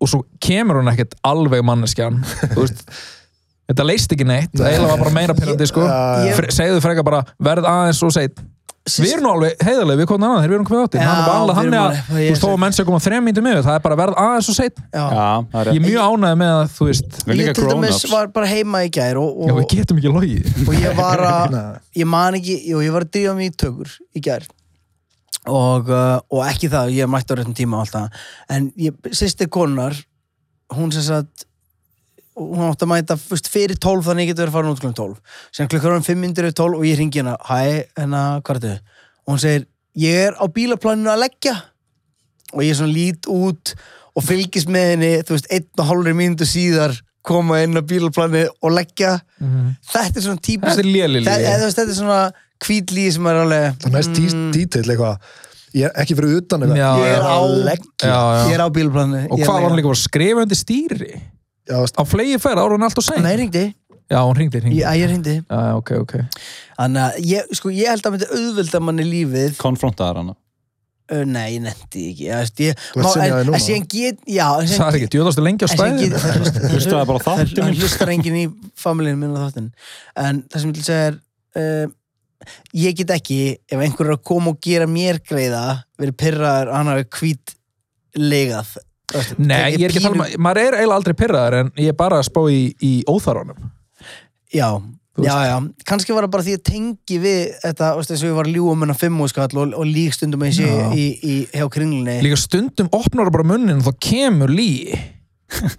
Speaker 1: og svo kemur hún ekkert alveg manneskjan þú veist, þetta leist ekki neitt það eiginlega var bara meira pyrrandi sko
Speaker 3: Já,
Speaker 2: já.
Speaker 1: Fre- segðu frekar bara, verð aðeins og segð við erum nú alveg heiðarlega, við komum annað þegar við erum hvað áttir,
Speaker 2: Já,
Speaker 1: hann er bara alveg
Speaker 2: við erum
Speaker 1: hann að
Speaker 2: alveg-
Speaker 1: þú
Speaker 2: ég
Speaker 1: veist, þó
Speaker 2: sé.
Speaker 1: að menn sem koma þrejum mínutum yfir, það er bara verð aðeins og segð
Speaker 4: Já, það er
Speaker 1: ég er
Speaker 4: rétt.
Speaker 1: mjög ánægð með að, þú veist
Speaker 4: Við erum
Speaker 2: Ég
Speaker 4: líka
Speaker 2: til dæmis
Speaker 4: grown-ups.
Speaker 2: var bara heima í gær og,
Speaker 1: já, við
Speaker 2: og,
Speaker 1: getum ekki logið
Speaker 2: og ég var að
Speaker 3: Nei.
Speaker 2: ég man ekki, jú, ég var að drífa mig í tökur í gær og, uh, og ekki það, ég mætti á réttum tíma og allt það, en ég, sýsti konar hún sem sagt hún átti að mæta fyrst fyrir 12 þannig ég geti verið að fara út klukkan 12 sem klukkan um 5 myndir yfir 12 og ég ringi hana hæ, hennar, hvað er þetta? og hún segir, ég er á bílaplaninu að leggja og ég svona lít út og fylgist með henni, þú veist, einn og hálfri myndu síðar koma inn á bílaplaninu og leggja þetta er svona típist
Speaker 1: Mhm. þetta er lélili
Speaker 2: Þa, eða, þú veist, þetta er svona kvítli sem er alveg
Speaker 3: Það er næst mm. dítill eitthvað. Ég er ekki fyrir utan eitthvað.
Speaker 1: Já,
Speaker 2: Ég er
Speaker 3: já.
Speaker 2: á,
Speaker 1: já, já.
Speaker 2: ég er á bílplanu
Speaker 1: og hvað var hann líka bara að skrifa undir stýri
Speaker 3: Já, veist,
Speaker 1: á flegi ferð, ára hún alltaf sein
Speaker 2: Nei, ringdi,
Speaker 1: já, hún ringdi,
Speaker 2: ég,
Speaker 1: ringdi já,
Speaker 2: að ég ringdi
Speaker 1: já, ok, ok
Speaker 2: Þannig að ég, sko, ég held að myndi auðvelda manni lífið
Speaker 4: Konfrontaðar hana.
Speaker 2: Ö, Nei, ég netti ekki Ég, veist, ég,
Speaker 3: Þú ert
Speaker 2: má-
Speaker 3: sinjaður
Speaker 2: en,
Speaker 3: núna?
Speaker 2: en síðan get, já en
Speaker 1: það
Speaker 2: síðan
Speaker 1: er ekki, djóðastu lengi á
Speaker 2: en síðan get-
Speaker 1: stæðinu
Speaker 2: það hlusta- það
Speaker 4: Hlustaði bara á
Speaker 2: það-
Speaker 4: þáttinn minn.
Speaker 2: Það hlustar enginn í familíinu minn á þáttin En það sem ég vil segja er uh, Ég get ekki Ef einhver er að koma og gera mér greiða verið pyrraður, hann hafi hvít legað
Speaker 1: nei, ég er ekki að tala um, að- maður er eiginlega aldrei pyrraðar en ég er bara að spá í, í óþarunum
Speaker 2: Já,
Speaker 1: Þú
Speaker 2: já, já, kannski var það bara því að tengi við þetta, veist, eins og ég var ljúum en að fimm og skall og, og lík stundum að ég
Speaker 1: Já.
Speaker 2: sé í, í, hjá kringlinni
Speaker 1: líka stundum opnar þú bara munnin og þá kemur lí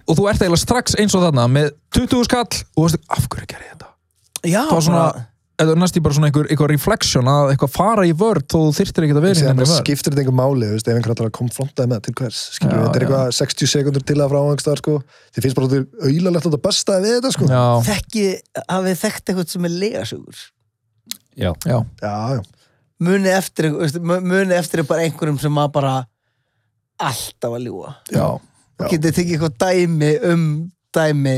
Speaker 1: og þú ert eiginlega strax eins og þarna með 20 skall og þú veist, af hverju gerði ég þetta
Speaker 2: Já,
Speaker 1: það var svona, eða næst ég bara svona einhver, einhver reflection að eitthvað fara í vörd þó þú þyrtir ekki að vera í
Speaker 3: Sér,
Speaker 1: neinni
Speaker 3: bara
Speaker 1: hérna vörn.
Speaker 3: skiptir þetta einhver máli, þú veist, ef einhver ætlar að konfronta með til hvers, skilur
Speaker 1: Já,
Speaker 3: þetta er
Speaker 1: já.
Speaker 3: eitthvað 60 sekundur til að frá einhverstaðar, sko þið finnst bara að þetta er auðalegt að besta við þetta, sko
Speaker 1: já,
Speaker 2: þekki, hafið þekkt eitthvað sem er legasögur
Speaker 4: Já.
Speaker 1: já,
Speaker 3: já, já.
Speaker 2: muni eftir, einhver- veist, mu- munið eftir bara einhverjum sem var bara alltaf að ljúa
Speaker 1: já
Speaker 3: Já.
Speaker 2: getið tekið eitthvað dæmi um dæmi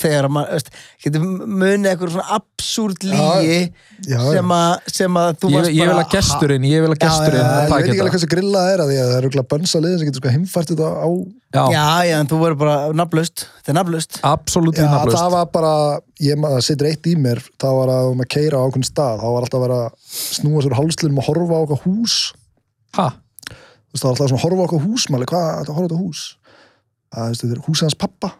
Speaker 2: þegar að maður, veist, getið munið eitthvað svona absúrt lígi
Speaker 3: já, já.
Speaker 2: sem, að- sem að þú
Speaker 1: ég,
Speaker 2: varst
Speaker 1: ég vil að
Speaker 2: "Ha?"
Speaker 1: gesturinn, ég vil að
Speaker 2: Já,
Speaker 1: gesturinn
Speaker 3: Já, ég veit
Speaker 1: taki
Speaker 3: ekki alveg
Speaker 1: þetta.
Speaker 3: hversu grilla það er að því að það eru eitthvað bönsa liðin sem getur sko heimfært þetta á
Speaker 1: já,
Speaker 2: Já, já, en þú verður bara nafnlaust Þetta er nafnlaust
Speaker 1: absolutt
Speaker 3: Já,
Speaker 1: vinnaflust
Speaker 3: það var bara, ég maður það situr eitt í mér þá var að um að keira á okkur stað þá var alltaf að vera að snúa sér hálslunum og horfa á okkur hús
Speaker 1: ha,
Speaker 3: þú veist, það var alltaf svona að horfa á okkur hús maður, hvað, þetta horfa á þetta hús að þú veist, þetta er hús hans pappa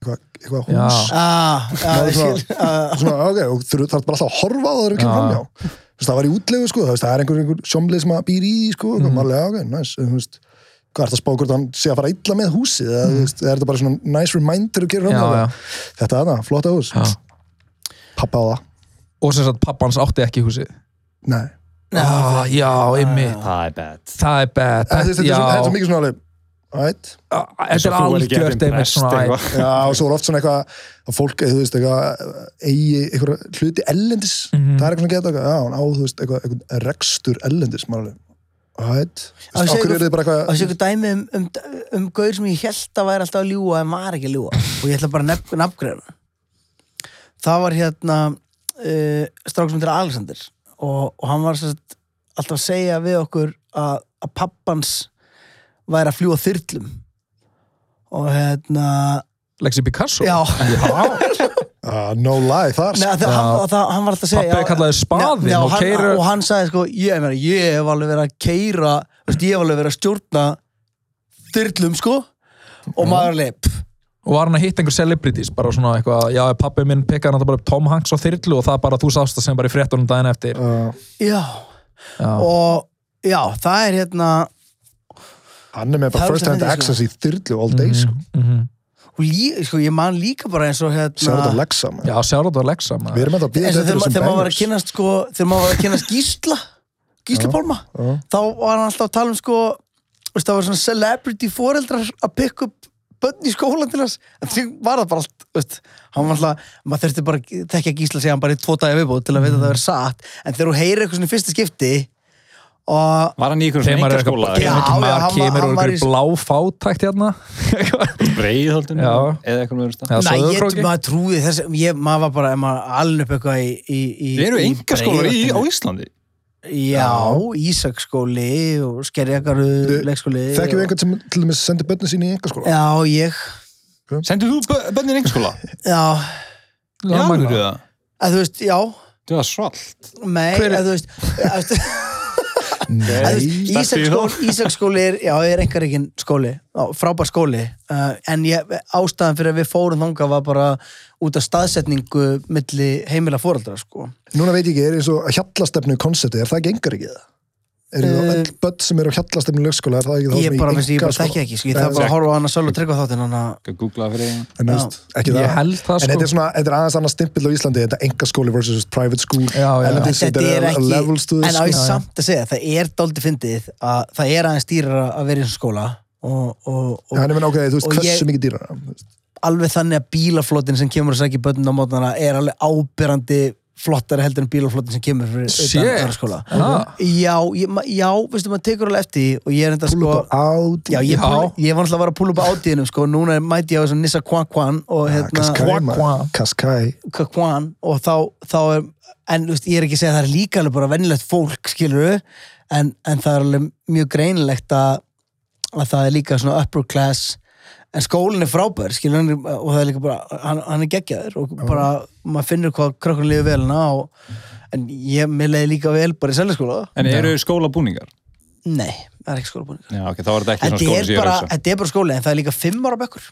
Speaker 3: eitthvað, eitthvað
Speaker 1: Já.
Speaker 3: hús
Speaker 2: ah,
Speaker 3: Það
Speaker 2: já,
Speaker 3: er
Speaker 2: ég skil,
Speaker 3: svona-
Speaker 2: ah,
Speaker 3: svona, ok, og þú þarf bara alltaf að horfa á það þegar við kemur
Speaker 1: Já.
Speaker 3: framjá Þú veist, það var í útlegu, sko, þú veist, það er einhver, einhver sjómlið sem að býr í, sko,
Speaker 1: Mhm.
Speaker 3: mm. maður, ok, næs nice, veist, hvað er það að spá hvort hann sé að fara illa með húsið, eða, þú veist, er þetta bara svona nice reminder að gera
Speaker 1: Mhm. já, já,
Speaker 3: framjá þetta er það, flotta hús,
Speaker 1: já
Speaker 3: pappa á það
Speaker 1: og sem sagt pappans átti ekki húsið
Speaker 3: nei,
Speaker 1: ah, já, ymmið
Speaker 4: Það er bad.
Speaker 1: það er bett
Speaker 3: þetta er
Speaker 1: já,
Speaker 3: svo- þetta er svo mikið svona alveg, right
Speaker 1: þetta er algjört einmitt svona æ,
Speaker 3: já, og svo er oft svona eitthvað að fólk, þú veist, eitthvað eigi eitthvað hluti ellendis,
Speaker 1: Mhm.
Speaker 3: það er eitthvað svona geta já, hún á, þú veist, eitthvað, eitthvað rekstur ellendis, maður alveg, right
Speaker 2: Á, segðu-
Speaker 3: okkur er þið bara
Speaker 2: Það sé
Speaker 3: eitthvað
Speaker 2: ykkur dæmi um, um, um gaur sem ég held að væri alltaf að ljúga en var ekki að ljúga og ég ætla bara að nefn- nafngreina Það var hérna uh, stráksmyndir Alexander og, og hann var sérst, alltaf að segja við okkur að, að pappans væri að fljúa þyrlum og hérna
Speaker 1: Lexi Picasso
Speaker 2: Já,
Speaker 3: Ah, no lie, þar,
Speaker 2: Nei,
Speaker 3: sko.
Speaker 2: það, hann, það, hann var alltaf að segja
Speaker 1: pappi
Speaker 2: já,
Speaker 1: kallaði spaðin
Speaker 2: Já,
Speaker 1: og
Speaker 2: hann,
Speaker 1: keiru
Speaker 2: og hann sagði sko, ég, ég, meina, ég hef alveg verið að keira Þú veist, ég hef alveg verið að stjórna þyrlum, sko og maður alveg, pff,
Speaker 1: og var hann að hitta einhver celebrities bara svona eitthvað, já pabbi minn pekkaði hann bara upp Tom Hanks á þyrlu og það bara þú sást það sem bara í fréttunum daginn eftir
Speaker 3: Uh,
Speaker 2: já
Speaker 1: Já.
Speaker 2: og já, það er hérna
Speaker 3: hann er
Speaker 2: Það
Speaker 3: með bara
Speaker 2: er
Speaker 3: first hand
Speaker 2: svolítið Mm.
Speaker 3: access í þyrlu all day, sko.
Speaker 1: Mhm.
Speaker 2: og lí, sko, ég man líka bara eins og
Speaker 3: Sér þetta
Speaker 2: hérna
Speaker 3: Lexa, man.
Speaker 1: já, sjárat var Lexa
Speaker 3: Við
Speaker 1: maður.
Speaker 3: erum þetta að býða
Speaker 2: eins og
Speaker 3: þetta
Speaker 2: þegar ma-
Speaker 3: þessum
Speaker 2: þegar maður var að
Speaker 3: bangers.
Speaker 2: kynast sko, þegar maður var að kynast gísla gísla pálma,
Speaker 3: Já.
Speaker 2: þá var hann alltaf að tala um sko, þú veist, það var svona celebrity foreldrar að pikka upp börn í skólan til hans, en því var það bara allt, þú veist, hann var alltaf maður þurfti bara að tekja gísla sig hann bara í tvo dagi viðbúð til að vita að það verið satt en þegar þú heyrir eitthvað svona í fyrsta skipti og
Speaker 4: Var hann í
Speaker 1: þegar
Speaker 4: einhverjum svona
Speaker 1: maður er
Speaker 4: einhverskóla?
Speaker 1: eitthvað
Speaker 2: Já,
Speaker 1: kemur-
Speaker 2: já,
Speaker 1: maður
Speaker 2: hann var-
Speaker 1: kemur
Speaker 2: hann
Speaker 1: úr
Speaker 2: var
Speaker 1: einhverju
Speaker 2: í-
Speaker 1: blá fátækt hérna
Speaker 4: Breiðholdinu?
Speaker 1: Já.
Speaker 4: Eða eitthvað með
Speaker 1: Já,
Speaker 4: stað?
Speaker 2: Nei, ég,
Speaker 1: Sauðárkróki?
Speaker 2: maður trúði þess ég, maður var bara, maður alveg upp eitthvað í, í, í
Speaker 4: Þeir eru
Speaker 2: í
Speaker 4: engaskólar í- á
Speaker 2: Breiðholtinu.
Speaker 4: Íslandi.
Speaker 2: Já, Ísaksskóli og Skerjakaru leikskóli
Speaker 3: Þekkjum
Speaker 2: og-
Speaker 3: við einhvern sem til dæmis sendir börnin sín í sko? engaskóla?
Speaker 2: Já, ég
Speaker 4: Sendur þú bö- börnin í engaskóla?
Speaker 2: Já,
Speaker 4: Já,
Speaker 1: Lama-
Speaker 4: þú það.
Speaker 2: að þú veist, já
Speaker 4: Þú var svalt.
Speaker 2: Nei,
Speaker 1: Hver er-
Speaker 2: að þú veist, að þú veist- að þú veist
Speaker 4: Starfsfríður.
Speaker 2: Ísaksskóli, Ísaksskóli er, já, er einhver ekki skóli, já, frábær skóli uh, en ég, ástæðan fyrir að við fórum þangað var bara út af staðsetningu milli heimila foreldra, sko
Speaker 3: Núna veit ég ekki, er eins og hjallastefnu konceptið, er það ekki engar ekki það? Er það
Speaker 2: Eh,
Speaker 3: öll börn sem eru á hjallastefnu leikskóla, er það ekki þá
Speaker 2: Ég
Speaker 3: sem í
Speaker 2: bara, veist, ég bara
Speaker 3: einkaskóla?
Speaker 2: þekki ekki, sko, ég þarf bara að horfa á hana sjálf og tryggva þáttinn, hann að
Speaker 4: Skal googla það fyrir einu.
Speaker 3: En þú veist, ekki
Speaker 1: ég
Speaker 3: það.
Speaker 1: held það
Speaker 3: En
Speaker 1: sko
Speaker 3: þetta er svona, þetta er aðeins annars stimpill á Íslandi, þetta er engaskóli versus private school,
Speaker 1: Já, já.
Speaker 3: elendis,
Speaker 2: þetta er
Speaker 3: a
Speaker 2: ekki,
Speaker 3: levels to
Speaker 2: en
Speaker 3: this,
Speaker 2: á ég
Speaker 3: sko.
Speaker 2: samt að segja það er dálítið fyndið að það er aðeins dýrar að vera í þessum skóla og, og, og
Speaker 3: Þannig menn ákveðið, þú veist,
Speaker 2: og
Speaker 3: hversu
Speaker 2: ég-
Speaker 3: mikið dýrar
Speaker 2: alveg þannig að bílaflotin sem kemur að sækja börnum á mótnana er alveg ábyrrandi flottari heldur en bílaflotin sem kemur fyrir utan
Speaker 1: Shit.
Speaker 2: aðra skóla
Speaker 1: Ah.
Speaker 2: já, ég, ma- já, veistu, maður tekur alveg eftir því og ég er enda sko
Speaker 3: Púlupa át
Speaker 2: já, ég,
Speaker 1: Já.
Speaker 2: púl, ég var alltaf að vera að púla upp á átíðinum sko, núna er- mæti ég á þessum Nissa Kwan Kwan og hérna
Speaker 3: Kaskai,
Speaker 1: Kvak,
Speaker 3: maður.
Speaker 1: kvak.
Speaker 3: Kaskai
Speaker 2: Kakwan og þá, þá er, en þú veist, ég er ekki að segja að það er líka alveg bara vennilegt fólk, skilur en, en það er alveg mjög greinilegt að, að það er líka svona upper class en skólinn er frábær, skilur hann er- og það er líka bara, hann, hann er geggjaður og bara, maður finnur hvað krökkun liður vel hana og, en ég, mér leiði líka vel bara í seljaskóla
Speaker 4: En eru skólabúningar?
Speaker 2: nei, það er ekki skólabúningar
Speaker 4: Já, ok, þá er þetta ekki
Speaker 2: þetta
Speaker 4: svona skóla
Speaker 2: er,
Speaker 4: sem ég er
Speaker 2: bara,
Speaker 4: að hugsa.
Speaker 2: þetta er bara skóli en það er líka fimm ára bekkur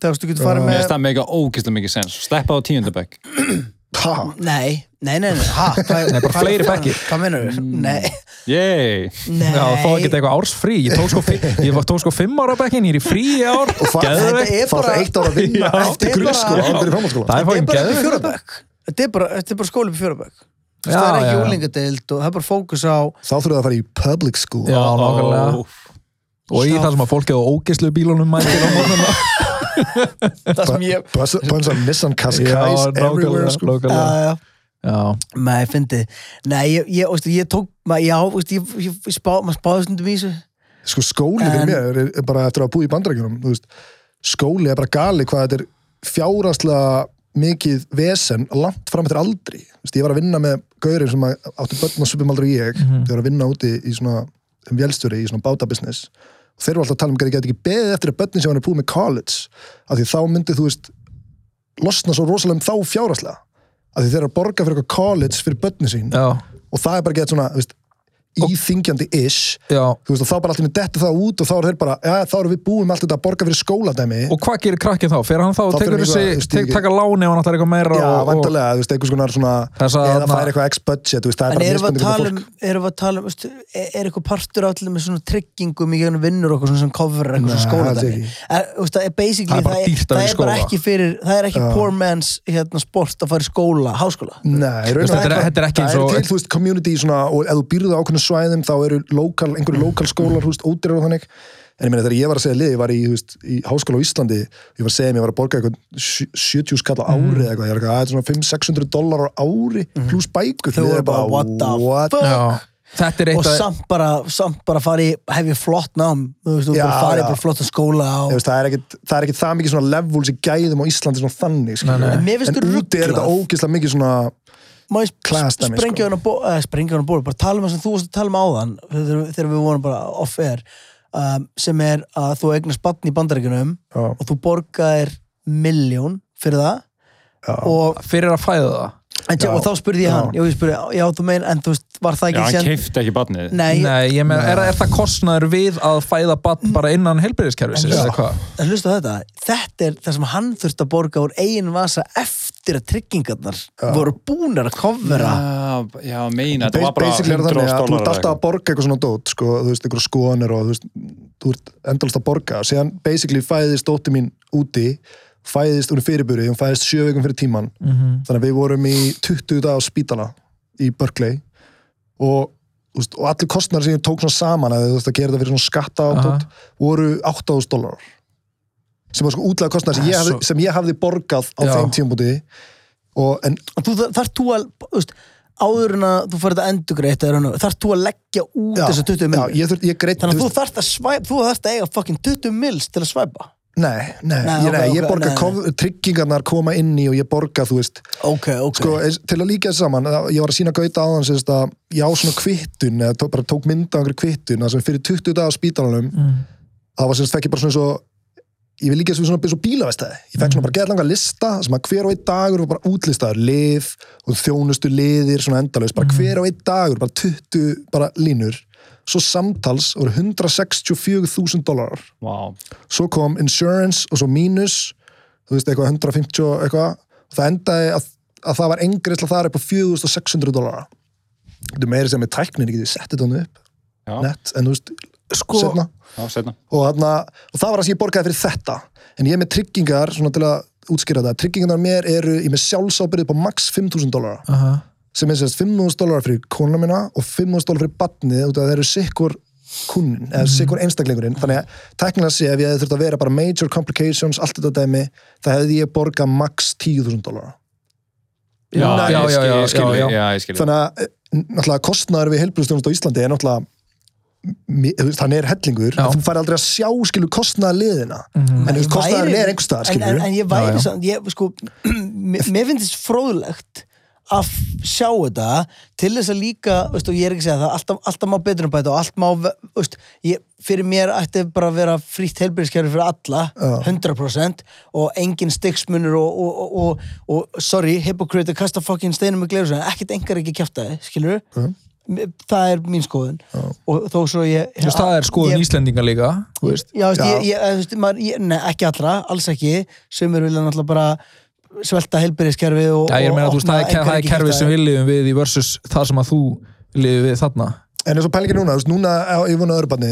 Speaker 2: þegar þú getur farið
Speaker 3: Já.
Speaker 4: Mér
Speaker 2: með
Speaker 4: finnst það mega ógeðslega mikið sens. Sleppa á tíundabæk.
Speaker 3: Ha,
Speaker 2: Nei, nei, nei, nei, ha, hvað,
Speaker 1: Nei, bara
Speaker 2: hvað-
Speaker 1: fleiri bekkir.
Speaker 2: Hvað menur þú?
Speaker 4: Mm.
Speaker 2: Nei,
Speaker 4: Yey!
Speaker 2: nei
Speaker 1: Já, þá er þetta eitthvað ársfrí, ég tók sko, fi- ég var- tók sko fimm ára bekkin, ég er í frí í ár
Speaker 3: og fa-
Speaker 1: Geðveikt.
Speaker 2: Þetta er
Speaker 3: fannst
Speaker 2: bara-
Speaker 3: það eitt ára að vinna
Speaker 1: Já.
Speaker 3: eftir
Speaker 2: Þetta er bara-
Speaker 3: grunnskóla
Speaker 2: Já.
Speaker 3: áður í framhaldsskóla
Speaker 1: Það er
Speaker 2: Þetta er
Speaker 1: fókin
Speaker 2: bara upp í
Speaker 1: geðveikt.
Speaker 2: fjórabæk Þetta er bara, þetta er bara skóli upp í fjórabæk
Speaker 1: Já,
Speaker 2: Það
Speaker 1: já,
Speaker 2: er ekki
Speaker 1: já.
Speaker 2: úlingadeild og það er bara fókus á
Speaker 3: þá þurfum það að fara í public school
Speaker 1: Já, nákvæmlega
Speaker 4: Ó,
Speaker 1: Og í
Speaker 2: Já.
Speaker 1: það sem að fólk hefur ógeðslu bílunum mættir á morgunum
Speaker 2: það sem ég
Speaker 3: Bönns af Nissan Kaskais
Speaker 1: Já,
Speaker 3: everywhere
Speaker 1: nákvæmlega,
Speaker 3: sko.
Speaker 1: nákvæmlega
Speaker 2: uh,
Speaker 1: Já,
Speaker 2: Nei, fyndi Nei, ég, ég, veistu, ég tók ma, Já, veistu, ég, ég, ég spá, maður spáði stundum í þessu
Speaker 3: sko skóli fyrir
Speaker 2: En-
Speaker 3: mér er- er bara eftir að búi í bandrækjunum veist, skóli er bara gali hvað þetta er fjáraslega mikið vesen langt fram eftir aldri Þú veist, ég var að vinna með gaurin sem að- áttu börn og svipum aldrei ég þeir eru að vinna úti í svona um vélstjóri í svona bátabusiness og þeir eru alltaf að tala um hverju getur ekki beðið eftir að börnin sem hann er búið með college af því þá myndið þú veist losna svo rosalega um þá fjáraslega af því þeir eru að borga fyrir eitthvað college fyrir börnin sín
Speaker 1: já,
Speaker 3: og það er bara gett svona þú veist, íþingjandi ish
Speaker 1: já
Speaker 3: þú veist, og þá bara allir dettu það út og þá er þeir bara, já, þá erum við búið með allt þetta að borga fyrir skóladæmi
Speaker 1: Og hvað gerir krakkið þá? Fyrir hann þá og
Speaker 3: Þá fer
Speaker 1: tekur
Speaker 3: hann eitthvað,
Speaker 1: þessi,
Speaker 3: veist,
Speaker 1: tek,
Speaker 3: ekki-
Speaker 1: taka láni ef hann ætlar eitthvað meira
Speaker 3: já,
Speaker 1: og- og-
Speaker 3: vantarlega, þú veist, einhvers konar svona
Speaker 1: Þess að
Speaker 3: eða
Speaker 1: þarna-
Speaker 3: fær eitthvað ex-budget, þú veist, það er
Speaker 2: En
Speaker 3: bara
Speaker 2: erum við að
Speaker 3: mismunandi fyrir
Speaker 2: tala
Speaker 3: fólk
Speaker 2: um, erum við að tala um veistu, er, er eitthvað partur allir með svona tryggingum í gegnum vinnur okkur svona sem cover eitthvað svona
Speaker 3: Nei,
Speaker 2: skóla
Speaker 3: alls ekki.
Speaker 2: það er basically,
Speaker 1: Það er bara dýrt að vera
Speaker 2: það
Speaker 1: í
Speaker 2: er bara
Speaker 1: skóla.
Speaker 2: ekki fyrir það er ekki poor man's hérna, sport að fara í skóla, háskóla
Speaker 3: Nei, í raun og
Speaker 1: Þetta er-
Speaker 3: veru-
Speaker 1: þetta er ekki eins
Speaker 3: það
Speaker 1: og-
Speaker 3: til, þú veist, community svona, og ef þú býrðu á ákveðnum svæðum þá eru lokal, einhverju lokal skólar, þú veist, ódýrar og þannig en ég meina þegar ég var að segja lið, ég var í, þú veist, í háskóla á Íslandi, ég var að segja mér, ég var að borga eitthvað sjö- 70 skall á ári
Speaker 1: Mm.
Speaker 3: eða eitthvað, ég er eitthvað, að þetta er svona 500-600 dólar á ári pluss bækur,
Speaker 2: Þau
Speaker 3: Ég er
Speaker 2: Mm. voru bara, what the
Speaker 3: what
Speaker 2: fuck?
Speaker 1: Já, þetta er
Speaker 2: og
Speaker 1: eitt að
Speaker 2: samt bara, samt bara fari hef ég flott nám, þú veist, þú
Speaker 3: Já,
Speaker 2: bara farið
Speaker 3: já.
Speaker 2: bara flott á skóla og
Speaker 3: Ég veist, það, er ekkit, það er ekkit það mikið svona levels í gæðum á Íslandi svona þannig nei,
Speaker 1: nei.
Speaker 2: En mér finnst
Speaker 3: en
Speaker 2: þú
Speaker 3: úti er
Speaker 2: ruglað.
Speaker 3: þetta ógeðslega mikið svona
Speaker 2: má ég
Speaker 3: Class dæmi,
Speaker 2: sprengja
Speaker 3: sko.
Speaker 2: hann á bó- eh, sprengja hann á bólu, bara tala um það sem þú varst að tala um áðan þegar, þegar við vorum bara off-air um, sem er að þú eignast batn í bandaríkunum
Speaker 3: já,
Speaker 2: og þú borgaðir milljón fyrir það
Speaker 3: já,
Speaker 2: og
Speaker 1: fyrir að fæða það
Speaker 2: en, já,
Speaker 3: Já.
Speaker 2: og þá spurði ég hann, já, ég spurði, já, þú mein en þú veist, var það
Speaker 4: Já,
Speaker 2: ekki
Speaker 4: hann
Speaker 2: síðan-
Speaker 4: keifti ekki barnið.
Speaker 2: Nei,
Speaker 1: Nei, ég meina, er, er það kostnaður við að fæða barn bara innan helbriðiskerfisins
Speaker 3: Já.
Speaker 1: eða hvað?
Speaker 2: en hlustu á þetta þetta er það sem hann þurfti að borga úr eigin vasa eftir að tryggingarnar voru búnar að kofvera
Speaker 4: Já, já, meina, þetta var bara
Speaker 3: Basically er það
Speaker 4: 100
Speaker 3: þannig að þú ert
Speaker 4: dólarar
Speaker 3: alltaf að borga eitthvað svona dót, sko, þú veist, einhverja skoðanir og þú veist, þú ert endalast að borga síðan basically fæðist dótti mín úti fæðist úr fyrirburi, hún fæðist sjö vikum fyrir tíman, þannig að við vorum í 20 dag á spítala í Berkeley og, þú veist, og allir kostnar sem ég tók svona saman að þú veist að gera þetta fyrir svona skatta og
Speaker 1: Aha.
Speaker 3: dót voru 8000 dólarar sem var sko útlega kostnar sem, ég
Speaker 1: Ah,
Speaker 3: hafði-
Speaker 1: svo-
Speaker 3: sem ég hafði borgað á
Speaker 1: Já.
Speaker 3: þeim tímabúti og en
Speaker 2: og þú þarf þú að þú veist, áður en að þú farið að endugreitt þarf þú að leggja út
Speaker 3: já,
Speaker 2: þessar 20
Speaker 3: já,
Speaker 2: mil
Speaker 3: ég, þurft- ég greitt
Speaker 2: þannig að þú þarft að svæpa þú þarft að eiga fucking 20 mils til að svæpa
Speaker 3: Nei, nei,
Speaker 2: Nei,
Speaker 3: ég,
Speaker 2: ok,
Speaker 3: nei,
Speaker 2: ok,
Speaker 3: ég borga
Speaker 2: nei, nei.
Speaker 3: kof- tryggingarnar koma inn í og ég borga, þú veist
Speaker 2: ok, ok
Speaker 3: sko, eins- til að líka þessu saman, þá- ég var að sína gauta áðan sem þess að ég á svona kvittun eða tó, bara tók mynd af einhverju kvittun það sem fyrir 20 dagar á spítalanum það var sem þess fekk ég bara svona svo ég vil líka þessu við svona, svona bílavestæði ég fekk svona bara gett langa lista sem að hver og einn dagur var bara útlistaður lið og þjónustu liðir svona endalaust bara hver og einn dagur, bara 20 bara línur svo samtals voru 164.000 dólarar
Speaker 4: Vá,
Speaker 3: svo kom insurance og svo mínus þú veist eitthvað 150 og eitthvað og það endaði að, að það var engreisla þar upp á 4600 dólara þetta er meira sem með tæknin ekki, þið settið hann upp
Speaker 4: já,
Speaker 3: nett, en þú veist,
Speaker 1: Sko,
Speaker 3: setna
Speaker 4: já, setna
Speaker 3: og, þarna, og það var það sem ég borgaði fyrir þetta en ég er með tryggingar, svona til að útskýra þetta tryggingarnar mér eru, ég er með sjálfsábyrðið upp á max 5000 dólara
Speaker 1: aha,
Speaker 3: sem er sérst 5.000 dólar fyrir konuna mína og 5.000 dólar fyrir batnið út af það eru sikkur kunnin, eða
Speaker 2: Mhm.
Speaker 3: sikkur einstaklingurinn þannig að teknilega sé ef ég hefði þurft að vera bara major complications, allt þetta dæmi það hefði ég borgað max 10.000 dólar
Speaker 1: Já,
Speaker 4: Nei,
Speaker 1: já,
Speaker 4: ég skil-
Speaker 1: já, já,
Speaker 4: ég skil-
Speaker 1: já, já.
Speaker 4: Já, ég skil
Speaker 3: þannig að eh, náttúrulega kostnaður við helbriðstjónust á Íslandi er náttúrulega mi- þú veist, hann er hellingur,
Speaker 1: Já.
Speaker 3: en þú fær aldrei að sjá skilur kostnaða liðina
Speaker 1: Mhm.
Speaker 3: en þú veist, kostnaðan
Speaker 2: væri-
Speaker 3: er einhvers
Speaker 2: en,
Speaker 3: staðar,
Speaker 2: en,
Speaker 3: skilurðu.
Speaker 2: en ég
Speaker 1: Já, já.
Speaker 2: væri samt, ég, sko mér mér finnst þess fróðlegt að f- sjá þetta til þess að líka, veist, og ég er ekki að segja það alltaf, alltaf má betur um þetta og allt má ve- veist, ég, fyrir mér ætti bara að vera frítt helbriðskjæri fyrir alla 100% og engin stiksmunur og, og, og, og, og sorry, hypocrite að kasta fucking steinum með gleru ekkert engar ekki kjæfta þið, skilur það er mín skoðun og þó svo ég
Speaker 1: Þú veist, það er skoðun
Speaker 2: ég-
Speaker 1: Íslendinga líka, þú veist
Speaker 2: Já, veist,
Speaker 3: Já.
Speaker 2: Ég, ég, þú veist, maður, ég, nei, ekki allra, alls ekki Sumir vilja náttúrulega bara svelta helbriðiskerfi og,
Speaker 1: Já, ég meina,
Speaker 2: og
Speaker 1: þú veist, það er,
Speaker 2: opna
Speaker 1: það er
Speaker 2: einhverja
Speaker 1: kerfið sem
Speaker 2: gíta.
Speaker 1: við lifum við í versus það sem að þú lifið við þarna
Speaker 3: en eins og pælingi núna, þú veist, núna á yfirvunna öðrubarni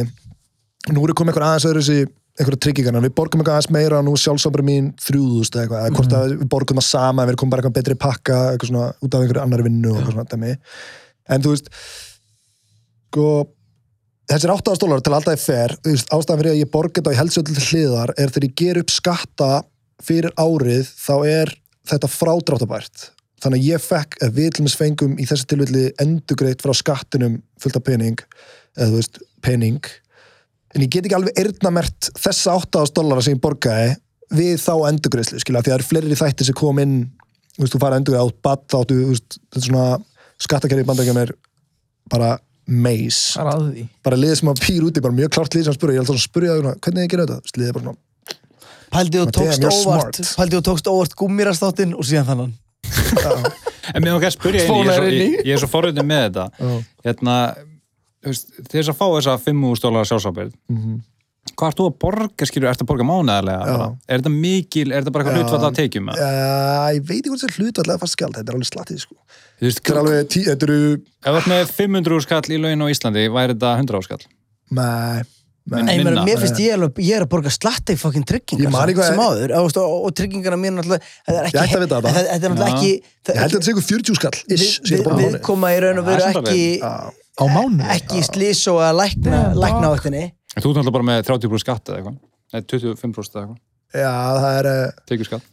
Speaker 3: nú eru komið eitthvað aðeins öðru þessi einhverja tryggingarnar, við borgum eitthvað aðeins meira nú sjálfsábri mín þrjúðust eða eitthvað, eða hvort að við borgum það sama, við komum bara eitthvað betri pakka eitthvað svona út af einhverju annar vinnu og eitthvað svona dæmi en þú veist sko þessir 8.000 dólar til alltaf er fer þú veist, ástæðan fyrir að ég borga þetta og ég held sér til hliðar er þegar ég ger upp skatta fyrir árið þá er þetta frádráttabært þannig að ég fekk, að við til dæmis fengum í þessu tilvilli endugreitt frá skattinum fullt af pening eða þú veist, pening en ég get ekki alveg eyrnamert þessa 8.000 dollara sem ég borgaði við þá endugreislu, skilja, því að það eru fleiri þættir sem kom inn, þú veist, þú farið endugreið átt bat, þá áttu, þú veist, þetta er svona skattakerri bandakjarn er bara meis,
Speaker 1: Það er að því
Speaker 3: bara liðið sem að pýr úti, bara mjög klart lið sem spurði, ég held að spurja þau, hvernig þið gerir þetta, Þú veist, liðið er bara svona,
Speaker 2: Pældi og
Speaker 3: Damn,
Speaker 2: tókst
Speaker 3: you're
Speaker 2: óvart
Speaker 3: smart.
Speaker 2: Pældi og tókst óvart gúmirastáttinn og síðan þannan
Speaker 4: En mér okkar spyrja einu, ég er
Speaker 2: Fólar
Speaker 4: svo,
Speaker 2: inn í.
Speaker 4: ég, ég er svo forröndin með þetta Hérna, þú veist, til þess að fá þessa 5.000 dólar sjálfsábyrð Hvað ert þú að borga, skilur, ert að borga mánaðarlega? bara? Er þetta mikil, er þetta bara eitthvað hlutvall að tekjum? eða?
Speaker 3: uh, ég veit ekki hvort þessi hlutvall eða fast skjald, þetta er alveg slattið, sko
Speaker 4: Þú veist,
Speaker 3: þetta er alveg, tí, þetta eru,
Speaker 4: ef þú ert með 500 skall í laun á Íslandi, væri þetta 100 skall?
Speaker 3: mei,
Speaker 2: Nei,
Speaker 4: Minna.
Speaker 2: ég meina, mér finnst ég alveg, ég er að borga slatta í fucking
Speaker 3: Ég
Speaker 2: tryggingar
Speaker 3: man ekki hvað-
Speaker 2: sem áður og, og, og tryggingarna mín náttúrulega það er ekki,
Speaker 3: Ég ætti að vita þetta.
Speaker 2: það, það er náttúrulega
Speaker 4: Já.
Speaker 2: ekki
Speaker 3: ég held að
Speaker 2: það,
Speaker 3: þetta sé ykkur 40 skall,
Speaker 2: við,
Speaker 3: ish, sem ég
Speaker 2: við,
Speaker 3: borga á
Speaker 2: við
Speaker 3: mánuði.
Speaker 2: koma í raun og
Speaker 4: Það
Speaker 2: veru
Speaker 4: er samt
Speaker 2: ekki
Speaker 3: Já.
Speaker 1: Á mánu
Speaker 2: ekki slís og að lækna lækna áttinni
Speaker 4: En Þú ert náttúrulega bara með 30% skatt eða eitthvað Nei, 25% eða eitthvað,
Speaker 3: Já, það er, eh,
Speaker 4: tekjur skatt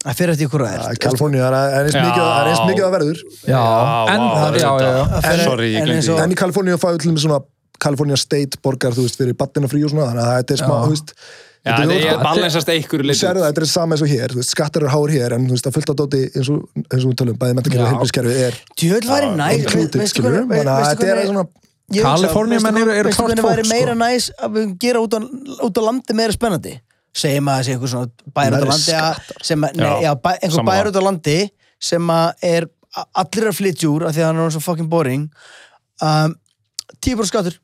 Speaker 2: að fyrir eftir hvora það
Speaker 3: Já,
Speaker 2: er
Speaker 3: Kaliforníu, það er- það er eins mikið- það er eins mikið að verður
Speaker 1: Já, en það, já, já, já
Speaker 2: En-
Speaker 4: Sorry, ég
Speaker 2: en
Speaker 4: glemdi
Speaker 2: eins og-
Speaker 4: því.
Speaker 3: en í Kaliforníu fá við til þeim svona California State borgar, þú veist, fyrir batnina frí og svona, þannig að þetta er smá,
Speaker 1: Já.
Speaker 3: þú veist
Speaker 4: Já,
Speaker 3: þetta
Speaker 4: þetta
Speaker 3: er
Speaker 4: er balansast einhverju
Speaker 3: Þú
Speaker 4: leitt
Speaker 3: sérðu það, þetta er sama eins og hér, þú veist, skattar eru háir hér en þú veist, það fullt á dóti eins og, eins og við tölum, bæði menntakerfi og
Speaker 1: Já.
Speaker 3: heilbískerfi er
Speaker 2: Djöðl væri næs
Speaker 3: included, skilur við, þannig að þetta er svona
Speaker 2: Ég hugsa,
Speaker 1: Kaliforníumenn
Speaker 2: veistu
Speaker 1: eru-
Speaker 2: hvað-
Speaker 1: eru
Speaker 2: veistu
Speaker 1: klárt
Speaker 2: hvernig
Speaker 1: fólk,
Speaker 2: væri
Speaker 1: sko.
Speaker 2: meira næs að við gera út á, út á landi meira spennandi segjum að það sé einhver svona bæri út á
Speaker 3: Meiri
Speaker 2: landi að, sem, að, nei,
Speaker 4: Já,
Speaker 2: já, bæ, einhver
Speaker 4: sammála.
Speaker 2: bæri út á landi sem að er a- allir að flytja úr af því að hann er orðinn svo fucking boring um, 10% skattur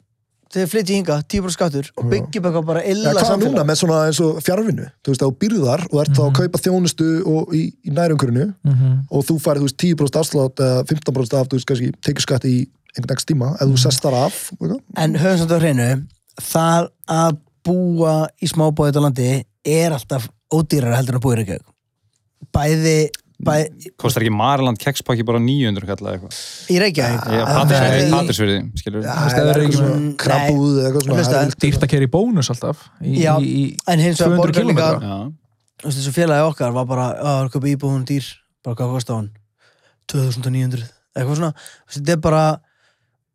Speaker 2: þegar flytja hinga, 10% skattur og byggja upp eitthvað bara illa
Speaker 3: Ja, hvað núna
Speaker 2: samfélag
Speaker 3: með svona eins og fjárvinnu þú veist, þá byrðar og ert þá
Speaker 1: Mhm.
Speaker 3: að kaupa þjónustu og í, í nærumkörinu og þú færið, þú veist, 10% afslátt eða 15% af, þú veist, kannski, tekið skatt í einhvern ekki tíma, ef
Speaker 1: Mhm.
Speaker 3: þú sest þar af og eitthvað.
Speaker 2: en höfum samt á hreinu það að búa í smábóði þetta landi er alltaf ódýrar heldur en að búa í Reykjavík bæði, bæði
Speaker 4: kostar ekki Mariland kekspakki bara 900 kallaði eitthvað
Speaker 2: í Reykjavík
Speaker 4: Ég-
Speaker 2: Það
Speaker 4: Patris-
Speaker 2: er-
Speaker 4: Patrisfirði, skilur
Speaker 3: Já,
Speaker 4: við.
Speaker 1: veist, ef
Speaker 3: eða
Speaker 1: það er
Speaker 3: eitthvað
Speaker 1: ekki-
Speaker 3: svona
Speaker 2: Mm,
Speaker 3: krabbúð eða eitthvað svona
Speaker 2: Veistu
Speaker 3: það
Speaker 2: það?
Speaker 3: er líkt-
Speaker 1: dýrt að kera í bónus alltaf í,
Speaker 2: Já,
Speaker 1: í,
Speaker 2: en
Speaker 1: í
Speaker 2: hins vegar
Speaker 1: 200
Speaker 2: borgar líka-
Speaker 1: km
Speaker 4: Já.
Speaker 2: Þú veist, þessu félagi okkar var bara að köpa íbúðun dýr, bara hvað kosti á hann 2900, eitthvað svona Þú veist, þetta er bara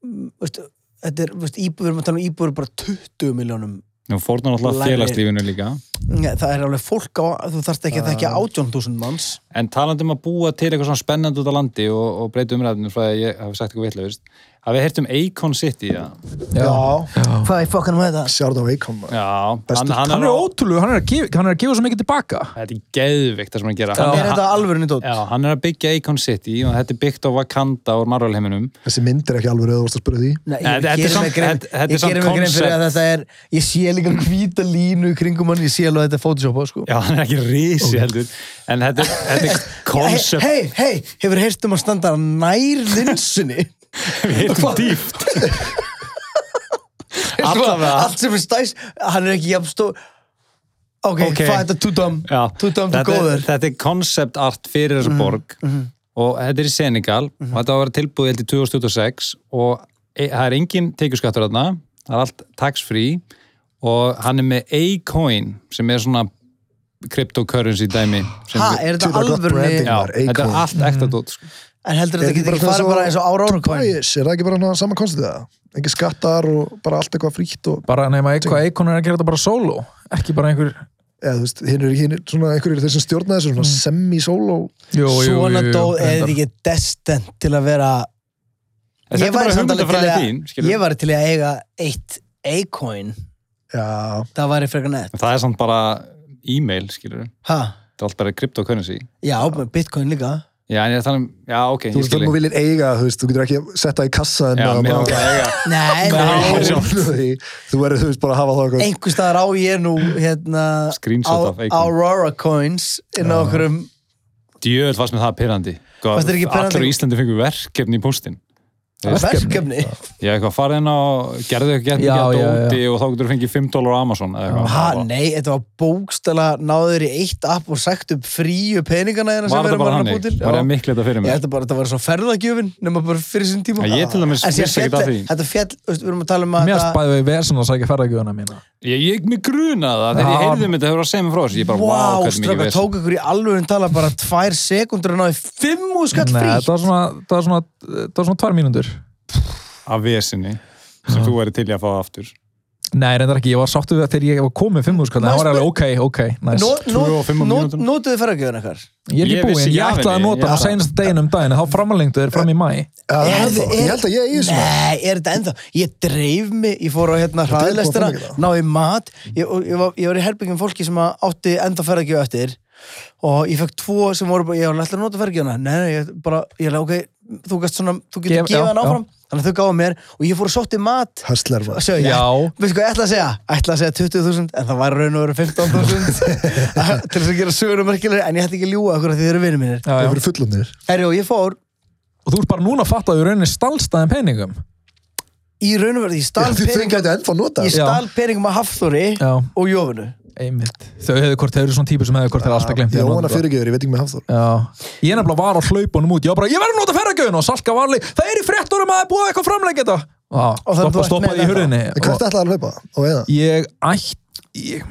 Speaker 2: mm, veistu, þetta er, veistu, íbúður, við erum að tala um íbúður bara 20 miljónum
Speaker 4: Nú fórnar alltaf
Speaker 2: Lægri.
Speaker 4: félagslífinu líka
Speaker 2: Nei, það er alveg fólk á, þú þarft ekki að
Speaker 4: Ah.
Speaker 2: þekka 18.000 manns
Speaker 4: En talandi um að búa til eitthvað svona spennandi út á landi og, og breyta umræðinu frá því að ég hafi sagt eitthvað vitlaust hafið þið heyrt um Akon City ja.
Speaker 3: já,
Speaker 2: hvað er fokkanum með það?
Speaker 3: sjárð á veikon
Speaker 4: Já, hann,
Speaker 3: Bestu-
Speaker 4: hann,
Speaker 1: hann
Speaker 4: er
Speaker 1: er
Speaker 4: á,
Speaker 1: ótrúlega, hann er að gefa, hann er að gefa svo mikið tilbaka
Speaker 4: Þetta er geðvikt það sem hann er að gera
Speaker 1: Já.
Speaker 2: er þetta alvörinni tótt?
Speaker 4: Já, hann er að byggja Akon City og þetta er byggt á Wakanda og Marvel-heiminum
Speaker 3: þessi mynd er ekki alveg rauð að spyrja því
Speaker 2: Nei,
Speaker 4: Nei,
Speaker 2: ég
Speaker 4: þetta er
Speaker 2: gerir
Speaker 4: samt-
Speaker 2: mig grein,
Speaker 4: þetta- þetta er
Speaker 2: ég
Speaker 4: samt
Speaker 2: gerir mig grein fyrir
Speaker 4: concept.
Speaker 2: að þetta er ég sé líka hvíta línu í kringum hann, ég sé alveg að þetta er photoshop sko.
Speaker 4: Já, hann er ekki risi heldur en þetta, er- þetta er
Speaker 2: hei,
Speaker 4: konsept
Speaker 2: hei, hei, hefur heyrst um að standa nær linsunni
Speaker 4: við hittum dýft Allavega.
Speaker 2: allt sem er stæst hann er ekki jafn stór ok,
Speaker 4: Ok.
Speaker 2: hvað er þetta tutam
Speaker 4: Já,
Speaker 2: tutam til
Speaker 4: þetta, er-
Speaker 2: góður Mhm,
Speaker 4: þetta er concept art fyrir þessa borg og þetta er í Senegal og þetta á að vera tilbúið held í 2026 og e, það er engin tekjuskattur þarna, það er allt tax free og hann er með A-coin sem er svona cryptocurrency dæmi sem
Speaker 2: ha, Mhm.
Speaker 4: við-
Speaker 2: er
Speaker 3: Dude,
Speaker 2: þetta
Speaker 3: I got branding.
Speaker 2: alvörinni
Speaker 4: Já,
Speaker 3: maður,
Speaker 4: þetta er
Speaker 3: A-coin.
Speaker 4: allt ekta dót sko.
Speaker 2: en heldur
Speaker 3: Er
Speaker 2: þetta
Speaker 3: ekki
Speaker 2: getur
Speaker 3: bara
Speaker 2: ekki
Speaker 3: svona
Speaker 2: farið
Speaker 3: svo-
Speaker 2: bara eins og árára coin
Speaker 3: Æs, er það ekki bara hann saman konstið það? Engi skattar og bara allt eitthvað frítt og,
Speaker 1: bara nema eitthvað eikon er að gera þetta bara solo ekki bara einhver
Speaker 3: eða þú veist, hinn er, hinn er svona einhverjir eru þeir sem stjórna þessu svona semi-solo
Speaker 1: jú,
Speaker 2: svona dóð er
Speaker 1: reyndar.
Speaker 2: þetta ekki destent til að vera
Speaker 4: Þetta er
Speaker 2: ég
Speaker 4: bara
Speaker 2: væri samt alveg til
Speaker 4: hugmyndafræði
Speaker 2: að
Speaker 4: þín skilur.
Speaker 2: ég var til að eiga eitt A-coin
Speaker 3: já,
Speaker 2: það væri frekar nett
Speaker 4: Það er samt bara e-mail skilur.
Speaker 2: ha,
Speaker 4: þetta er allt bara cryptocurrency
Speaker 2: já, bitcoin líka
Speaker 4: Já, en ég er að tala um, já ok,
Speaker 3: þú
Speaker 4: ég
Speaker 3: veist,
Speaker 4: skil
Speaker 3: þú viljir eiga, þú veist, þú getur ekki setta í kassa en
Speaker 4: Já,
Speaker 3: að
Speaker 4: mér
Speaker 3: bara-
Speaker 4: langar að eiga
Speaker 2: nei,
Speaker 4: Nei.
Speaker 2: nei
Speaker 4: Já,
Speaker 3: Því, þú verður, þú veist, bara að hafa það eitthvað
Speaker 2: einhver staðar á ég nú hérna,
Speaker 4: Screenshot
Speaker 2: á-
Speaker 4: af Akon.
Speaker 2: Aurora Coins inn á okkur um
Speaker 4: Djöðl varst með það pyrrandi
Speaker 2: Fannst þér ekki pirrandi?
Speaker 4: Allir á Íslandi fengur verkefni í póstinn
Speaker 2: verkefni
Speaker 4: Ég eitthvað farið inn á, gerðu eitthvað getni
Speaker 1: Já,
Speaker 4: ekki að
Speaker 1: já, já.
Speaker 4: dóti og þá getur þú fengið 5 dólar á Amazon eða eitthvað.
Speaker 2: ha, nei, þetta var bókstala náður í eitt app og sagt upp fríu peningana þeirna sem
Speaker 4: Var
Speaker 2: við
Speaker 4: þetta
Speaker 2: erum
Speaker 4: bara
Speaker 2: að búið
Speaker 4: hannig?
Speaker 2: til
Speaker 4: Var
Speaker 2: Já.
Speaker 4: það miklu þetta fyrir
Speaker 2: Ég
Speaker 4: mig?
Speaker 2: held að bara, þetta var svo ferðagjöfin nema bara fyrir sinn tíma
Speaker 4: Já, ég til dæmis
Speaker 2: En síðan
Speaker 4: vissi ekkert
Speaker 2: féll-
Speaker 4: af því.
Speaker 2: Þetta fjall, við erum að tala um að
Speaker 1: mér
Speaker 2: þetta-
Speaker 1: spæði við vesen að sækja ferðagjöðuna mína
Speaker 4: Ég, ég mig grunaði það, þegar ég
Speaker 1: Já.
Speaker 4: heyrði um þetta, þegar þú var að segja mér frá þessu, ég bara, wow,
Speaker 2: Vá,
Speaker 4: hvernig mikið
Speaker 2: strafka
Speaker 4: veist.
Speaker 2: tók ykkur í alveg tala bara tvær sekundur og náði fimm og skall
Speaker 1: Nei,
Speaker 2: frí
Speaker 1: það var svona, það var svona, það var svona tvær mínútur
Speaker 4: Af vesinni, sem þú væri til í að fá aftur.
Speaker 1: Nei, reyndar ekki, ég var sáttu við að þegar ég var komið fimm úr það
Speaker 2: Næst-
Speaker 1: var alveg ok, ok, næs
Speaker 2: Nót-
Speaker 4: Tvö og
Speaker 2: nót-
Speaker 4: fimm á
Speaker 2: nót-
Speaker 4: mínútum.
Speaker 2: Notuðu ferðagjöfin ekkar
Speaker 1: Ég er
Speaker 4: Ég
Speaker 1: ekki búinn, ég
Speaker 4: vissi ekki af
Speaker 1: ætlaði að
Speaker 4: henni,
Speaker 1: nota
Speaker 4: ég-
Speaker 1: það senast deginum daginn en þá framalengdu þeir fram í mæ
Speaker 3: Já,
Speaker 2: Er-
Speaker 3: það er það.
Speaker 2: er-
Speaker 3: ég held að ég eigi svona
Speaker 2: Nei, er þetta ennþá? Ég dreif mig, ég fór á hérna
Speaker 3: er búið að
Speaker 2: hraðlestina,
Speaker 3: finna ekki það.
Speaker 2: náði mat ég, og ég, var, ég var í herbyggjum fólki sem að átti ennþá ferðargjöf eftir og ég fekk tvo sem voru bara, ég var alltaf að nota ferðargjöfuna nei, nei, ég bara, ég er ok þú, gast svona, þú getur
Speaker 1: Gef-
Speaker 2: gefið
Speaker 1: já,
Speaker 2: hann áfram þannig að þau gáðu mér og ég fór og sótti mat
Speaker 3: Hustler, maður.
Speaker 2: Sjö, ég,
Speaker 1: Já.
Speaker 2: veistu hvað ég ætla að segja? ætla að segja 20.000 en það var raun og veru 15.000 til þess að gera söguna merkilegri en ég hætti ekki að ljúga okkur að þið eru vinir mínir
Speaker 1: Já,
Speaker 3: þau
Speaker 1: já.
Speaker 3: eru fullumnir
Speaker 2: Herri, og ég fór
Speaker 1: Og þú ert bara núna að fatta að þú rauninni stálstaðin peningum
Speaker 2: í raun og veru ég stal
Speaker 3: Þau
Speaker 2: pening-
Speaker 3: gæti ennþá nota
Speaker 2: ég
Speaker 1: Já.
Speaker 2: stal peningum að Hafþóri
Speaker 1: Já.
Speaker 2: og Jófinu
Speaker 1: Einmitt, þau hefðu hvort, þau eru svona típur sem hefðu hvort þeir alltaf glemt
Speaker 3: Ég óan að fyrirgeður, ég veit ekki með hafþór
Speaker 1: Já, ég nefnilega var á hlaupunum út, ég var bara, ég verður nota ferðagjöðun og Salka varli, það er í fréttunum að það er búið eitthvað framlengið þetta. Já,
Speaker 2: Og þannig þú
Speaker 1: stoppa,
Speaker 2: ert
Speaker 1: stoppa
Speaker 2: með
Speaker 1: í
Speaker 2: þetta.
Speaker 1: hurðinni.
Speaker 3: En hvert ætlaði að hlaupa? Og eða?
Speaker 1: Ég ætt, ég,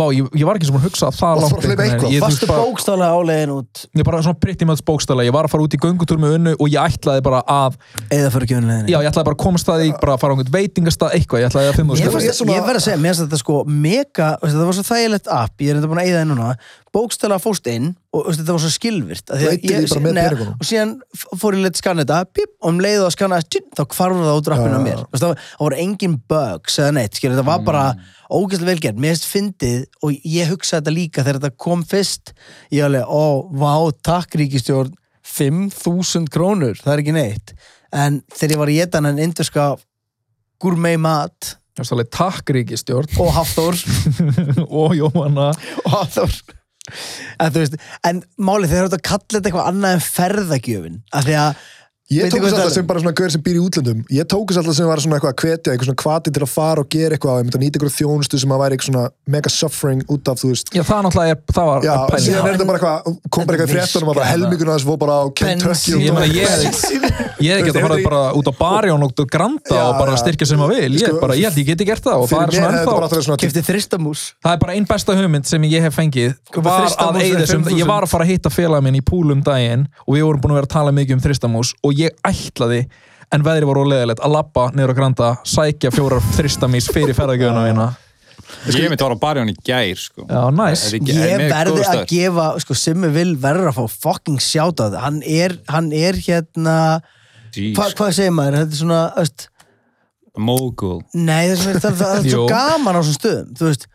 Speaker 1: vá, ég, ég var ekki sem að hugsa það langt.
Speaker 3: Varstu bara að hlaupa
Speaker 1: einhvern
Speaker 3: eitthvað?
Speaker 1: veginn. Ég, þú
Speaker 2: Varstu
Speaker 1: veist, bara-
Speaker 2: bókstálega álegin út
Speaker 1: Ég bara svona pretty much bókstæla, ég var að fara út í göngutúr með unnu og ég ætlaði bara að,
Speaker 2: Eða fyrir kjöfunleginni
Speaker 1: já, ég ætlaði bara að komast að því, bara að fara á einhvern veitingastað, eitthvað, ég ætlaði að finna
Speaker 2: Ég
Speaker 1: þú
Speaker 3: fannst-
Speaker 1: sko.
Speaker 3: ég svona-
Speaker 2: verð að segja, mér finnst þetta sko mega, veistu, það var svo þægilegt app ég er þetta búin að eyða það núna, bókstælega fóst inn og veistu, þetta var svo skilvirt Af því að
Speaker 3: Leiddi
Speaker 2: ég-
Speaker 3: því bara með
Speaker 2: nei,
Speaker 3: peningunum.
Speaker 2: og síðan f- fór ég leitt skanna þetta pip, og um leið og að skanna þetta, tjinn, þá hvarfur það á drappinu á mér, veistu, það var- það voru engin bugs eða neitt, skilur, þetta var bara
Speaker 3: Mm.
Speaker 2: ógæslega velgerð, mér finnst fyndið og ég hugsaði þetta líka þegar þetta kom fyrst ég alveg, ó, vá, takk ríkistjórn 5.000 krónur, það er ekki neitt en þegar ég var í getan en indurska gourmet mat
Speaker 1: Það er alveg takk ríkistjórn
Speaker 2: og Hafþór
Speaker 1: og Jóhanna
Speaker 2: og Hafþór en þú veist, en málið þeir eru að kalla þetta eitthvað annað en ferðagjöfin af því að
Speaker 3: Ég
Speaker 2: Veitir
Speaker 3: tók
Speaker 2: hvað
Speaker 3: þess
Speaker 2: það
Speaker 3: alltaf
Speaker 2: er?
Speaker 3: sem bara svona gaur sem býr í útlöndum Ég tók þess alltaf sem var svona eitthvað að hvetja eitthvað svona hvati til að fara og gera eitthvað ég myndi að nýta eitthvað þjónustu sem að væri eitthvað svona mega suffering út af þú veist
Speaker 1: Já, það er náttúrulega er, það var
Speaker 3: Já,
Speaker 1: er pæling.
Speaker 3: síðan er
Speaker 2: en-
Speaker 3: þetta bara eitthvað kom bara eitthvað í
Speaker 2: Þetta
Speaker 3: fréttunum að bara
Speaker 2: virkar
Speaker 3: helmingun að þessu fór bara á Kentucky
Speaker 1: Ég meina, ég
Speaker 2: Bensín.
Speaker 3: og
Speaker 1: Ég
Speaker 3: Þú
Speaker 1: get
Speaker 3: veist,
Speaker 1: að fara
Speaker 3: ef
Speaker 1: bara út á bari og nóttu granda
Speaker 3: Já,
Speaker 1: og bara
Speaker 3: hérna já.
Speaker 1: styrkja sem maður vil. Ég,
Speaker 3: Sko,
Speaker 1: bara, ég held ég geti gert það og það er
Speaker 3: Fyrir
Speaker 1: svona
Speaker 3: mér hefði þetta bara
Speaker 1: ennþá.
Speaker 3: alltaf svona
Speaker 2: kefti þristamús
Speaker 1: Það er bara einn besta hugmynd sem ég hef fengið
Speaker 2: Kaupa
Speaker 1: var að
Speaker 2: þristamús fyrir
Speaker 1: eyða sem,
Speaker 2: 5.000.
Speaker 1: ég var að fara að hitta félag minn í púlum daginn og við vorum búin að vera að tala mikið um þristamús og ég ætlaði en veðri var óleðilegt að labba niður á granda sækja fjórar þristamís fyrir ferðagjöðuna mína
Speaker 4: Ég myndi að vara á barjón í gær, sko.
Speaker 1: Já, næs.
Speaker 4: Er ekki- er
Speaker 2: ég
Speaker 4: með
Speaker 2: verði
Speaker 4: góður
Speaker 2: að
Speaker 4: staður?
Speaker 2: gefa sko, Simmi vil verður að fá fucking sjátað hann er, hann er hérna
Speaker 4: Jeez,
Speaker 2: hva, hvað segir maður, þetta er svona öst,
Speaker 4: Mogul.
Speaker 2: nei það er, svona- það, það er svo
Speaker 1: Jú.
Speaker 2: gaman á svona stöðum þú veist,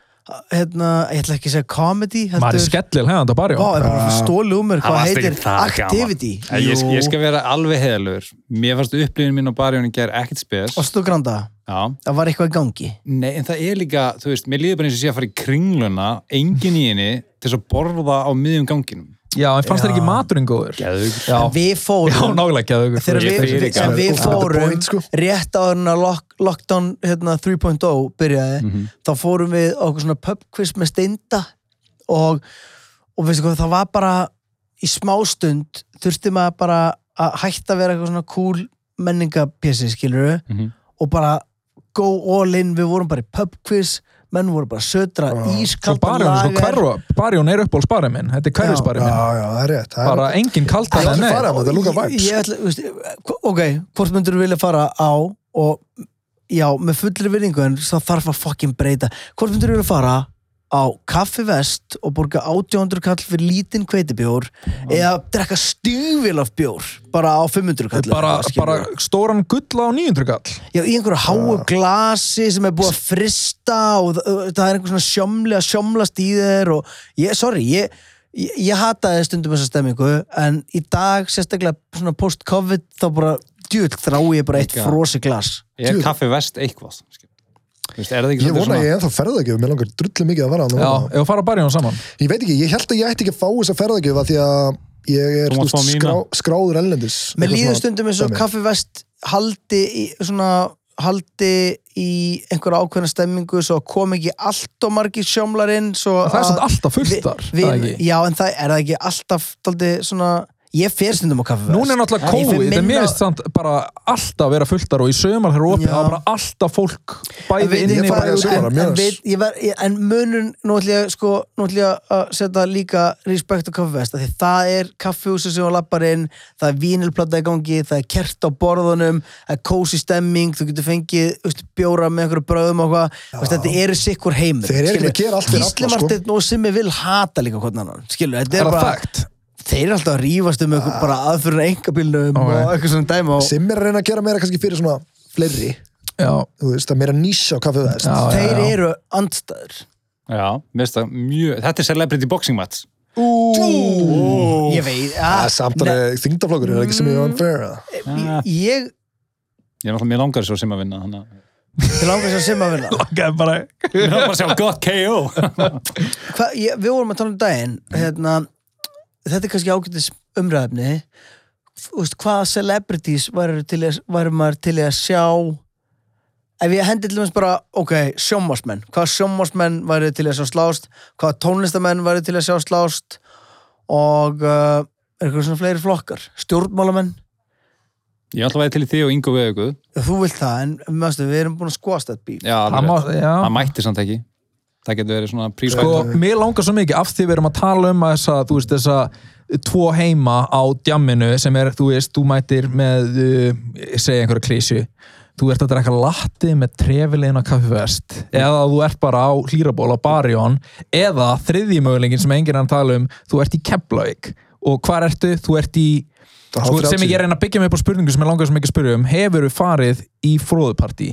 Speaker 2: hérna, ég ætla ekki að segja comedy heldur-
Speaker 1: maður er skellil hefðan á bari
Speaker 2: Vá, ég er bara stóli um mér, hvað
Speaker 4: Það varst
Speaker 2: heitir
Speaker 4: ekki það
Speaker 2: activity
Speaker 4: gaman. Eh, Ég, ég skal vera alveg heðalur. Mér fannst upplifin mín á barjón í gær ekkert spes.
Speaker 2: og stúgranda,
Speaker 4: Já.
Speaker 2: það var eitthvað í gangi
Speaker 4: Nei, en það er líka, þú veist, mér líður bara eins og sé að fara í kringluna, engin í henni, til þess að borða á miðjum ganginum.
Speaker 1: já, en fannst þér ekki maturinn góður?
Speaker 4: Geðug.
Speaker 1: Já,
Speaker 2: En við
Speaker 1: já
Speaker 2: fórum
Speaker 1: nálega geðugur
Speaker 2: þegar
Speaker 4: Ég
Speaker 2: við,
Speaker 4: fyrir
Speaker 2: við,
Speaker 4: ekki
Speaker 2: en
Speaker 3: alveg.
Speaker 2: við
Speaker 3: Úff, þetta er
Speaker 2: fórum
Speaker 3: point, sko.
Speaker 2: rétt áður en að lock, lockdown hérna, 3.0 byrjaði þá fórum við á okkur svona pub quiz með steinda og, og veistu hvað, það var bara í smástund þurfti maður bara að hætta að vera eitthvað svona cool menningapjessi skilur við
Speaker 4: Mhm.
Speaker 2: og bara go all in, við vorum bara í pub quiz menn voru bara að södra
Speaker 3: Já.
Speaker 1: Svo
Speaker 2: ískaldan
Speaker 1: barjón, svo hverfa, barjón er uppbólsbarið minn Þetta er hverfisbarið
Speaker 3: Já,
Speaker 1: minn
Speaker 3: já, það er rétt Það er-
Speaker 1: hérna. Bara engin
Speaker 3: Það
Speaker 1: kaltar
Speaker 3: er
Speaker 1: en
Speaker 3: allir
Speaker 1: nei
Speaker 3: farað með þetta, lúka
Speaker 2: Ég-
Speaker 3: vibes
Speaker 2: ég ætla, veist, hv- ok, hvort myndur þú vilja fara á og já, með fullri virðingu en það þarf að fucking breyta hvort myndur þú vilja fara á kaffi vest og borga 800 kall fyrir lítinn kveitibjór eða drekka stífil af bjór bara á 500 kall
Speaker 1: bara, bara stóran gull á 900 kall
Speaker 2: já, í einhverju háu glasi sem er búið að frista og þ- ö, það er einhver svona sjómli að sjómlast í þeir og ég, sorry, ég ég, ég hataði stundum þessa stemmingu en í dag, sérstaklega svona post-covid þá bara, djúll, þrá ég bara eitt
Speaker 4: Líka.
Speaker 2: frosi glas
Speaker 4: Er kaffi vest eitthvað? skilur? Þú veist, er það
Speaker 3: Ég
Speaker 4: ekki svolítið
Speaker 3: vona að
Speaker 4: svona?
Speaker 3: ég ennþá ferðagjöf, mér langar drullu mikið að vera
Speaker 1: Já,
Speaker 3: þarna.
Speaker 1: ef þú fara barjón saman
Speaker 3: Ég veit ekki, ég held að ég ætti ekki að fá þessa ferðagjöf af því að ég er
Speaker 4: Þú mátt
Speaker 3: þú veist,
Speaker 4: fá mína.
Speaker 3: skrá- skráður ellendis
Speaker 2: Mér
Speaker 3: Eitthvað
Speaker 2: líður
Speaker 3: svona
Speaker 2: stundum eins og
Speaker 3: dæmi.
Speaker 2: Kaffi Vest haldi í, svona, haldi í einhverja ákveðna stemmingu svo kom ekki allt og margir sjómlarinn svo
Speaker 1: En það er
Speaker 2: að-
Speaker 1: samt alltaf fullt
Speaker 2: Vi-
Speaker 1: þar,
Speaker 2: við-
Speaker 1: það ekki?
Speaker 2: Já, en það er það ekki alltaf daldi, svona, ég fer stundum á Kaffi Vest
Speaker 1: Núna er náttúrulega
Speaker 2: Ég fer
Speaker 1: COVID, en
Speaker 2: minna-
Speaker 1: mér finnst samt bara alltaf vera fulltar og í sömar þegar opið
Speaker 2: Já.
Speaker 1: það var bara alltaf fólk
Speaker 2: En
Speaker 1: bæði
Speaker 2: við-
Speaker 1: inni,
Speaker 3: ég bara-
Speaker 1: bæði
Speaker 3: ég
Speaker 1: út.
Speaker 3: sumar,
Speaker 2: en, en,
Speaker 3: mjög.
Speaker 2: við, ég ver, ég, en munun nú ætlum ég sko, nú ætlum ég að setja líka respekt á kaffivest, af því það er kaffihúsi sem var lapparinn, það er vínilplata í gangi, það er kert á borðunum það er kósi stemming, þú getur fengið veist, bjóra með einhverju bröðum og hvað þú veist, þetta eru sikkur heimur
Speaker 3: Þeir eru ekki að gera allt fyrir alla, sko.
Speaker 2: Martin og Simmi vil hata líka hvernig annan skilur, þetta
Speaker 1: Er
Speaker 2: er
Speaker 1: það
Speaker 2: bara,
Speaker 1: fakt?
Speaker 2: þeir eru alltaf að rífast um einhver, bara aðfyrir
Speaker 1: Ok.
Speaker 2: engabílnum og eitthvað svona dæma og
Speaker 3: Sem er að reyna að gera meira kannski fyrir svona fleiri,
Speaker 1: Já,
Speaker 3: þú veist, að meira nýsa á kaffið vest
Speaker 1: Já.
Speaker 2: þeir eru andstæður
Speaker 4: Já, mér finnst það mjög... Þetta er celebrity boxing match.
Speaker 2: ég veit, ah,
Speaker 3: Það
Speaker 2: að,
Speaker 3: er samt alveg þyngdaflokkur, er það ekki sem ég unfair eða?
Speaker 4: Ah.
Speaker 2: ég
Speaker 4: Ég er alltaf mér langar svo sem að vinna, þannig að...
Speaker 2: Þið langar sem sem að vinna
Speaker 1: langaði bara
Speaker 4: Mér langar bara að sjá gott KO.
Speaker 2: Hva, ég, Við vorum að tala um daginn hérna, Þetta er kannski ágætis umræðefni Þú veist, Hvaða celebrities varum var maður til í að sjá Ef ég hendi til dæmis bara Ok, sjómasmenn Hvaða sjómasmenn varum til í að sjá slást Hvaða tónlistamenn varum til í að sjá slást Og uh, Er eitthvað svona fleiri flokkar Stjórnmálamenn
Speaker 4: Ég er alltaf að til í þig og Ingo Veðuguð.
Speaker 2: Þú vilt það, en mjöfstu, við erum búin að skoast þetta bíl
Speaker 4: Já,
Speaker 1: Það
Speaker 4: alveg
Speaker 1: má-
Speaker 4: rétt.
Speaker 1: já.
Speaker 4: Það mætti samt ekki. Það getur verið svona prífætt.
Speaker 1: Sko, mér langar svo mikið af því við erum að tala um að þessa, þú veist, þessa tvo heima á djamminu sem er, þú veist, þú mætir með uh, segja einhverja klísu þú ert að drekka latti með trefilegin á kaffivest eða þú ert bara á hlýraból á barjón eða þriðji mögulegin sem enginn er að tala um þú ert í Keflavík og hvar ertu? Þú ert í
Speaker 3: Það
Speaker 1: sko,
Speaker 3: er
Speaker 1: sem
Speaker 3: 30.
Speaker 1: ég er að reyna að byggja mig upp á spurningu sem ég langar sem ekki að spyrja um hefur þú farið í fróðupartí?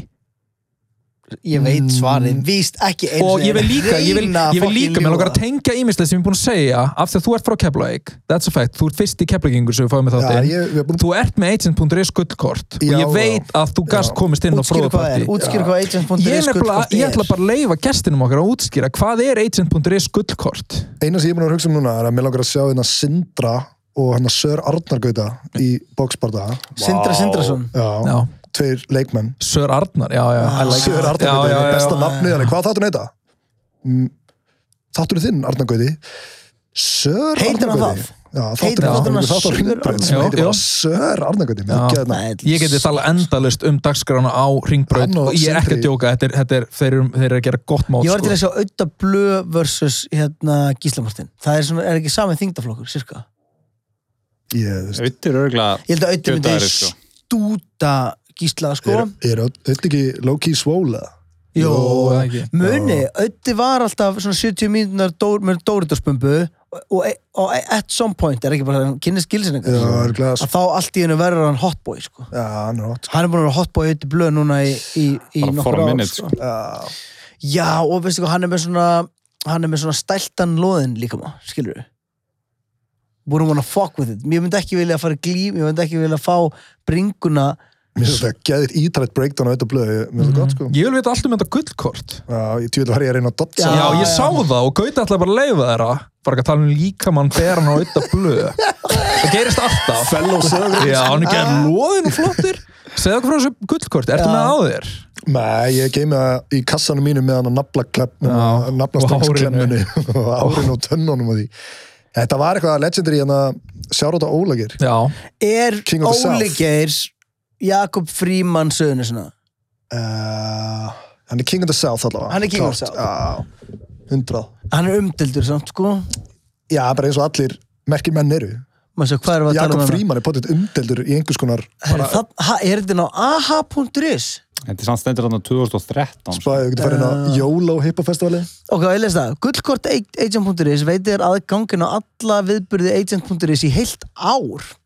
Speaker 2: ég veit svarið, víst ekki einu
Speaker 1: og
Speaker 2: sinni
Speaker 1: ég vil líka, ég vil,
Speaker 2: reyna að
Speaker 1: ég vil
Speaker 2: fucking
Speaker 1: líka með langar
Speaker 2: ljúga.
Speaker 1: að tengja ímislegt sem ég er búin að segja af því að þú ert frá Keflavík, that's a fact þú ert fyrst í Keflavíkingur sem við fáum með
Speaker 3: Já,
Speaker 1: þáttinn
Speaker 3: ég, við erum búin
Speaker 1: þú ert með agent.is gullkort og
Speaker 3: Já,
Speaker 1: ég veit að þú gast
Speaker 3: Já.
Speaker 1: komist inn á
Speaker 2: útskýra hvað er,
Speaker 1: fróðparti
Speaker 2: útskýra
Speaker 3: Já.
Speaker 2: hvað agent.is
Speaker 1: ég, nefnilega-
Speaker 2: gullkort
Speaker 1: ég
Speaker 2: er.
Speaker 1: ætla bara að leifa gestinum okkar að útskýra hvað er agent.is gullkort
Speaker 3: eina sem ég er búin að hugsa um núna er að mér langar að sjá hérna Sindra og hérna Sör Arnargauta í bóksbarða
Speaker 2: Sindra Sindrason
Speaker 3: já,
Speaker 1: já,
Speaker 3: tveir leikmenn
Speaker 1: Sör Arnar já, já, I like it.
Speaker 3: Sör
Speaker 1: Já,
Speaker 3: Arnargauta,
Speaker 1: já,
Speaker 3: er
Speaker 1: já.
Speaker 3: besta nafnið hann hvað þáttur neita? þáttur þinn Arnargauti Sör
Speaker 2: Heitir hann
Speaker 3: Arnargauti
Speaker 2: það?
Speaker 3: já,
Speaker 2: Heitir
Speaker 3: þáttur
Speaker 1: hann
Speaker 3: hann
Speaker 2: það?
Speaker 3: þáttur ringbröð
Speaker 1: Já,
Speaker 3: sem heitir
Speaker 1: já.
Speaker 3: bara Sör Arnargauti
Speaker 1: Já.
Speaker 3: Mikið hérna.
Speaker 2: Nei,
Speaker 1: ég geti tala endalust um dagskrána á ringbraut
Speaker 3: Hann og
Speaker 1: og ég er ekki að
Speaker 3: Sindri.
Speaker 1: djóka þetta er, þetta er, þeir, eru, þeir eru að gera gott mál
Speaker 2: Ég var til
Speaker 1: sko.
Speaker 2: að sjá Ötta Blö versus hérna, Gísla Martin Það er, svona, er ekki sami þingdaflokkur, sirka
Speaker 3: ég þú veist,
Speaker 4: Auður örgulega
Speaker 2: Ég held að Ötta
Speaker 4: Kjötaðir,
Speaker 2: myndi
Speaker 4: sko.
Speaker 2: stúta Gísla sko
Speaker 3: er er auðvitað ekki low-key svóla
Speaker 1: Jó,
Speaker 3: Jó.
Speaker 1: eða ekki.
Speaker 2: Muni, Ötti var alltaf svona 70 mínunar dór, með Dóritarspumbu og, og, e- og at some point er ekki bara hann kynnist gilsin
Speaker 3: já,
Speaker 2: að
Speaker 3: örugglega, sko.
Speaker 2: þá allt í hennu verður hann hotboy sko.
Speaker 3: já, hann er hot
Speaker 2: Hann er búin að vera hotboy Ötti Blö núna í, í, í
Speaker 4: Bara
Speaker 2: nokkur
Speaker 4: for a
Speaker 2: ár
Speaker 4: minute,
Speaker 2: sko.
Speaker 4: sko.
Speaker 3: Já.
Speaker 2: Já, og veistu hvað, hann er með svona hann er með svona stæltan loðin líka má skilur við búin að wanna fuck with it, ég myndi ekki vilja að fara í glím ég myndi ekki vilja að fá bringuna
Speaker 3: Mér finnst þetta gæðir ítrætt breakdown á þetta blöðu, mér finnst þetta gott sko.
Speaker 1: ég vil vita allt um þetta gullkort
Speaker 3: Já, ég tjóðið var ég að reyna að dotsa.
Speaker 1: Já,
Speaker 2: Já,
Speaker 1: ég
Speaker 2: já.
Speaker 1: sá það og Gauti ætlaði bara að leifa þeirra bara ekki að tala um líkamann beran og auðvitað blöð það gerist alltaf fellow sögur já, hann er ekki að loðin og flottir segðu okkur frá þessu gullkort, ertu
Speaker 2: Já.
Speaker 1: með á þér?
Speaker 3: Nei, ég geimi það í kassanum mínu með hann að
Speaker 1: Já,
Speaker 3: naflaklemminu,
Speaker 1: og
Speaker 3: naflastangsklemminu og árinu og tönnunum og því. Þetta var eitthvað legendary hérna, en að sjáróta ólagir.
Speaker 1: já,
Speaker 2: er
Speaker 3: King of the
Speaker 2: Óli
Speaker 3: South.
Speaker 2: Geir Jakob Fríman sögunu svona
Speaker 3: Uh, hann er King of the South allavega.
Speaker 2: Hann er King of the
Speaker 3: Klárt.
Speaker 2: South.
Speaker 3: Já, hundrað.
Speaker 2: hann er umdildur samt sko
Speaker 3: Já, bara eins og allir merkir menn eru.
Speaker 2: maður svo hvað er að tala
Speaker 3: Jakob
Speaker 2: um hana?
Speaker 3: Fríman er potið umdeldur í einhvers konar
Speaker 2: Herra, það, ha, er þetta ná aha.is
Speaker 4: Þetta er samt stendur hann á 2013 sko.
Speaker 3: spæðu, við getum farið inn á YOLO hiphopfestivali.
Speaker 2: ok, ég les það, gullkort agent.is veitir aðgangin á alla viðburði agent.is í heilt ár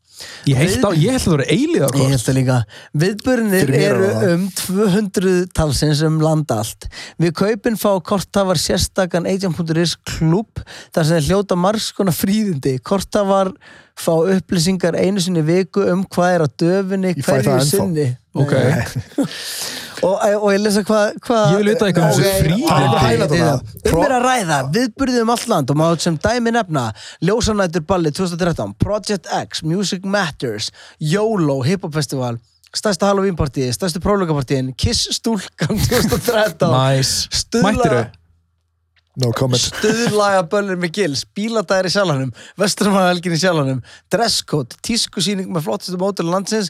Speaker 1: ég heilt á, ég held að það voru
Speaker 2: Ég
Speaker 1: eilíðarkort
Speaker 2: held það líka. Viðbörnir
Speaker 3: Fyrir mér
Speaker 2: eru
Speaker 3: er það.
Speaker 2: um 200 talsins um landa allt. Við kaupin fá kortafar sérstakan agent.is klub þar sem þeir hljóta margs konar fríðindi. Kortafar fá upplýsingar einu sinni í viku um hvað er á döfinni,
Speaker 3: Ég fæ
Speaker 2: hverju
Speaker 3: það ennþá.
Speaker 2: sinni.
Speaker 1: ok,
Speaker 2: Og, eh, og ég lesa hvað... Hva,
Speaker 1: Ég vil vita eitthvað um þessi fríðindi.
Speaker 2: Um er að ræða, viðburðið um allt land og maður sem dæmi nefna Ljósanætur Balli 2013, Project X, Music Matters, YOLO, Hip Hop Festival, stærsta Halloween partíi, stærstu prólugapartíin, Kiss Stúlkan 2013,
Speaker 1: nice
Speaker 2: Stuðla-
Speaker 1: mættiru,
Speaker 3: No comment.
Speaker 2: Stöðlaga Böllir með Gils, Bíladæri Sjálanum, Vesturmannahelgin í Sjálanum, Dresscode, Tískusýning með flottustu mótur landsins,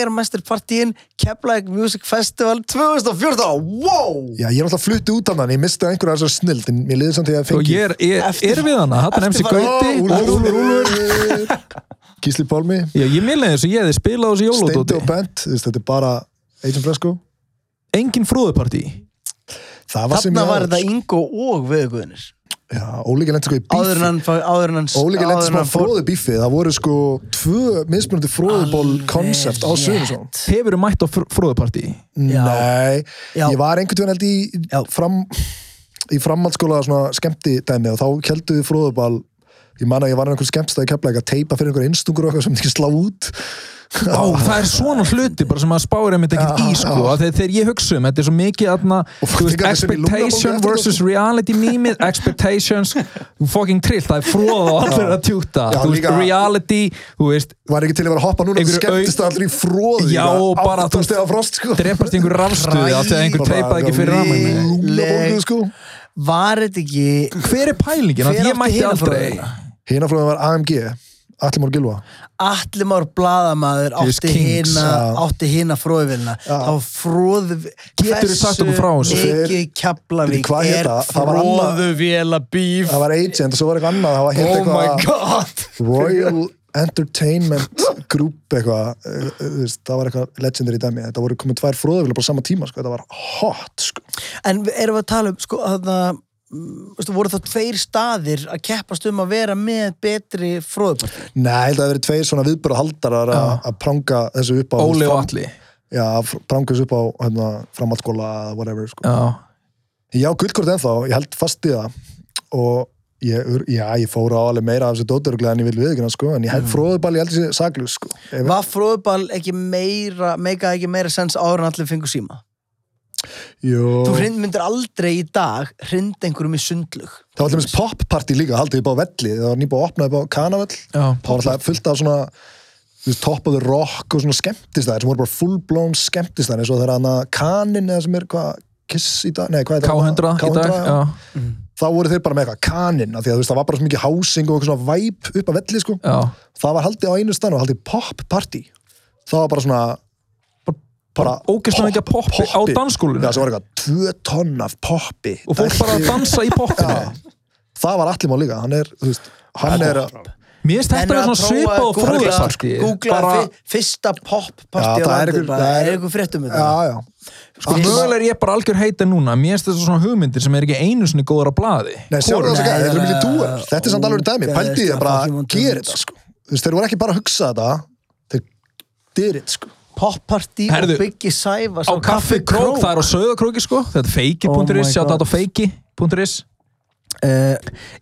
Speaker 2: Jagermesterpartíin, Keflæk Music Festival 2014, wow!
Speaker 3: Já, ég er alltaf flutti út hann, ég misti einhverja þessar snild, en mér liði samt því að
Speaker 1: og
Speaker 3: fengi...
Speaker 1: ég er, ég, er við hana hann er MC
Speaker 2: Eftirfara-
Speaker 1: Gauti
Speaker 3: Ó,
Speaker 1: og
Speaker 3: Úlfur,
Speaker 1: Úlfur
Speaker 3: Úlfur, Úlfur. Gísli Pálmi,
Speaker 1: já, ég minna þessu, ég hefði spilað á þessu
Speaker 3: Steindi og
Speaker 1: jólótóti
Speaker 3: Bent, þú veist, þetta er bara Agent Fresco.
Speaker 1: engin frúðupartí
Speaker 3: Það var sem
Speaker 2: Þarna
Speaker 3: ég
Speaker 2: var þetta Ingo og Viðguðinir
Speaker 3: Já, Ólíka lendi sko í
Speaker 2: áður en
Speaker 3: bífi.
Speaker 2: hann fá- áður en hann
Speaker 3: Ólíka
Speaker 2: áður
Speaker 3: lendi
Speaker 2: en
Speaker 3: smá
Speaker 2: hann fór-
Speaker 3: fróðu bífi. Það voru sko tvö mismunandi fróðuból
Speaker 2: Alveg
Speaker 3: konsept á
Speaker 2: rétt.
Speaker 3: Suðursson.
Speaker 1: hefur mætt á frúðupartí
Speaker 2: Já.
Speaker 3: Nei,
Speaker 2: Já.
Speaker 3: ég var einhvern veginn held í-
Speaker 2: Já.
Speaker 3: í fram í framhaldsskóla svona skemmti dæmi og þá kelduðu fróðubal ég man að ég var einhvern skemmtstæði keflæk að teipa fyrir einhver einstungur og eitthvað sem myndi ekki slá út
Speaker 1: Á,
Speaker 3: Ah.
Speaker 1: það er svona hluti bara sem að spáir einmitt ekkert í sko, af því að þegar ég hugsa um þetta er svo mikið aðna,
Speaker 3: Og
Speaker 1: þú veist,
Speaker 3: líka þessi lungnabólgu
Speaker 1: expectation
Speaker 3: eftir
Speaker 1: versus reality mýmið, expectations fucking trill, það er fróð og allir að tjúta,
Speaker 3: Já,
Speaker 1: þú veist,
Speaker 3: líka-
Speaker 1: reality þú veist,
Speaker 3: var ekki til að vera að hoppa núna
Speaker 1: Einhverju
Speaker 3: og skemmtist allir í fróðu
Speaker 1: Já, og bara, þú
Speaker 3: þú
Speaker 1: veist,
Speaker 3: steg af frost sko
Speaker 1: drepast í einhver rafstuði af því að einhver teipaði ekki fyrir raman
Speaker 2: mig.
Speaker 3: mig sko.
Speaker 2: var þetta ekki
Speaker 1: hver er pælingin, af
Speaker 2: Hver
Speaker 1: því ég
Speaker 2: átti
Speaker 1: mætti
Speaker 2: hina
Speaker 1: aldrei
Speaker 2: frúðuna?
Speaker 3: hina fróðum var AMG Allir Mór Gilva
Speaker 2: allir már bladamaður
Speaker 1: He was
Speaker 2: átti
Speaker 1: kings,
Speaker 2: hina
Speaker 3: já.
Speaker 2: átti hina fróðvilna þá fróð
Speaker 1: Geturðu sagt okkur frá þessu?
Speaker 2: ekki
Speaker 3: Bíddu,
Speaker 2: Keflavík
Speaker 3: hvað hét
Speaker 2: er
Speaker 3: það? Það var annað-
Speaker 2: fróðuvela bíf
Speaker 3: það var agent og svo var eitthvað annað það var hérna
Speaker 2: oh my
Speaker 3: eitthvað
Speaker 2: god
Speaker 3: Royal Entertainment Group eitthvað eh, eh, þú veist, það var eitthvað legendary dæmi þetta voru komið tvær fróðuvilar bara sama tíma sko. þetta var hot sko.
Speaker 2: en við erum við að tala um sko að það Vistu, voru það tveir staðir að keppast um að vera með betri fróðupartíð
Speaker 3: Nei, ég held að það hafi verið tveir svona viðbúru haldarar að pranga þessu upp á
Speaker 1: Óli og Alli
Speaker 3: já, brangus upp á hérna, framhaldsskóla eða whatever sko.
Speaker 1: já,
Speaker 3: Ég á gullkort ennþá, ég held fast í það og ég, ur- já, ég fór á alveg meira af þessu dótturuglega en ég vil viðkynna sko, en ég
Speaker 1: Mm.
Speaker 3: held fróðuball, ég held þessi saklus sko. Ef-
Speaker 2: Var fróðuball ekki meira meika ekki meira sens áður en allir fengur síma?
Speaker 3: Jú,
Speaker 2: Þú hrind, myndir aldrei í dag hrind einhverjum í sundlug
Speaker 3: það var allmest popparti líka, haldið upp á velli, það var nýbúið að opna upp á kanavell,
Speaker 1: já,
Speaker 3: það var alltaf fullt af svona þú veist, top of the rock og svona skemmtistæðir sem voru bara full blown skemmtistæðir eins og það er hana kanin eða sem er hvað Kiss í dag, nei hvað er það?
Speaker 1: K100 í dag
Speaker 3: já.
Speaker 1: já,
Speaker 3: Þá voru þeir bara með eitthvað kanin af því að þú veist, það var bara svo mikið housing og eitthvað svona væp upp að velli sko.
Speaker 1: já,
Speaker 3: það var haldið á einu stann og haldið pop party það var bara svona bara
Speaker 1: ógeðslega mikið af poppi á dansskólinu.
Speaker 3: já, það var eitthvað, tvö tonn af poppi
Speaker 1: og fólk bara að dansa í poppinu
Speaker 3: það var allir má líka, hann er, þú veist hann er,
Speaker 1: mér finnst þetta vera svona svipa og fróðarsparti
Speaker 2: Googla
Speaker 1: bara,
Speaker 2: fi- fyrsta popparti á
Speaker 3: Já, það er
Speaker 2: landið
Speaker 3: einhver-
Speaker 2: bara,
Speaker 3: það er-
Speaker 2: Er einhver um fréttum með
Speaker 3: já,
Speaker 2: það?
Speaker 3: já
Speaker 1: sko, mögulega er ég bara algjör heita núna mér finnst þetta svona hugmyndir sem er ekki einu sinni góður á blaði
Speaker 3: Nei, sjáðu það
Speaker 2: Hvorum?
Speaker 3: svo gæði, þetta er mikið
Speaker 2: Nei,
Speaker 3: dúar Þetta er samt alveg dæmi,
Speaker 2: ógeðslega
Speaker 3: pældi ég að bara
Speaker 2: fucking
Speaker 3: gera
Speaker 2: vondum.
Speaker 3: þetta sko. Þú veist, Þeir voru ekki bara að hugsa þetta Þeir dyrir þetta sko.
Speaker 2: Popparti og
Speaker 1: Herðu,
Speaker 2: Biggie Sævas
Speaker 1: á kaffi krók, það er á söðakróki sko þetta er
Speaker 2: Oh
Speaker 1: feiki.is,
Speaker 2: my
Speaker 1: sjá
Speaker 2: God.
Speaker 1: þetta á feiki.is
Speaker 2: Eh,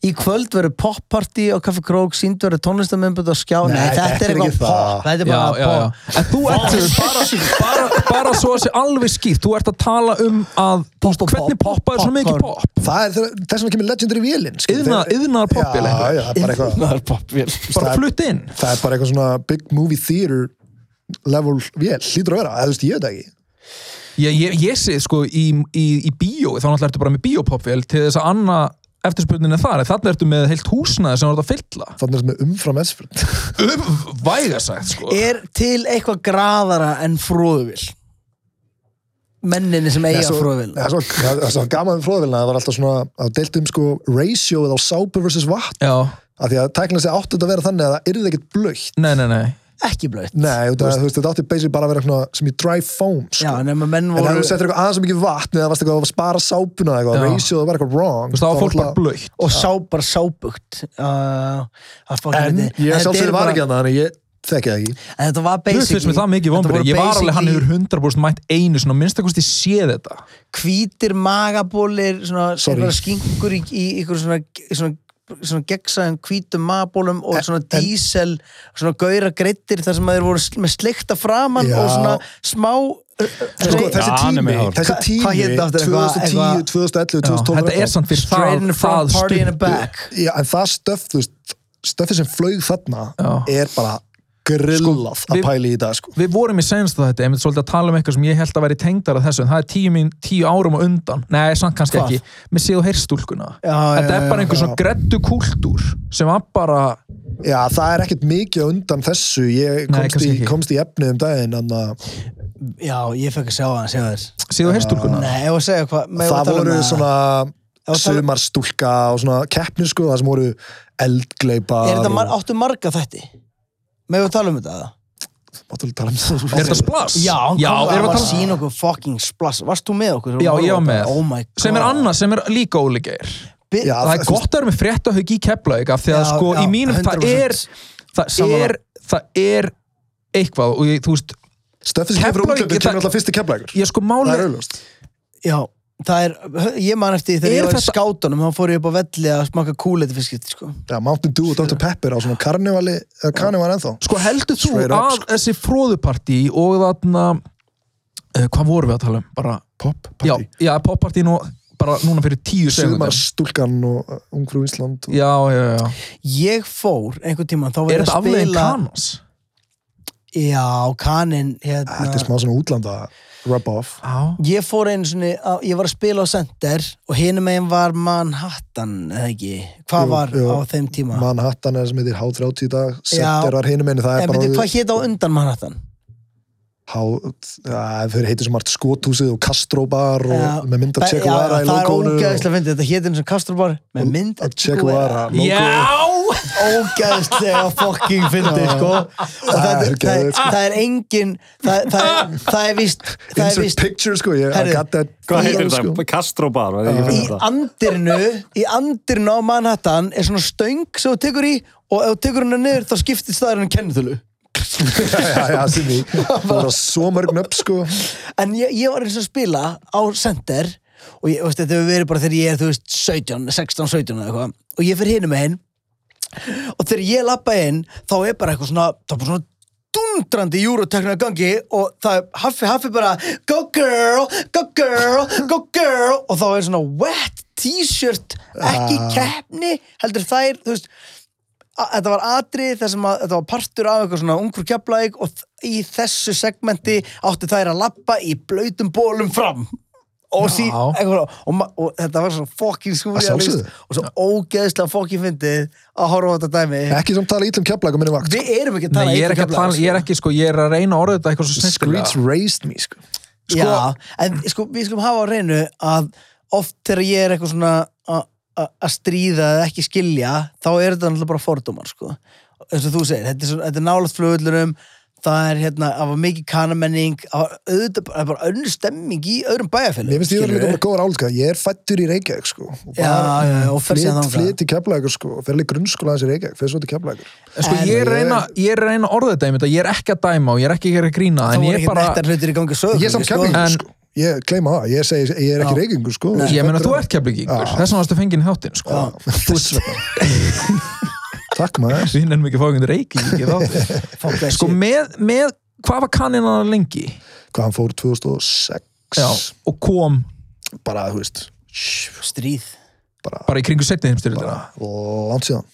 Speaker 2: Í kvöld verður popparti á kaffi krók Sýnd verður tónlistamömbut á skjá Nei, þetta er
Speaker 3: ekki
Speaker 2: eitthvað
Speaker 3: það.
Speaker 2: pop Þetta
Speaker 1: já,
Speaker 2: er bara
Speaker 1: já, já
Speaker 2: pop
Speaker 1: en þú ert bara, bara, bara svo að sé alveg skýrt þú ert að tala um að
Speaker 2: Pop og
Speaker 1: hvernig
Speaker 2: pop,
Speaker 1: poppa er svo mikið
Speaker 2: popcorn.
Speaker 1: pop
Speaker 3: Það er þeir- þess vegna kemur legendary vélinn sko.
Speaker 1: Iðna-
Speaker 3: Þeir-
Speaker 1: iðnaðar popvél
Speaker 3: Já,
Speaker 1: eitthvað.
Speaker 3: já, það er bara eitthvað
Speaker 4: Það er pappvél.
Speaker 1: bara flutt inn
Speaker 3: Það er bara eitthvað svona big movie theater level vél, hlýtur að vera eða þú veist, ég veit það ekki
Speaker 1: ég, ég, ég sé sko í, í, í bíó þá náttúrulega ertu bara með bíópopvél til þess að anna eftirspurnin er þar en þannig ertu með heilt húsnaði sem þú ert að fylla
Speaker 3: þannig að með umfram esfrönd
Speaker 1: um, væga sagt sko
Speaker 2: Er til eitthvað graðara en fróðuvill? Menninni sem eiga fróðuvill
Speaker 3: það er svo, það er svo gaman við fróðvilna það var alltaf svona, það deilt um sko ratioið á sápu versus vatn
Speaker 1: já,
Speaker 3: af því að tækna sig áttu þetta að vera þannig að það yrði ekkert blöitt
Speaker 1: nei, nei, nei
Speaker 2: Ekki blöitt
Speaker 3: Nei, út af að, þú veist, þetta átti basically bara að vera svona, sem í dry foam sko.
Speaker 2: Já, nema menn
Speaker 3: en
Speaker 2: voru
Speaker 3: ef þú settir eitthvað aðeins mikið vatn eða varst eitthvað að spara sápuna eða eitthvað,
Speaker 1: Já.
Speaker 3: ratioið var eitthvað wrong
Speaker 1: þú veist það var fólk bara
Speaker 3: náttúrulega-
Speaker 1: blöitt
Speaker 2: og sá bara sábugt uh,
Speaker 3: en ég sjálfsögur var ekki
Speaker 2: en
Speaker 3: að þannig að ég þekki það ekki
Speaker 2: þetta var
Speaker 1: Hlut finnst
Speaker 2: basically
Speaker 1: mér það mikið
Speaker 2: þetta
Speaker 1: vonbrið,
Speaker 2: voru
Speaker 1: ég var alveg hann
Speaker 2: basically
Speaker 1: hefur 100% mætt einu svona, minnstakosti sé þetta
Speaker 2: hvítir magabólir svona
Speaker 3: Sorry.
Speaker 2: einhverjar skinkur í, í ykkur svona, svona svona gegnsæðum hvítum magabólum og svona dísel svona gauðra greittir þar sem þeir voru sl- með sleikta framann
Speaker 3: Já.
Speaker 2: og svona smá
Speaker 3: sko,
Speaker 2: sko,
Speaker 3: þessi
Speaker 4: Já, hann er
Speaker 3: tími,
Speaker 4: með hár.
Speaker 3: þessi
Speaker 2: Hva- hvað
Speaker 3: tími
Speaker 2: hét aftur, eitthvað-
Speaker 3: 2010,
Speaker 2: eitthvað-
Speaker 3: 2011,
Speaker 1: Já,
Speaker 3: 2012
Speaker 1: Þetta er samt fyrir
Speaker 2: straight
Speaker 1: það,
Speaker 2: in the
Speaker 1: það
Speaker 2: front party in the
Speaker 1: stundu
Speaker 2: back
Speaker 3: já, en það stöf, þú veist stöfið sem flög þarna
Speaker 1: Já.
Speaker 3: er bara grillað
Speaker 1: við-
Speaker 3: að pæli í dag sko.
Speaker 1: Við vorum í senst að þetta, einmitt svolítið að tala um eitthvað sem ég held að væri tengdara þessu, en það er tíu, mín, tíu árum og undan, nei, samt kannski
Speaker 2: Hvað?
Speaker 1: ekki með séð og heyrstúlkuna
Speaker 2: Já,
Speaker 1: Þetta
Speaker 2: já,
Speaker 1: er
Speaker 2: já,
Speaker 1: bara einhver
Speaker 3: já.
Speaker 1: svona grettu kúltúr sem var bara,
Speaker 3: já, það er ekkert mikið á undan þessu ég
Speaker 1: Nei,
Speaker 3: komst,
Speaker 1: kannski
Speaker 3: í,
Speaker 1: ekki.
Speaker 3: komst í efnið um daginn en að
Speaker 2: já, ég fekk að sjá hann, sjá þér
Speaker 1: séð og heyrstúlkuna
Speaker 2: nei, ég var að segja hvað megum við
Speaker 3: það
Speaker 2: tala um
Speaker 3: voru svona
Speaker 2: var tala-
Speaker 3: sumarstúlka og svona keppni sko, það sem voru eldgleipa
Speaker 2: Er þetta mar
Speaker 3: og,
Speaker 2: áttu marga þætti? Megum við tala um þetta? eða?
Speaker 3: Máttu tala um það?
Speaker 1: Er þetta splass?
Speaker 2: Já, hann
Speaker 1: já, erum
Speaker 2: kom að,
Speaker 1: við
Speaker 2: að
Speaker 1: að tala um
Speaker 2: sína okkur fucking splass Varst þú með okkur?
Speaker 1: Já, ég var með.
Speaker 2: Oh my god
Speaker 1: sem er annað, sem er líka ólíkir
Speaker 2: Bi-
Speaker 3: Já,
Speaker 1: Það er
Speaker 3: þú veist-
Speaker 1: gott að vera með fréttahauk í Keflavík af því að
Speaker 2: Já,
Speaker 1: sko
Speaker 2: já,
Speaker 1: í mínum, það er
Speaker 2: 100%.
Speaker 1: það
Speaker 2: Sammála.
Speaker 1: er, það er eitthvað og ég, þú veist,
Speaker 3: Stöfið sem kemur
Speaker 1: Keflavík,
Speaker 3: útlöfum
Speaker 1: það-
Speaker 3: kemur alltaf fyrst í keflækur
Speaker 1: ég sko
Speaker 3: það
Speaker 1: máli
Speaker 3: er auðlust
Speaker 2: Já, það er Ég man eftir þegar
Speaker 1: Er
Speaker 2: ég var í
Speaker 1: þetta-
Speaker 2: skátunum þá fór ég upp á velli að smaka kúleiti fiskit sko.
Speaker 3: Já, Mountain Dew og Dr. Pepper á svona karnevali eða karneval ennþá
Speaker 1: Sko heldur þú
Speaker 3: Straight up,
Speaker 1: að þessi fróðupartí og þarna uh, hvað vorum við að tala um? Bara,
Speaker 3: Pop,
Speaker 1: já,
Speaker 3: party
Speaker 1: já, poppartín og bara núna fyrir tíu segundum
Speaker 3: Sumar stúlkan og uh, Ungfrú Ísland og...
Speaker 1: Já, já, já.
Speaker 2: Ég fór einhvern tímann þá
Speaker 1: Er
Speaker 2: var ég að
Speaker 1: þetta aflegin
Speaker 2: spila
Speaker 1: kanons?
Speaker 2: Já, kanin hérna.
Speaker 3: Þetta er smá svona útlanda rub-off
Speaker 1: Já.
Speaker 2: Ég fór einu svona, á, ég var að spila á Center og hinum megin var Manhattan eða ekki, hvað
Speaker 3: Jú,
Speaker 2: var
Speaker 3: jú.
Speaker 2: á þeim tíma?
Speaker 3: Manhattan er sem heitir H30 í dag Setterar hinum einu,
Speaker 2: en
Speaker 3: það er
Speaker 2: veitir
Speaker 3: bara
Speaker 2: hvað hét á undan Manhattan?
Speaker 3: Há, ja, þau heitir svo margt skothúsið og Castro bar og
Speaker 2: Já.
Speaker 3: með mynd
Speaker 2: Þa-
Speaker 3: af Che Guevara
Speaker 2: já,
Speaker 3: í
Speaker 2: það er
Speaker 3: logoinu
Speaker 2: ógæðislega fyndið, þetta hétt eins og Kasturbar með mynd
Speaker 3: að Che Guevara logo.
Speaker 1: Já!
Speaker 2: ógæðislega fucking fyndið sko og það, það,
Speaker 3: er
Speaker 2: það,
Speaker 3: geðveikt, sko.
Speaker 2: það er engin það, það, er, það er víst það er
Speaker 3: Insert
Speaker 2: víst
Speaker 3: picture sko, ég I
Speaker 2: Herri,
Speaker 3: got that
Speaker 4: Hvað
Speaker 2: Í-
Speaker 4: heitir
Speaker 3: sko.
Speaker 4: þetta? Castro bar, var ég ekki
Speaker 2: í
Speaker 4: fyrir þetta?
Speaker 2: andirnu í andirnu á Manhattan er svona stöng sem þú tekur í og ef þú tekur hennar niður þá skiptist það hennar kennitölu
Speaker 3: já, já, sem ég það voru svo mörg nöpp sko
Speaker 2: en ég, ég var eins og að spila á center og ég, veist, þetta hefur verið bara þegar ég er þú veist 17, 16, 17 eða eitthvað og ég fyrir hinum einn og þegar ég lappa inn þá er bara eitthvað svona, það er bara svona dundrandi júrotekna gangi og það er haffi, haffi bara go girl, go girl, go girl og þá er svona wet t-shirt ekki
Speaker 3: Ah.
Speaker 2: keppni heldur þær, þú veist a- þetta var atrið þar sem að þetta var partur af eitthvað svona ungur keflaðik og þ- í þessu segmenti áttu þær að lappa í blautum bólum fram og, sí,
Speaker 1: Já.
Speaker 2: eitthvað, og, ma- og þetta var svona fokkin
Speaker 3: sjálfsögðu.
Speaker 2: skúrialist og svo ógeðslega fokkin fyndið að horfa á þetta dæmi
Speaker 3: ekki sem tala ítlum keflag á minni vakt
Speaker 2: við erum ekki að tala
Speaker 1: Nei, ég er ekki að
Speaker 2: íþróttakafla,
Speaker 1: tala,
Speaker 2: sko.
Speaker 1: ég er ekki, sko, ég er að reyna að orða þetta eitthvað svo snittilega.
Speaker 3: Screech raised me sko
Speaker 1: Sko-
Speaker 2: Já, en sko, við skulum hafa á reynu að oft þegar ég er eitthvað svona a- a- að stríða eða ekki skilja, þá er þetta náttúrulega bara fordómar, sko. Eins og þú segir, þetta er, svona- þetta er nálaðt flugullurum, það er hérna, það var mikið kanamenning, það var auðvitað bara- það er bara önnur stemming í öðrum bæjarfélum.
Speaker 3: Mér finnst ég verið líka bara góður álíka, ég er fættur í Reykjavík sko, og
Speaker 2: Já, já, já, og fer síðan
Speaker 3: flytt
Speaker 2: þangað.
Speaker 3: flyt í Keflavíkur sko, og fer alveg grunnskóla aðeins í Reykjavík, fer svo til Keflavíkur.
Speaker 1: En Sko,
Speaker 2: En-
Speaker 1: ég er að reyna, ég er að reyna að orða þetta einmitt, að ég er ekki að dæma og ég er ekki að gera grína,
Speaker 2: Það
Speaker 1: en
Speaker 2: voru
Speaker 1: ég
Speaker 2: ekki bara...
Speaker 1: bara,
Speaker 2: nettar hlutir í gangi sögum.
Speaker 3: Ég er samt Keflavíkur sko, ég kleima það, ég segi, ég er ekki
Speaker 2: Já.
Speaker 3: Reykjavíkur sko.
Speaker 1: ég meina, þú ert keflingingur, þess vegna varstu fenginn í þáttinn, sko.
Speaker 3: Þess vegna. Takk maður.
Speaker 1: Við nefnum ekki fáið reykjum í þáttinn. Sko,
Speaker 2: Sko,
Speaker 1: með, með, hvað var kanina lengi?
Speaker 3: Hvað hann fór 2006,
Speaker 1: Já, og kom
Speaker 3: bara, þú veist,
Speaker 2: stríð.
Speaker 1: bara í kringu setni heimstyrjöldina.
Speaker 3: langt síðan.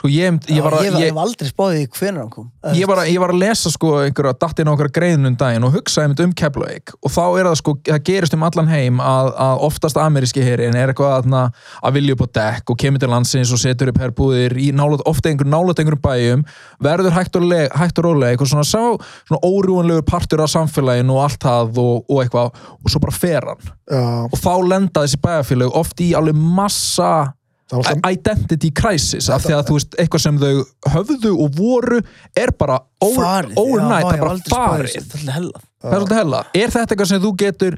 Speaker 1: Sko, ég, ég var að,
Speaker 2: ég,
Speaker 1: ég,
Speaker 2: hef aldrei spáðið hvernig hann kom.
Speaker 1: ég var, að, ég var að lesa sko einhverja dattinn á okkur greiðnum daginn og hugsaði mitt um Keflavík og þá er það sko, það gerist um allan heim að, að oftast ameríski herin er eitthvað þarna að vilja upp á dekk og kemur til landsins og setur upp herbúðir í nálat, ofta einhver nálat einhverjum bæjum verður hægt og, leg, hægt og rólega eitthvað svona, sá, svona órjúanlegur partur af samfélaginu og allt það og, og eitthvað og svo bara fer hann
Speaker 3: Já,
Speaker 1: og þá lenda þessi bæjarfélög oft í alveg massa
Speaker 3: það var alltaf,
Speaker 1: identity crisis af því að þú veist, eitthvað sem þau höfðu og voru er bara
Speaker 2: Farið,
Speaker 1: overnight, það er
Speaker 2: já, ég hef
Speaker 1: bara
Speaker 2: aldrei spáð
Speaker 1: farið
Speaker 2: þessu, þetta er hella.
Speaker 1: það er svolítið hella, er þetta eitthvað sem þú getur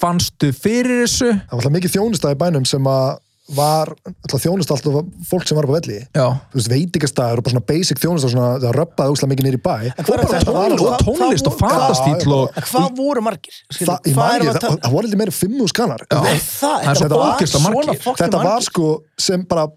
Speaker 1: fannstu fyrir þessu
Speaker 3: það var alltaf mikið þjónustæði bænum sem að var, alltaf þjónust alltaf fólk sem var upp á velli.
Speaker 1: já,
Speaker 3: Þú veist, veitingastæður og bara svona basic þjónustæður, svona, það röppaði úkslega mikið niður í bæ.
Speaker 2: Hvað er
Speaker 1: bara
Speaker 2: þetta?
Speaker 1: tónlist og
Speaker 2: Hvað-
Speaker 1: tónlist og
Speaker 2: hvað voru-
Speaker 1: fatastíl og
Speaker 2: En Hvað voru margir? Skilur,
Speaker 3: Það, ég
Speaker 2: hvað
Speaker 3: man
Speaker 2: erum
Speaker 3: ég,
Speaker 2: við að
Speaker 3: það,
Speaker 2: tala-
Speaker 3: það voru aldrei meira fimmu skanar.
Speaker 1: Já.
Speaker 2: Nei, það,
Speaker 1: Það er svo
Speaker 2: þetta var
Speaker 1: ógeðslega
Speaker 2: svona
Speaker 1: margir.
Speaker 2: fucking
Speaker 3: Þetta var
Speaker 2: margir.
Speaker 3: sko sem bara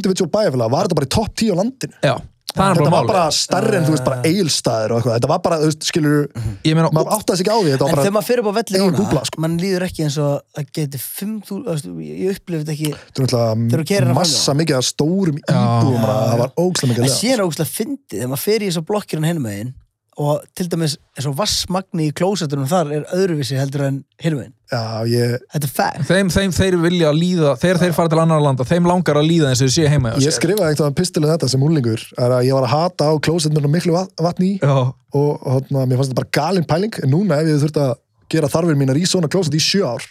Speaker 3: individual bæjarfélag, var þetta bara í topp 10 á landinu.
Speaker 1: já, það er
Speaker 3: Þetta
Speaker 1: bara
Speaker 3: var
Speaker 1: máli
Speaker 3: bara starri en þú veist bara
Speaker 2: Eh.
Speaker 3: eilstaðir og eitthvað. Þetta var bara, þú veist, skilur,
Speaker 1: ég meina,
Speaker 3: maður áttaði sig ekki á því.
Speaker 2: Mhm.
Speaker 3: Þetta
Speaker 2: En
Speaker 3: var
Speaker 2: þegar
Speaker 3: bara,
Speaker 2: maður fyrir upp á velli
Speaker 3: eigin
Speaker 2: núna,
Speaker 3: búbla, sko.
Speaker 2: mann líður ekki eins og að geti 5.000, þú veist, ég upplifði þetta ekki
Speaker 3: þú
Speaker 2: þegar þú keyrir
Speaker 3: veist,
Speaker 2: hana
Speaker 3: massa mikið af stórum
Speaker 1: Já.
Speaker 3: íbúum, bara, það var ógslag
Speaker 2: En
Speaker 3: mikið lega.
Speaker 2: síðan er ógustlega fyndið, þegar maður fyrir í svo blokkirinn hinum megin og til dæmis eins og vassmagni í klósetunum þar er öðruvísi heldur en hinum megin.
Speaker 3: Já, ég,
Speaker 2: Þetta er fact.
Speaker 1: þeim, þeim þeir vilja að líða þeir þeir fara til annar landa, þeim langar að líða eins og þau séu heima hjá
Speaker 3: ég
Speaker 1: sér.
Speaker 3: skrifaði eitthvað um pistilið þetta sem úlingur, er að ég var að hata á klósetmjörnum miklu va- vatni í
Speaker 1: já,
Speaker 3: og hátna, mér fannst þetta bara galin pæling, en núna ef ég þurft að gera þarfir mínar í svona klóset í sjö ár,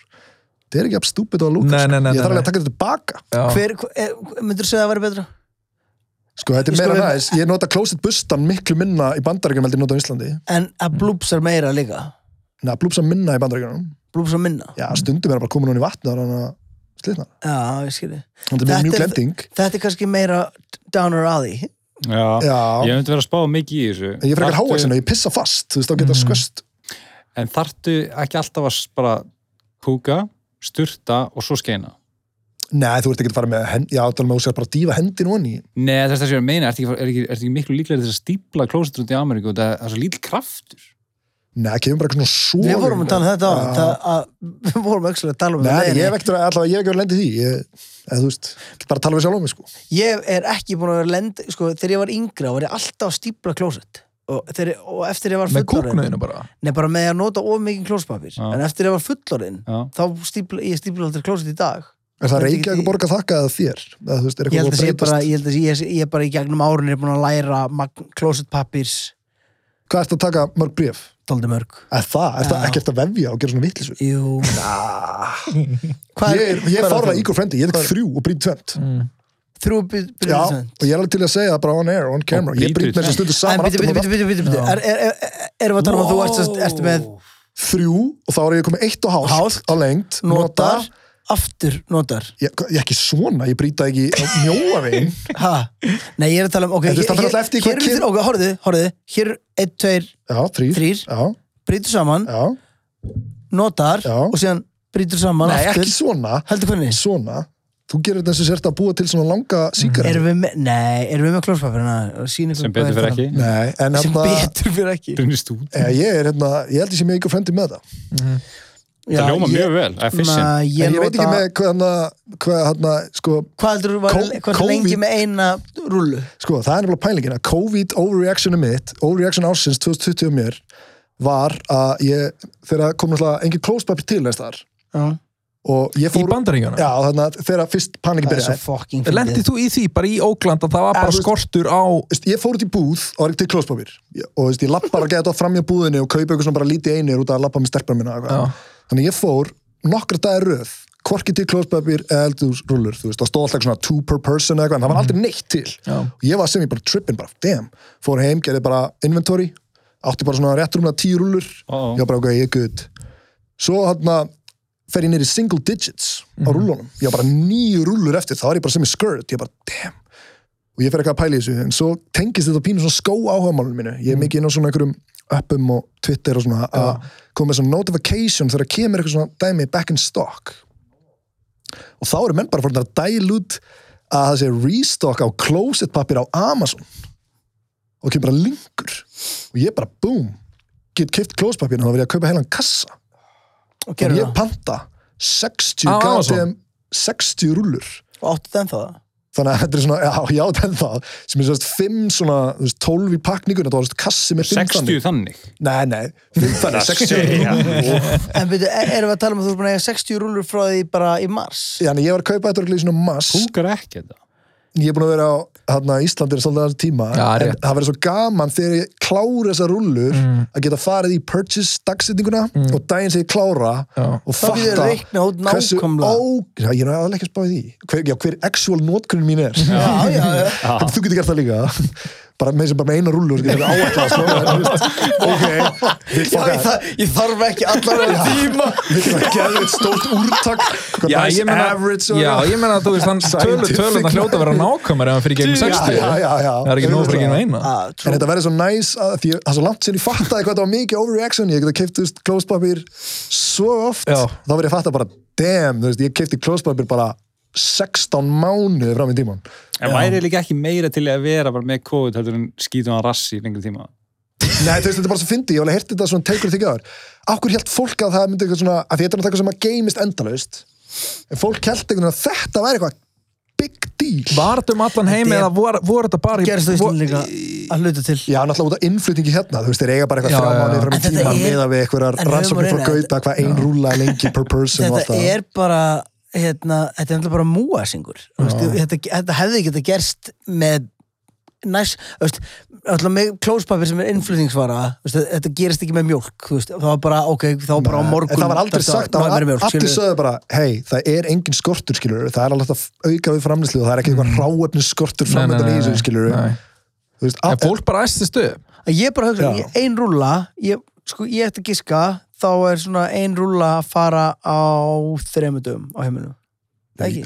Speaker 3: það er ekki jafn stúpid og að lúka,
Speaker 1: Nei, nei,
Speaker 3: sko.
Speaker 1: nei,
Speaker 3: ég
Speaker 1: nei,
Speaker 3: þarf alveg
Speaker 1: nei.
Speaker 3: að taka þetta tilbaka.
Speaker 1: já.
Speaker 2: Hver, hver- eh, myndirðu segja að það væri betra?
Speaker 3: Sko, þetta
Speaker 2: Ég
Speaker 3: er meira
Speaker 2: sko-
Speaker 3: næst. Ég nota klósett bustan miklu minna í bandaríkjum heldur en nota á Íslandi.
Speaker 2: En að blúpsar meira líka.
Speaker 3: Nei, blúpsa minna í bandaríkjum.
Speaker 2: Blúpsar minna.
Speaker 3: Já, stundum er það bara komin hún í vatn og hann að slitna.
Speaker 2: Já, ég skilji.
Speaker 3: Þetta er
Speaker 2: Þetta
Speaker 3: mjög mjúk
Speaker 2: er-
Speaker 3: lending.
Speaker 2: Þetta er kannski meira downer alley.
Speaker 4: Já, ég
Speaker 3: Já,
Speaker 4: myndi vera að spá mikið í þessu
Speaker 3: en ég fyrir ekki
Speaker 4: Þarftu-
Speaker 3: háaksinn og ég pissa fast, þú veist, þá
Speaker 2: Mm.
Speaker 3: geta skvöst.
Speaker 4: En þartu ekki alltaf að s- bara kúka, sturta og svo skeina?
Speaker 3: Nei, þú ert ekki að fara með hend, já, þannig að þú sér bara að dífa hendin honni.
Speaker 4: Nei, þess að þessi er að meina, ertu ekki, er ekki, er ekki miklu líklega þess að stípla klósetur út í Ameríku og það það er svo lítill kraftur?
Speaker 3: Nei, kemur bara eitthvað svona svo.
Speaker 2: Við vorum að tala um þetta á,
Speaker 3: Já.
Speaker 2: það, að, við vorum aukslega að tala um
Speaker 3: Nei,
Speaker 2: þetta.
Speaker 3: ég hef ekkert að, allavega, ég hef ekki verið að lenda í því. Ég, eða, þú veist, ég bara að tala við sjálf um mig, sko.
Speaker 2: Ég er ekki búin að vera lend, sko, þegar ég var yngra var ég alltaf að stípla klósett. Og, þegar, og eftir ég var
Speaker 1: með
Speaker 2: fullorinn,
Speaker 1: kúknuðinu bara
Speaker 2: nei bara með að nota of mikið klóspapir,
Speaker 4: Já.
Speaker 2: en eftir ég var fullorinn,
Speaker 4: Já.
Speaker 2: þá stípla, ég stípla aldrei klósett í dag.
Speaker 3: Er það
Speaker 2: Þetta er
Speaker 3: reykja
Speaker 2: ekki-
Speaker 3: eitthvað borga þakka eða þér? Eða, þú veist, er
Speaker 2: Ég held að
Speaker 3: eitthvað búið
Speaker 2: sé
Speaker 3: að
Speaker 2: bara,
Speaker 3: breytast?
Speaker 2: ég held að sé, ég, sé- ég er bara í gegnum árunni búin að læra klósettpapirs,
Speaker 3: Hvað ert að taka mörg bréf?
Speaker 2: daldi mörg.
Speaker 3: Er það? Er það
Speaker 2: Já.
Speaker 3: ekki eftir að vefja og gera svona vittlisu?
Speaker 2: Jú. Hvað
Speaker 3: Ég,
Speaker 2: er-
Speaker 3: er- ég
Speaker 2: hvað er Mm.
Speaker 3: fór
Speaker 2: það?
Speaker 3: það Ígor Frendi, ég tek þrjú og brýt tvent.
Speaker 2: Þrjú byrjum
Speaker 3: Já, og ég er alveg til að segja það bara on air, on camera. Ég
Speaker 4: brýt
Speaker 3: brýt með
Speaker 4: tvent.
Speaker 3: þessu stundu
Speaker 2: En
Speaker 3: saman
Speaker 2: bíddu,
Speaker 3: aftur
Speaker 2: bíddu,
Speaker 3: og aftur.
Speaker 2: bíddu, bíddu, bíddu. Er- er- er- er- Erum við að tala um að þú ert, sem sagt- ertu með
Speaker 3: Þrjú og þá er ég komið eitt og hálft
Speaker 2: Hálft.
Speaker 3: á lengt.
Speaker 2: Notar. aftur notar
Speaker 3: ég, ég ekki svona, ég brýta ekki á mjóavegin
Speaker 2: ha. Nei, ég er að tala um ok,
Speaker 3: En þú veist, það fer alltaf eftir í
Speaker 2: hér,
Speaker 3: hvað
Speaker 2: hér,
Speaker 3: kyn-
Speaker 2: ok, horfðu, horfðu hér, einn, tveir,
Speaker 3: já, þrýr,
Speaker 2: Þrír.
Speaker 3: já,
Speaker 2: brýtur saman
Speaker 3: já,
Speaker 2: notar
Speaker 3: Já.
Speaker 2: og síðan brýtur saman
Speaker 3: nei,
Speaker 2: aftur
Speaker 3: ekki svona
Speaker 2: heldur hvernig?
Speaker 3: svona, þú gerir þetta eins og sért að búa til svona langa síkara
Speaker 2: Erum við með, nei, erum við með klóspapirina?
Speaker 4: sem betur fyrir ekki
Speaker 3: nei, en
Speaker 2: Sem
Speaker 3: hérna
Speaker 2: betur fyrir ekki
Speaker 4: Brunist út
Speaker 3: eh, ég er hérna, ég held ég sé mjög ykkur frendi með það
Speaker 4: Það ljóma mjög vel, efficient
Speaker 2: Nei, ég,
Speaker 3: en ég veit ekki
Speaker 2: nota-
Speaker 3: með hvað hérna, hvað hérna, sko
Speaker 2: Hvað heldur þú var
Speaker 3: Kó-
Speaker 2: hvað ertu lengi
Speaker 3: COVID-
Speaker 2: með eina rullu?
Speaker 3: sko, það er nefnilega pælingin að COVID overreactionu mitt, overreaction ársins 2020 og mér, var að ég, þegar kom náttúrulega engin klóspapir til næst þar
Speaker 2: Já.
Speaker 3: og ég
Speaker 1: í
Speaker 3: fór,
Speaker 1: bandaríkjana
Speaker 3: já, þannig að þegar fyrst panikið
Speaker 2: Það er svo
Speaker 3: byrjaði,
Speaker 2: fucking
Speaker 1: Lendið
Speaker 2: fyndið.
Speaker 1: þú í því bara í Ókland að það var
Speaker 3: Já,
Speaker 1: bara
Speaker 3: þú veist-
Speaker 1: skortur á
Speaker 3: Veist, ég fór út í búð og var ekki til klóspapir Ég- og veist, ég lapp bara að geta þetta fram hjá búðinni og kaupa eitthvað svona bara lítið einir út að lappa með stelpar minna og eitthvað. þannig ég fór nokkra dagir röð hvorki til klóspapir eða eldurrúllur þú veist, það stóð alltaf eitthvað svona two per person eða eitthvað en það var aldrei neitt til
Speaker 1: Já.
Speaker 3: og ég var sem ég bara trippin, bara damn fór heim, gerði bara inventory átti bara svona rétt rúmlega tíu rúllur
Speaker 4: Ó, ó.
Speaker 3: ég var bara ok, ég er good svo hann fer ég niður í single digits á rúllunum, ég var bara nýju rúllur eftir þá er ég bara sem í skirt, ég bara damn og ég fer eitthvað að pæla í þessu, en svo tengist þetta pínu svona skó áhugamálunum mínu ég er mikið inn á svona einhverjum appum og Twitter og svona að koma með svona notification þegar kemur eitthvað svona dæmi back in stock og þá eru menn bara fórnir að dæla út að það sé restock á closetpapir á Amazon og kemur bara linkur og ég bara boom get kipt closetpapirinn og þá vil ég að kaupa heilan kassa
Speaker 2: Og
Speaker 3: og
Speaker 2: gerðu
Speaker 3: ég
Speaker 2: það.
Speaker 3: panta 60
Speaker 1: Á Amazon?
Speaker 3: goddamn- 60 rúllur
Speaker 2: Og áttu þeim það?
Speaker 3: þannig að þetta er svona, já, já, þetta er það sem er svona fimm svona, þú veist, 12 í pakningun þetta var svona kassi með fimm
Speaker 4: 60 þannig
Speaker 3: nei, nei, fimm þannig, 60
Speaker 4: segja.
Speaker 3: rúllur.
Speaker 2: En byrju, e- erum við að tala um að þú er búin að eiga 60 rúllur frá því bara í mars?
Speaker 3: þannig að ég var að kaupa þetta örugglega í svona mass
Speaker 4: Húkar ekki þetta
Speaker 3: ég er búin að vera á hérna, Íslandir svolítið aðeins tíma
Speaker 1: Já,
Speaker 3: en
Speaker 1: rétt. Mm.
Speaker 3: það verður svo gaman þegar ég klára þessar rullur að geta farið í purchase dagsetninguna og daginn sem ég klára
Speaker 1: Já.
Speaker 3: og
Speaker 2: Þá getur
Speaker 3: fatta
Speaker 2: þau reiknað út
Speaker 3: hversu
Speaker 2: nákvæmlega.
Speaker 3: ó... Já, ég er aðlega ekki að spá í því hver, já, hver actual notkunn mín er
Speaker 2: Já, já, já.
Speaker 3: en þú getur gert það líka bara með, sem bara með eina rullu og þú getur áætlað sko, en, þú veist, ok, vil
Speaker 2: já
Speaker 3: fokka
Speaker 2: ég, það, ég þarf ekki allar að tíma.
Speaker 3: vil það geða eitt stórt úrtak hvað
Speaker 1: Já,
Speaker 3: nice
Speaker 1: ég meina,
Speaker 3: average og-
Speaker 1: já, ég meina að þú veist, hann tölur
Speaker 3: Scientific.
Speaker 1: tölur það hljóta að vera nákvæmur ef hann fyrir gegnum
Speaker 3: Já,
Speaker 1: 60
Speaker 3: já, já, já.
Speaker 1: það er ekki nóg fyrir gegnum eina
Speaker 2: Ah,
Speaker 3: En
Speaker 2: trú.
Speaker 3: þetta verður svo næs að því að það er svo langt sér ég fattaði hvað það var mikið overreaction ég geta keiftust klóspapir svo oft
Speaker 1: Já.
Speaker 3: þá verður ég fatta bara damn, þú veist, ég keifti klóspapir bara 16 mánuði fram í tíman
Speaker 4: En væri líka ekki meira til að vera bara með COVID heldur en skýtum hann rassi í lengri tíma
Speaker 3: Nei, þú veist, þetta er bara svo fyndi, ég hef alveg hirti þetta svona teikur þig áður. Akkur held fólk að það myndi eitthvað svona, að því þetta er náttúrulega eitthvað sem að geimist endalaust en fólk held einhvern veginn að þetta væri eitthvað big deal
Speaker 1: Var þetta um allan heim
Speaker 2: Þetta er-
Speaker 1: eða voru, voru þetta bara í-
Speaker 2: Gerist þú
Speaker 1: voru-
Speaker 2: Ísland líka að hluta til.
Speaker 3: Já, náttúrulega út af innflutningi hérna, þú veist, þeir eiga bara
Speaker 1: Já,
Speaker 3: eitthvað þrjá
Speaker 1: já, já.
Speaker 3: mánuði fram í
Speaker 2: En þetta
Speaker 3: tíman
Speaker 2: er-
Speaker 3: meða við eitthvað
Speaker 2: en
Speaker 3: rannsóknir
Speaker 2: humorinn
Speaker 3: frá
Speaker 2: er-
Speaker 3: gauta, hvað ein rúlla er lengi per person og allt
Speaker 2: Þetta
Speaker 3: það.
Speaker 2: er bara, hérna, þetta er náttúrulega bara múasingur. Þú veist, Þetta, þetta hefði geta gerst með næst, þú veist, alltaf með klóspapir sem er innflutningsvara, þú veist, þetta gerist ekki með mjólk, þú veist, það var bara, ok, þá bara á
Speaker 3: Nei,
Speaker 2: morgun.
Speaker 3: Eh, en það var aldrei
Speaker 2: þetta-
Speaker 3: sagt,
Speaker 2: það var
Speaker 3: það
Speaker 2: meira
Speaker 3: var
Speaker 2: mjólk,
Speaker 3: allir
Speaker 2: skilurðu.
Speaker 3: sögðu bara hei, það er engin skortur skilur það er alltaf auka við framlýslu og það er ekki eitthvað ráefnis skortur
Speaker 1: Mm. Nei, nei,
Speaker 3: framöndan í
Speaker 1: nei,
Speaker 3: þessu skilur
Speaker 1: nei.
Speaker 3: þú veist,
Speaker 1: En
Speaker 3: að,
Speaker 1: fólk bara æsti stuð
Speaker 2: að ég bara hugsa,
Speaker 3: Já.
Speaker 2: ég- ein rúlla ég, sko, ég ætti að giska þá er svona ein rúlla að fara á þreymundum á heiminum Það ekki?
Speaker 3: ég,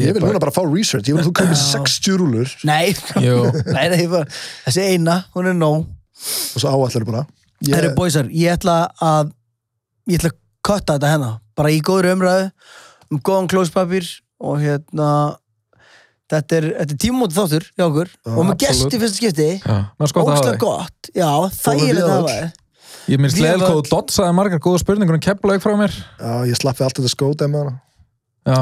Speaker 1: Ég
Speaker 3: ég vil
Speaker 1: bara-
Speaker 3: núna bara fá research, ég vil að þú kaupir 60 rúlur
Speaker 2: Nei,
Speaker 1: Jú.
Speaker 2: nei, nei bara, þessi eina, hún er nóg
Speaker 3: og svo áallar bara
Speaker 2: yeah. Herru
Speaker 3: ég,
Speaker 2: bóisar, ég ætla að ég ætla að kotta þetta hérna bara í góður umræðu um góðan klóspapir og hérna þetta er, þetta er tímúti þáttur hjá okkur og með
Speaker 1: absolutt.
Speaker 2: gesti í fyrsta skipti
Speaker 1: Mér sko að það
Speaker 2: ógstlega
Speaker 1: hafi
Speaker 2: gott, já, það
Speaker 3: við
Speaker 2: er þetta
Speaker 3: öll.
Speaker 2: hafa
Speaker 1: Ég minnst
Speaker 2: Við
Speaker 1: leðil hvað
Speaker 2: öll.
Speaker 1: þú dotsaði margar góða spurningur um keflaug frá mér
Speaker 3: já, ég slappi allt þetta skóta með hana
Speaker 1: Já,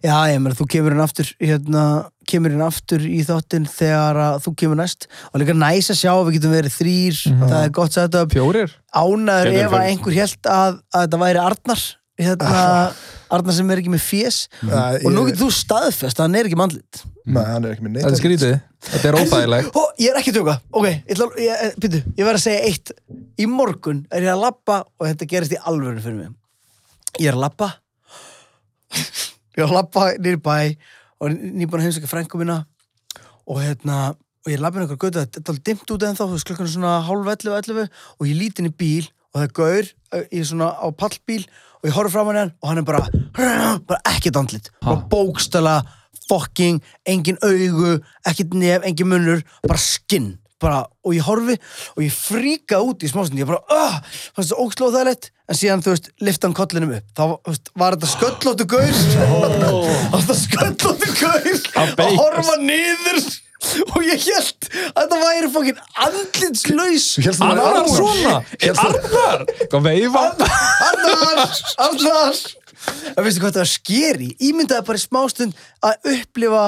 Speaker 2: Já, ég meina, þú kemur inn aftur hérna, kemur inn aftur í þáttinn þegar að þú kemur næst og líka næs að sjá að við getum verið þrýr það er gott setup,
Speaker 1: fjórir
Speaker 2: ánæður
Speaker 4: Getur
Speaker 2: ef að
Speaker 4: verið.
Speaker 2: einhver held að, að þetta væri Arnar hérna, Arnar sem er ekki með fés
Speaker 1: Mhm.
Speaker 3: Já,
Speaker 2: og nú
Speaker 3: ég-
Speaker 2: getur þú staðfest að hann er ekki mannlit
Speaker 3: Nei, hann er ekki með neitt
Speaker 1: Þetta er skrítið, þetta er óþægilegt
Speaker 2: Ó, ég er ekki að tjóka, ok, ég, ætla, að- ég, pítu, ég verð að segja eitt í morgun er ég að labba og þetta gerist í alvöru fyrir mig ég er að labba ég er að labba nýr bæ og nýbúin að heimsækja frængu mína og hérna og ég labba inn einhver götu, þetta er alveg dimmt út ennþá þú veist klukkan er svona hálf 11 og 11 og ég lít inn í bíl og það er gaur uh, í svona á pallbíl og ég horf fram hann hann og hann er bara, bara ekkert andlit bara bókstala, fucking engin augu, ekkert nef, engin munnur bara skinn bara, og ég horfi og ég fríka út í smástund ég bara, öh, fannst það ógslóð það lett en síðan, þú veist, lifta hann kollinum upp þá þú veist, var þetta sköllóttu gaur þá var þetta sköllóttu gaur að horfa niður og ég held að þetta væri fokkin andlitslaus
Speaker 3: hélst að það væri
Speaker 1: Arnar
Speaker 3: Arnar.
Speaker 1: svona!
Speaker 3: Ég held að-
Speaker 1: Arnar! Hvað veifa?
Speaker 2: Arnar, Arnar Það veistu hvað þetta var skeri Ímyndaði bara í smástund að upplifa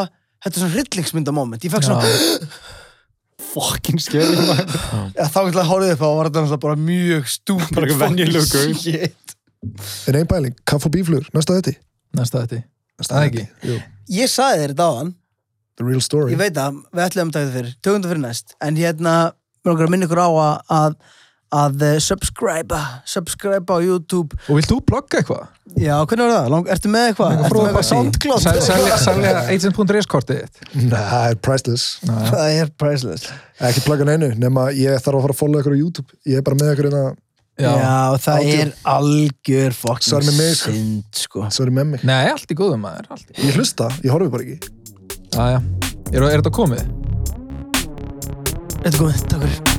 Speaker 2: Þetta er svona hryllingsmyndamoment Ég fekk svona,
Speaker 4: Fucking skeri maður.
Speaker 2: ja, þá ætlaði að horfið upp á og var þetta náttúrulega bara mjög stúpid
Speaker 4: Bara eitthvað venjulegur gaur.
Speaker 2: Shit.
Speaker 3: En einn pæling, kaff og bíflugur, næsta þetta
Speaker 1: Næsta þetta. Það ekki.
Speaker 2: Ég saði þér þetta á
Speaker 3: The real story
Speaker 2: Ég veit að við ætlum að taka þetta fyrir Tökum þetta fyrir næst En hérna, mér langar að minna ykkur á að, að að eh, subscribe subscribe á YouTube
Speaker 1: Og vilt þú blogga eitthvað?
Speaker 2: Já, hvernig var það? Lang, ertu með eitthvað? Ertu með eitthvað soundcloud?
Speaker 1: Sel- selja- Selja agent.res kortið þitt.
Speaker 3: Nei, það er priceless
Speaker 2: Það er priceless
Speaker 3: Ekki plugga neinu, nema ég þarf að fara að followa ykkur á YouTube Ég er bara með ykkur hérna, innan,
Speaker 2: Já, það
Speaker 3: Átján.
Speaker 2: er algjör
Speaker 3: Sorry
Speaker 2: fucking
Speaker 3: með mig, sko.
Speaker 2: synd, sko.
Speaker 3: sorry með mig
Speaker 1: Nei, allt í góðum maður. allt í-
Speaker 3: Ég hlusta, ég horfi bara ekki
Speaker 1: Já, já. Er er þetta komið?
Speaker 2: Þetta er komið, takk fyrir.